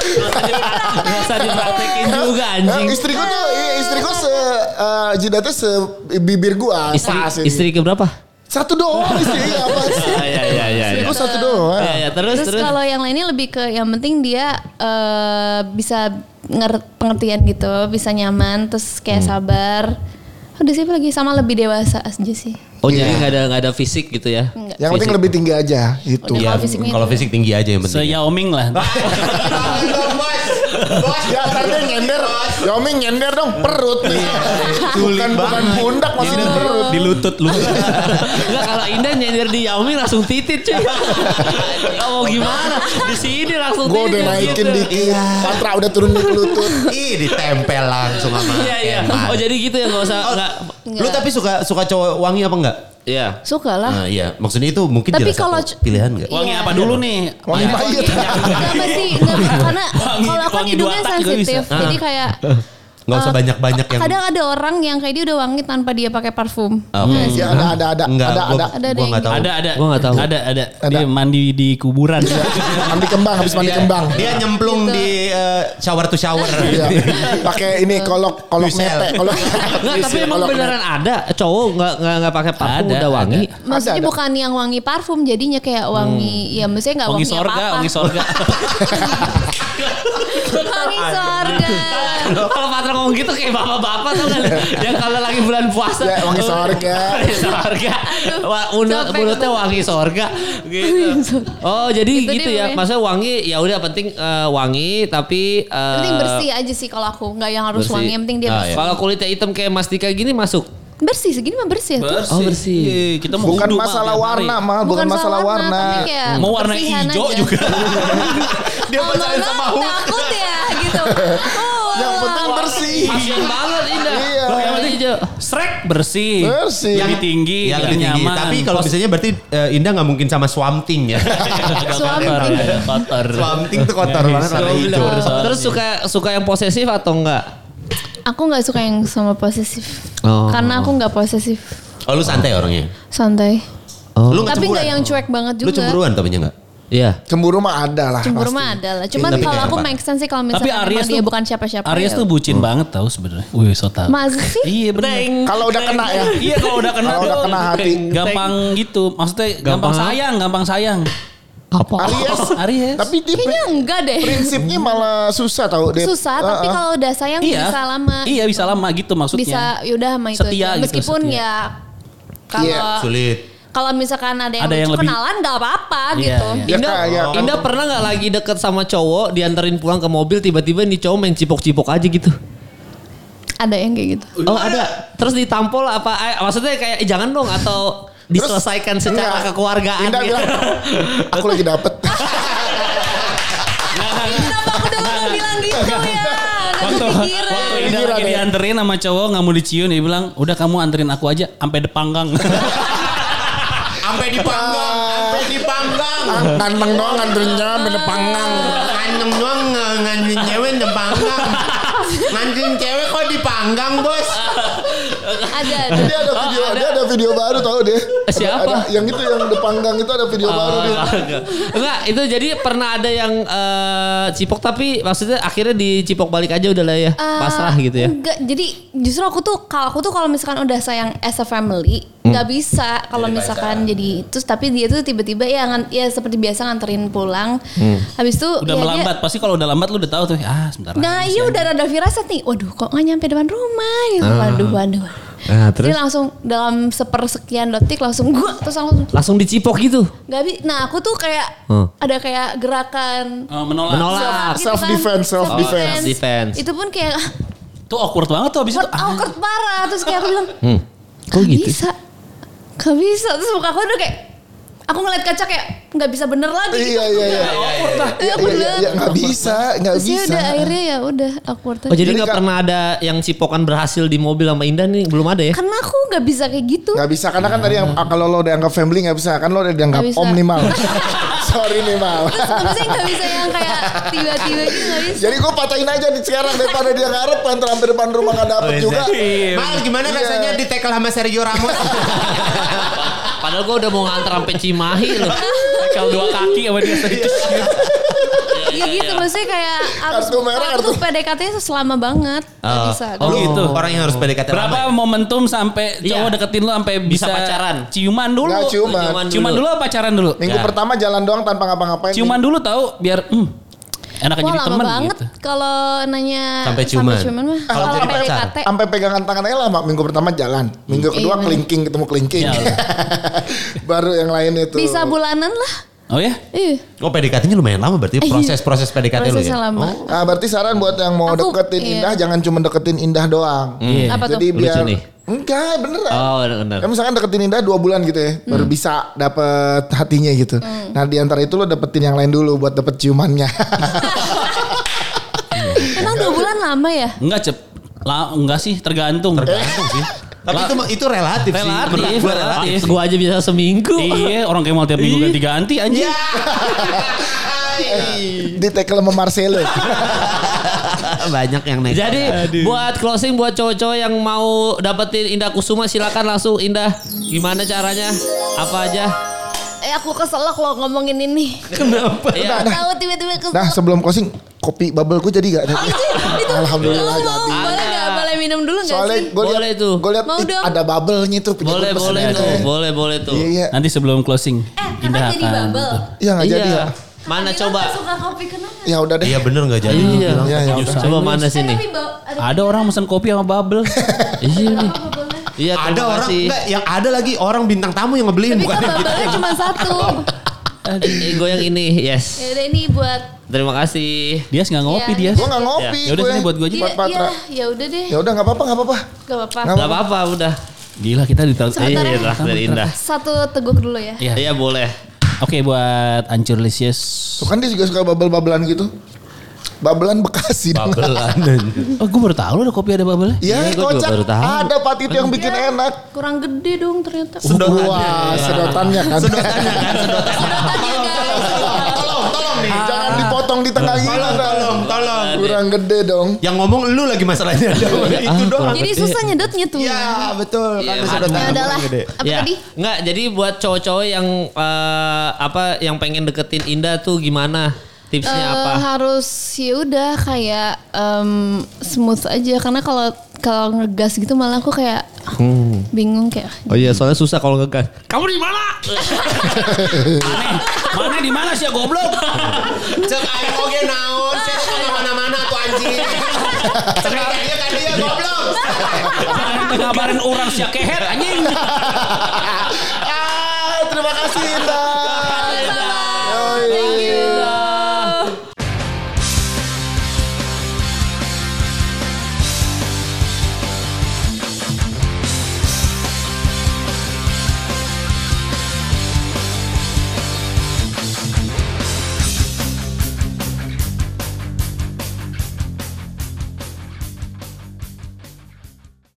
Speaker 3: biasa dipraktekin juga
Speaker 1: Nah,
Speaker 3: anjing
Speaker 1: istri gue tuh iya, istri gue se eh, jidatnya se bibir gue
Speaker 3: istri
Speaker 1: pas ini.
Speaker 3: istri keberapa
Speaker 1: satu doang istri iya, apa sih?
Speaker 3: ya ya ya
Speaker 1: Istri gue satu doang.
Speaker 3: ya, terus
Speaker 4: terus,
Speaker 3: terus
Speaker 4: kalau yang lainnya lebih ke yang penting dia eh, bisa nger- pengertian gitu bisa nyaman terus kayak
Speaker 5: Hmm.
Speaker 4: sabar udah siapa lagi sama lebih dewasa aja sih
Speaker 3: oh jadi nggak ada nggak ada fisik gitu ya
Speaker 4: enggak
Speaker 1: Yang penting lebih tinggi aja gitu. itu.
Speaker 4: Udah.
Speaker 2: Iya,
Speaker 4: Kalau fisiknya
Speaker 2: kalau
Speaker 4: itu.
Speaker 2: fisik tinggi aja yang penting.
Speaker 5: Se-Yaoming lah.
Speaker 7: Bos, bos.
Speaker 1: Ya tadi nyender, Yomi nyender dong perut nih. bukan bukan pundak masih di perut.
Speaker 2: Iya. Di lutut lu.
Speaker 3: Enggak kalau Indah nyender di Yaomi langsung titit cuy. Enggak mau
Speaker 5: "Oh,
Speaker 3: gimana? Di sini langsung
Speaker 1: Gue udah
Speaker 3: titit,
Speaker 1: naikin
Speaker 3: gitu.
Speaker 1: dikit,
Speaker 2: Iya.
Speaker 1: Patra udah turun di lutut.
Speaker 2: Ih, ditempel langsung sama.
Speaker 3: Iya iya.
Speaker 2: Eman.
Speaker 3: Oh jadi gitu ya enggak usah
Speaker 2: Oh,
Speaker 3: enggak
Speaker 2: Lu tapi suka suka cowok wangi apa enggak?
Speaker 3: Iya.
Speaker 4: suka lah
Speaker 5: Eh.
Speaker 2: Nah, iya, maksudnya itu mungkin
Speaker 4: Tapi
Speaker 2: jelas satu
Speaker 4: kalau c-
Speaker 2: pilihan enggak?
Speaker 5: Wangi
Speaker 4: Iya.
Speaker 5: apa dulu nih?
Speaker 1: Wangi mayat.
Speaker 2: Iya.
Speaker 4: Enggak pasti, enggak, karena
Speaker 5: Wangi-
Speaker 4: kalau aku kan
Speaker 5: wangi dua
Speaker 4: hidungnya
Speaker 5: tak juga bisa. Ah.
Speaker 4: sensitif, jadi kayak
Speaker 2: Enggak usah
Speaker 4: eh,
Speaker 2: banyak-banyak yang
Speaker 4: Kadang ada orang yang kayak dia udah wangi tanpa dia pakai parfum.
Speaker 5: Ah,
Speaker 4: Iya
Speaker 2: Oke.
Speaker 1: Ya ada ada ada
Speaker 2: Enggak,
Speaker 1: ada
Speaker 2: gua,
Speaker 1: ada.
Speaker 4: Ada, ada
Speaker 2: gua
Speaker 4: yang
Speaker 2: enggak tahu.
Speaker 5: Ada ada.
Speaker 3: Gua nggak tahu.
Speaker 5: Ada ada. Dia mandi di kuburan.
Speaker 1: Mandi kembang habis
Speaker 2: Iya.
Speaker 1: mandi kembang.
Speaker 2: Dia nyemplung
Speaker 4: Gitu.
Speaker 2: di eh, shower to shower.
Speaker 1: Iya. Pakai ini kolok kolok
Speaker 2: Wisel.
Speaker 1: mete, kolok.
Speaker 2: Nah,
Speaker 3: Enggak tapi
Speaker 1: Wisel,
Speaker 3: emang
Speaker 1: kolok
Speaker 3: beneran ada cowok enggak enggak enggak pakai parfum
Speaker 5: Ada, Hmm.
Speaker 3: udah wangi.
Speaker 1: mete.
Speaker 4: Maksudnya
Speaker 1: Ada, ada.
Speaker 4: bukan yang wangi parfum jadinya kayak wangi ya maksudnya nggak
Speaker 5: Wangi
Speaker 4: wangi,
Speaker 5: sorga,
Speaker 4: apa-apa.
Speaker 5: wangi sorga.
Speaker 4: Wangi sorga.
Speaker 3: Kalau Patra ngomong gitu kayak bapak-bapak tuh kan yang kalau lagi bulan puasa
Speaker 1: Ya, wangi sorga.
Speaker 3: Wangi sorga. Wa- mulut-
Speaker 4: Sampai
Speaker 3: mulutnya wangi sorga gitu. Oh, jadi
Speaker 4: Itu
Speaker 3: gitu
Speaker 4: dia
Speaker 3: ya.
Speaker 4: namanya.
Speaker 3: Maksudnya wangi ya udah penting eh, wangi tapi eh,
Speaker 4: penting bersih aja sih kalau aku nggak yang harus
Speaker 3: Bersih.
Speaker 4: wangi, yang penting dia
Speaker 3: Ah,
Speaker 4: bersih.
Speaker 3: iya. Kalau kulitnya hitam kayak Mas Dika gini masuk.
Speaker 4: Bersih segini mah bersih ya. tuh.
Speaker 3: Oh, bersih.
Speaker 5: Iya, Kita mau
Speaker 1: Bukan
Speaker 5: wudhu, Pak,
Speaker 1: masalah
Speaker 2: Iya,
Speaker 5: tiap hari.
Speaker 1: warna, mal. Ah, Bukan masalah warna.
Speaker 4: tapi kayak
Speaker 5: Hmm. Mau warna
Speaker 4: kebersihan
Speaker 5: hijau
Speaker 4: aja.
Speaker 5: juga.
Speaker 2: Dia
Speaker 4: Oh,
Speaker 2: pacaran
Speaker 4: mohon
Speaker 2: sama
Speaker 4: maaf,
Speaker 2: Hulk.
Speaker 4: takut ya gitu. Oh,
Speaker 1: Yang
Speaker 4: wah.
Speaker 1: penting bersih.
Speaker 3: Passion banget Indah.
Speaker 1: Iya.
Speaker 3: Yang penting hijau.
Speaker 5: Strek bersih.
Speaker 1: Bersih.
Speaker 5: Lebih tinggi,
Speaker 2: Iya,
Speaker 5: lebih
Speaker 2: lebih tinggi.
Speaker 5: nyaman.
Speaker 2: Tapi kalau
Speaker 5: Pos-
Speaker 2: misalnya berarti eh, Indah nggak mungkin sama swamping ya.
Speaker 4: Suami.
Speaker 5: kotor, ya, kotor.
Speaker 2: swamping tuh kotor
Speaker 1: Iya,
Speaker 2: banget warna hijau.
Speaker 3: Terus, terus suka suka yang posesif atau enggak?
Speaker 4: Aku nggak suka yang sama posesif.
Speaker 3: Oh.
Speaker 4: Karena aku nggak posesif.
Speaker 2: Oh lu santai orangnya.
Speaker 4: Santai.
Speaker 2: Lu nggak
Speaker 1: ya?
Speaker 4: Tapi nggak
Speaker 2: cemburuan?
Speaker 4: yang cuek banget juga.
Speaker 2: Lu cemburuan tapi enggak?
Speaker 3: Iya.
Speaker 1: Cemburu mah ada lah.
Speaker 4: Cemburu
Speaker 1: pasti.
Speaker 4: mah ada lah. Cuman
Speaker 2: Tapi
Speaker 4: kalau
Speaker 2: kayak
Speaker 4: aku
Speaker 2: apa?
Speaker 4: make sense sih kalau
Speaker 5: Tapi
Speaker 4: misalnya
Speaker 5: Aries
Speaker 4: memang
Speaker 5: tuh
Speaker 4: dia bukan siapa-siapa.
Speaker 5: Aries
Speaker 4: ya.
Speaker 5: tuh bucin banget tau sebenarnya. Wih, so tau.
Speaker 4: Masih sih?
Speaker 5: Iya bener.
Speaker 1: Kalau udah kena ya.
Speaker 5: Iya kalau udah kena
Speaker 1: Kalau
Speaker 5: tuh
Speaker 1: udah kena hati.
Speaker 5: gampang gitu. Maksudnya gampang,
Speaker 3: Gampang apa?
Speaker 5: sayang, gampang sayang.
Speaker 3: Apa?
Speaker 1: Aries.
Speaker 5: Aries.
Speaker 1: Tapi di
Speaker 4: Kayaknya Iya, enggak deh.
Speaker 1: prinsipnya malah susah tau. Iya. Dia-
Speaker 4: Susah tapi
Speaker 1: Heeh.
Speaker 4: kalau udah sayang
Speaker 5: iya.
Speaker 4: bisa lama.
Speaker 5: Iya bisa lama gitu maksudnya.
Speaker 4: Bisa yaudah ya sama itu
Speaker 5: Setia
Speaker 4: aja.
Speaker 5: gitu,
Speaker 4: Meskipun
Speaker 5: setia.
Speaker 4: ya kalau
Speaker 1: Iya,
Speaker 2: Sulit.
Speaker 4: kalau misalkan ada yang,
Speaker 5: Ada yang
Speaker 4: lucu,
Speaker 5: lebih-
Speaker 4: kenalan nggak apa-apa
Speaker 5: Iya,
Speaker 4: gitu.
Speaker 1: Ya,
Speaker 3: Indah,
Speaker 1: Kak, ya, kan-
Speaker 3: Indah pernah nggak lagi deket sama cowok dianterin pulang ke mobil tiba-tiba nih cowok main cipok-cipok aja gitu.
Speaker 4: Ada yang kayak gitu.
Speaker 3: Oh
Speaker 1: Iya.
Speaker 3: ada. Terus ditampol apa? Eh, Maksudnya kayak "Eh, jangan dong atau diselesaikan secara
Speaker 1: enggak.
Speaker 3: kekeluargaan.
Speaker 1: Indah
Speaker 3: gitu.
Speaker 1: bilang, aku lagi dapet.
Speaker 5: Nah,
Speaker 4: Kenapa aku dulu tuh bilang gitu ya? Gak
Speaker 5: Waktu,
Speaker 4: kepikiran.
Speaker 5: waktu Indah lagi
Speaker 1: Pikiran ya.
Speaker 5: dianterin sama cowok nggak mau dicium dia bilang udah kamu anterin aku aja sampai depanggang.
Speaker 4: Iya,
Speaker 7: Sampai dipanggang, sampai dipanggang.
Speaker 1: Ah, Nantang doang ngantrinya menepanggang.
Speaker 7: Nganem doang nge- ngancurin cewek dipanggang. Ngancurin cewek kok dipanggang bos?
Speaker 4: Ada, ada.
Speaker 1: Dia ada video, dia ada video baru tau deh. Ada-
Speaker 3: Siapa?
Speaker 1: ada- yang itu yang depanggang itu ada video baru
Speaker 3: Oh,
Speaker 1: deh.
Speaker 3: enggak, enggak. Enggak, itu jadi pernah ada yang eh, cipok tapi maksudnya akhirnya dicipok balik aja udah lah ya.
Speaker 5: Ah.
Speaker 4: Eh,
Speaker 3: Pasrah gitu ya.
Speaker 4: Enggak, jadi justru aku tuh kalau aku tuh kalau misalkan udah sayang as a family
Speaker 5: Hmm.
Speaker 4: nggak bisa kalau misalkan jadi terus tapi dia tuh tiba-tiba ya ngan- ya seperti biasa nganterin pulang. Habis itu
Speaker 5: Hmm. udah
Speaker 4: ya dia-
Speaker 5: melambat pasti kalau udah lambat lu udah tahu tuh ah sebentar. lagi
Speaker 4: Nah
Speaker 5: bisa
Speaker 4: iya
Speaker 5: nih.
Speaker 4: udah ada firasat nih Waduh kok gak nyampe depan rumah gitu. Waduh waduh
Speaker 3: Ah. Nah,
Speaker 4: Jadi langsung dalam sepersekian detik langsung gua terus langsung
Speaker 3: langsung dicipok gitu.
Speaker 4: gak bi- Nah aku tuh kayak
Speaker 3: Hmm.
Speaker 4: ada kayak gerakan
Speaker 5: Eh, menolak.
Speaker 3: Menolak.
Speaker 4: gitu
Speaker 1: self
Speaker 4: kan.
Speaker 1: defense, self
Speaker 3: defense.
Speaker 4: Self-defense.
Speaker 3: Defense.
Speaker 4: Itu pun kayak ah,
Speaker 5: Tuh awkward banget tuh abis itu. Ah.
Speaker 4: Awkward awkward parah Terus kayak aku bilang
Speaker 3: Hmm. Kok
Speaker 4: Gak
Speaker 3: gitu?
Speaker 4: bisa Gak bisa Terus muka aku udah kayak Aku ngeliat kaca kayak Gak bisa bener lagi
Speaker 1: Iya iya iya.
Speaker 4: Iya, aku
Speaker 1: Iya, iya,
Speaker 4: bener
Speaker 1: iya, nggak bisa, nggak
Speaker 4: Terus ya
Speaker 1: bisa.
Speaker 4: udah akhirnya ya udah awkward
Speaker 3: Oh
Speaker 4: aja.
Speaker 3: jadi
Speaker 1: Jadi
Speaker 3: nggak
Speaker 1: Kak-
Speaker 3: pernah ada yang cipokan berhasil di mobil sama Indah nih belum ada ya?
Speaker 4: Karena aku gak bisa kayak gitu
Speaker 1: Gak bisa karena kan tadi yang ah, kalau lo udah anggap family gak bisa kan lo udah dianggap
Speaker 4: Nggak bisa.
Speaker 1: om nih mal. Sorry nih mal.
Speaker 4: Terus maksudnya gak bisa yang kayak tiba-tiba gitu gak bisa.
Speaker 1: Jadi gue patahin aja di sekarang daripada dia ngarep kan hampir depan rumah gak
Speaker 2: Oh, iya.
Speaker 3: Oh,
Speaker 1: dapet
Speaker 3: iya.
Speaker 1: juga.
Speaker 7: Mal gimana
Speaker 1: Iya.
Speaker 7: rasanya di tackle sama Sergio Ramos?
Speaker 3: Padahal gua udah mau nganter sampai Cimahi loh. Iya,
Speaker 5: Kalau dua kaki sama dia tadi.
Speaker 4: Ya gitu maksudnya kayak aku,
Speaker 1: Kartu merah,
Speaker 4: aku tuh
Speaker 1: kartu-
Speaker 4: PDKT-nya tuh selama banget. Gak bisa.
Speaker 5: Oh gitu.
Speaker 2: Orang yang harus PDKT lama.
Speaker 5: Berapa momentum sampai
Speaker 3: Iya.
Speaker 5: cowok deketin lu sampai
Speaker 3: Bisa
Speaker 5: bisa,
Speaker 3: pacaran.
Speaker 5: Ciuman dulu.
Speaker 1: Nggak ciuman.
Speaker 3: Ciuman dulu.
Speaker 5: Ciuman dulu apa pacaran dulu?
Speaker 1: Minggu
Speaker 3: Ya.
Speaker 1: pertama jalan doang tanpa ngapa-ngapain.
Speaker 5: Ciuman dulu tahu biar hmm, enak
Speaker 4: Iya. Wah
Speaker 5: jadi
Speaker 4: lama
Speaker 5: teman
Speaker 4: banget
Speaker 5: gitu.
Speaker 4: kalau nanya
Speaker 2: Sampai ciuman.
Speaker 4: mah.
Speaker 2: Kalau
Speaker 4: Kalau
Speaker 2: jadi pacar.
Speaker 4: PDKT.
Speaker 1: Sampai pegangan tangan aja lama. Minggu pertama jalan. Minggu kedua
Speaker 4: Iya.
Speaker 1: kelingking ketemu kelingking.
Speaker 5: Ya.
Speaker 3: Iya.
Speaker 1: Baru yang lain itu.
Speaker 4: Bisa bulanan lah. Iya,
Speaker 5: Oh ya?
Speaker 4: Ih,
Speaker 2: Oh PDKT-nya lumayan lama berarti
Speaker 4: Iya.
Speaker 2: proses-proses PDKT lu
Speaker 4: prosesnya
Speaker 2: ya?
Speaker 4: lama.
Speaker 1: Nah, berarti saran buat yang mau
Speaker 4: Aku-
Speaker 1: deketin
Speaker 4: iya.
Speaker 1: Indah jangan cuma deketin Indah doang.
Speaker 5: Iya.
Speaker 4: Apa
Speaker 1: Jadi
Speaker 3: Hmm. Lucu
Speaker 4: tuh?
Speaker 1: biar
Speaker 3: nih.
Speaker 1: enggak beneran.
Speaker 3: Oh Hmm. benar.
Speaker 1: Ya misalkan deketin Indah dua bulan gitu ya, baru bisa dapet hatinya gitu.
Speaker 4: Hmm.
Speaker 1: Nah di antara itu lo dapetin yang lain dulu buat dapet ciumannya.
Speaker 4: Emang dua bulan lama ya?
Speaker 5: Enggak cep. La, enggak sih tergantung.
Speaker 2: Tergantung sih. Tapi itu itu relatif,
Speaker 5: Relatif,
Speaker 2: sih. Menurut gua relatif.
Speaker 3: Gua aja bisa seminggu.
Speaker 5: iya, orang kayak mau tiap minggu ganti-ganti
Speaker 4: Iya.
Speaker 5: anjing.
Speaker 1: di tackle sama Marcelo.
Speaker 2: Banyak yang naik.
Speaker 3: Jadi Nah, buat closing buat cowok-cowok yang mau dapetin Indah Kusuma silakan langsung Indah. Gimana caranya? Apa aja?
Speaker 4: Eh aku kesel lah kalau ngomongin ini.
Speaker 3: Kenapa?
Speaker 4: Gak tahu tiba-tiba kesel.
Speaker 1: Nah sebelum closing kopi bubble gue jadi gak?
Speaker 4: Oh, itu, itu.
Speaker 1: Alhamdulillah
Speaker 4: Lu mau
Speaker 1: jadi.
Speaker 4: boleh gak? Boleh minum dulu gak
Speaker 1: Soalnya
Speaker 4: sih?
Speaker 1: gue liat,
Speaker 3: Boleh tuh.
Speaker 1: Gue liat
Speaker 4: Mau
Speaker 1: ih,
Speaker 4: dong.
Speaker 1: ada bubble-nya tuh. punya
Speaker 3: Boleh
Speaker 1: gua pesen
Speaker 3: boleh
Speaker 1: aja
Speaker 3: tuh,
Speaker 1: ya.
Speaker 3: boleh boleh tuh.
Speaker 1: Iya iya.
Speaker 5: Nanti sebelum closing kan.
Speaker 4: Eh,
Speaker 5: Indah
Speaker 4: kakak jadi
Speaker 5: akan-
Speaker 4: bubble.
Speaker 1: Iya
Speaker 4: Oh,
Speaker 1: gak jadi ya.
Speaker 3: Iya. Mana
Speaker 4: Kakak
Speaker 3: coba?
Speaker 4: bilang suka kopi kenapa? Eh,
Speaker 1: Ya udah deh.
Speaker 2: Iya bener nggak jadi. lu
Speaker 3: Iya.
Speaker 2: bilang.
Speaker 1: Iya, ya udah.
Speaker 3: Coba mana sini?
Speaker 4: Tapi bau-
Speaker 5: Ada orang mesen kopi sama bubble.
Speaker 3: Iya nih.
Speaker 4: apa boleh?
Speaker 3: Iya,
Speaker 2: Ada
Speaker 3: terima
Speaker 2: orang
Speaker 3: kasih.
Speaker 2: enggak yang ada lagi orang bintang tamu yang ngebeliin
Speaker 4: Tapi
Speaker 2: bukan
Speaker 4: kan
Speaker 2: yang gitu. kita.
Speaker 4: bubble cuma satu.
Speaker 3: Eh, eh, gue yang ini,
Speaker 4: Ya
Speaker 3: yes.
Speaker 4: udah ini buat
Speaker 3: Terima kasih.
Speaker 5: Dia nggak ngopi
Speaker 4: Iya.
Speaker 5: dia.
Speaker 1: Gue gak ngopi
Speaker 5: Ya udah
Speaker 1: gue.
Speaker 5: sini buat gue aja.
Speaker 4: dia
Speaker 1: Buat Patra.
Speaker 4: ya, ya udah deh.
Speaker 1: Ya udah gak apa-apa gak apa-apa.
Speaker 4: Gak apa-apa.
Speaker 1: Nggak
Speaker 3: Gak apa-apa, udah.
Speaker 5: Gila kita ditaruh.
Speaker 4: Sebentar ya.
Speaker 3: Indah dari Indah.
Speaker 4: Satu teguk dulu ya.
Speaker 5: Iya.
Speaker 3: Iya boleh.
Speaker 5: Oke buat Ancur Lisius.
Speaker 1: Tuh kan dia juga suka bubble-bubblean gitu. Bubble-an Bekasi. dong.
Speaker 5: Oh gue baru tahu ada kopi ada bubble
Speaker 1: Iya
Speaker 3: Iya, gua juga
Speaker 1: kocak.
Speaker 3: baru tahu.
Speaker 1: Ada Pak Tito yang bikin
Speaker 4: Iya.
Speaker 1: enak.
Speaker 4: Kurang gede dong ternyata.
Speaker 2: Sedotannya.
Speaker 1: Wah, sedotannya kan. Sedotannya kan.
Speaker 4: Tadi ya, guys.
Speaker 1: Tolong, tolong nih. Jangan dipotong di tengah gini.
Speaker 2: Tolong, tolong, tolong.
Speaker 1: Kurang gede dong.
Speaker 2: Yang ngomong lu lagi masalahnya. Itu
Speaker 7: Gitu.
Speaker 2: doang.
Speaker 4: Jadi susah nyedotnya tuh.
Speaker 2: Ya betul.
Speaker 3: Iya,
Speaker 2: Karena sedotan
Speaker 4: Ya
Speaker 2: lu
Speaker 4: udahlah.
Speaker 2: gede.
Speaker 4: Apa tadi?
Speaker 3: Enggak, Iya. jadi buat cowok-cowok yang eh, apa yang pengen deketin Indah tuh gimana? Tipsnya
Speaker 4: Eh,
Speaker 3: apa?
Speaker 4: harus ya udah kayak em, smooth aja karena kalau kalau ngegas gitu malah aku kayak ah, bingung kayak
Speaker 3: Oh iya, soalnya susah kalau ngegas.
Speaker 5: Kamu di mana? Mana? Mana di mana sih ya, goblok?
Speaker 7: Cek ayo oke naon, cek sama mana-mana tuh anjing. Cek dia kan
Speaker 2: Iya.
Speaker 7: dia goblok.
Speaker 5: Jangan ngabarin orang sih ya, kehet anjing.
Speaker 7: Ah,
Speaker 2: Terima kasih Intan.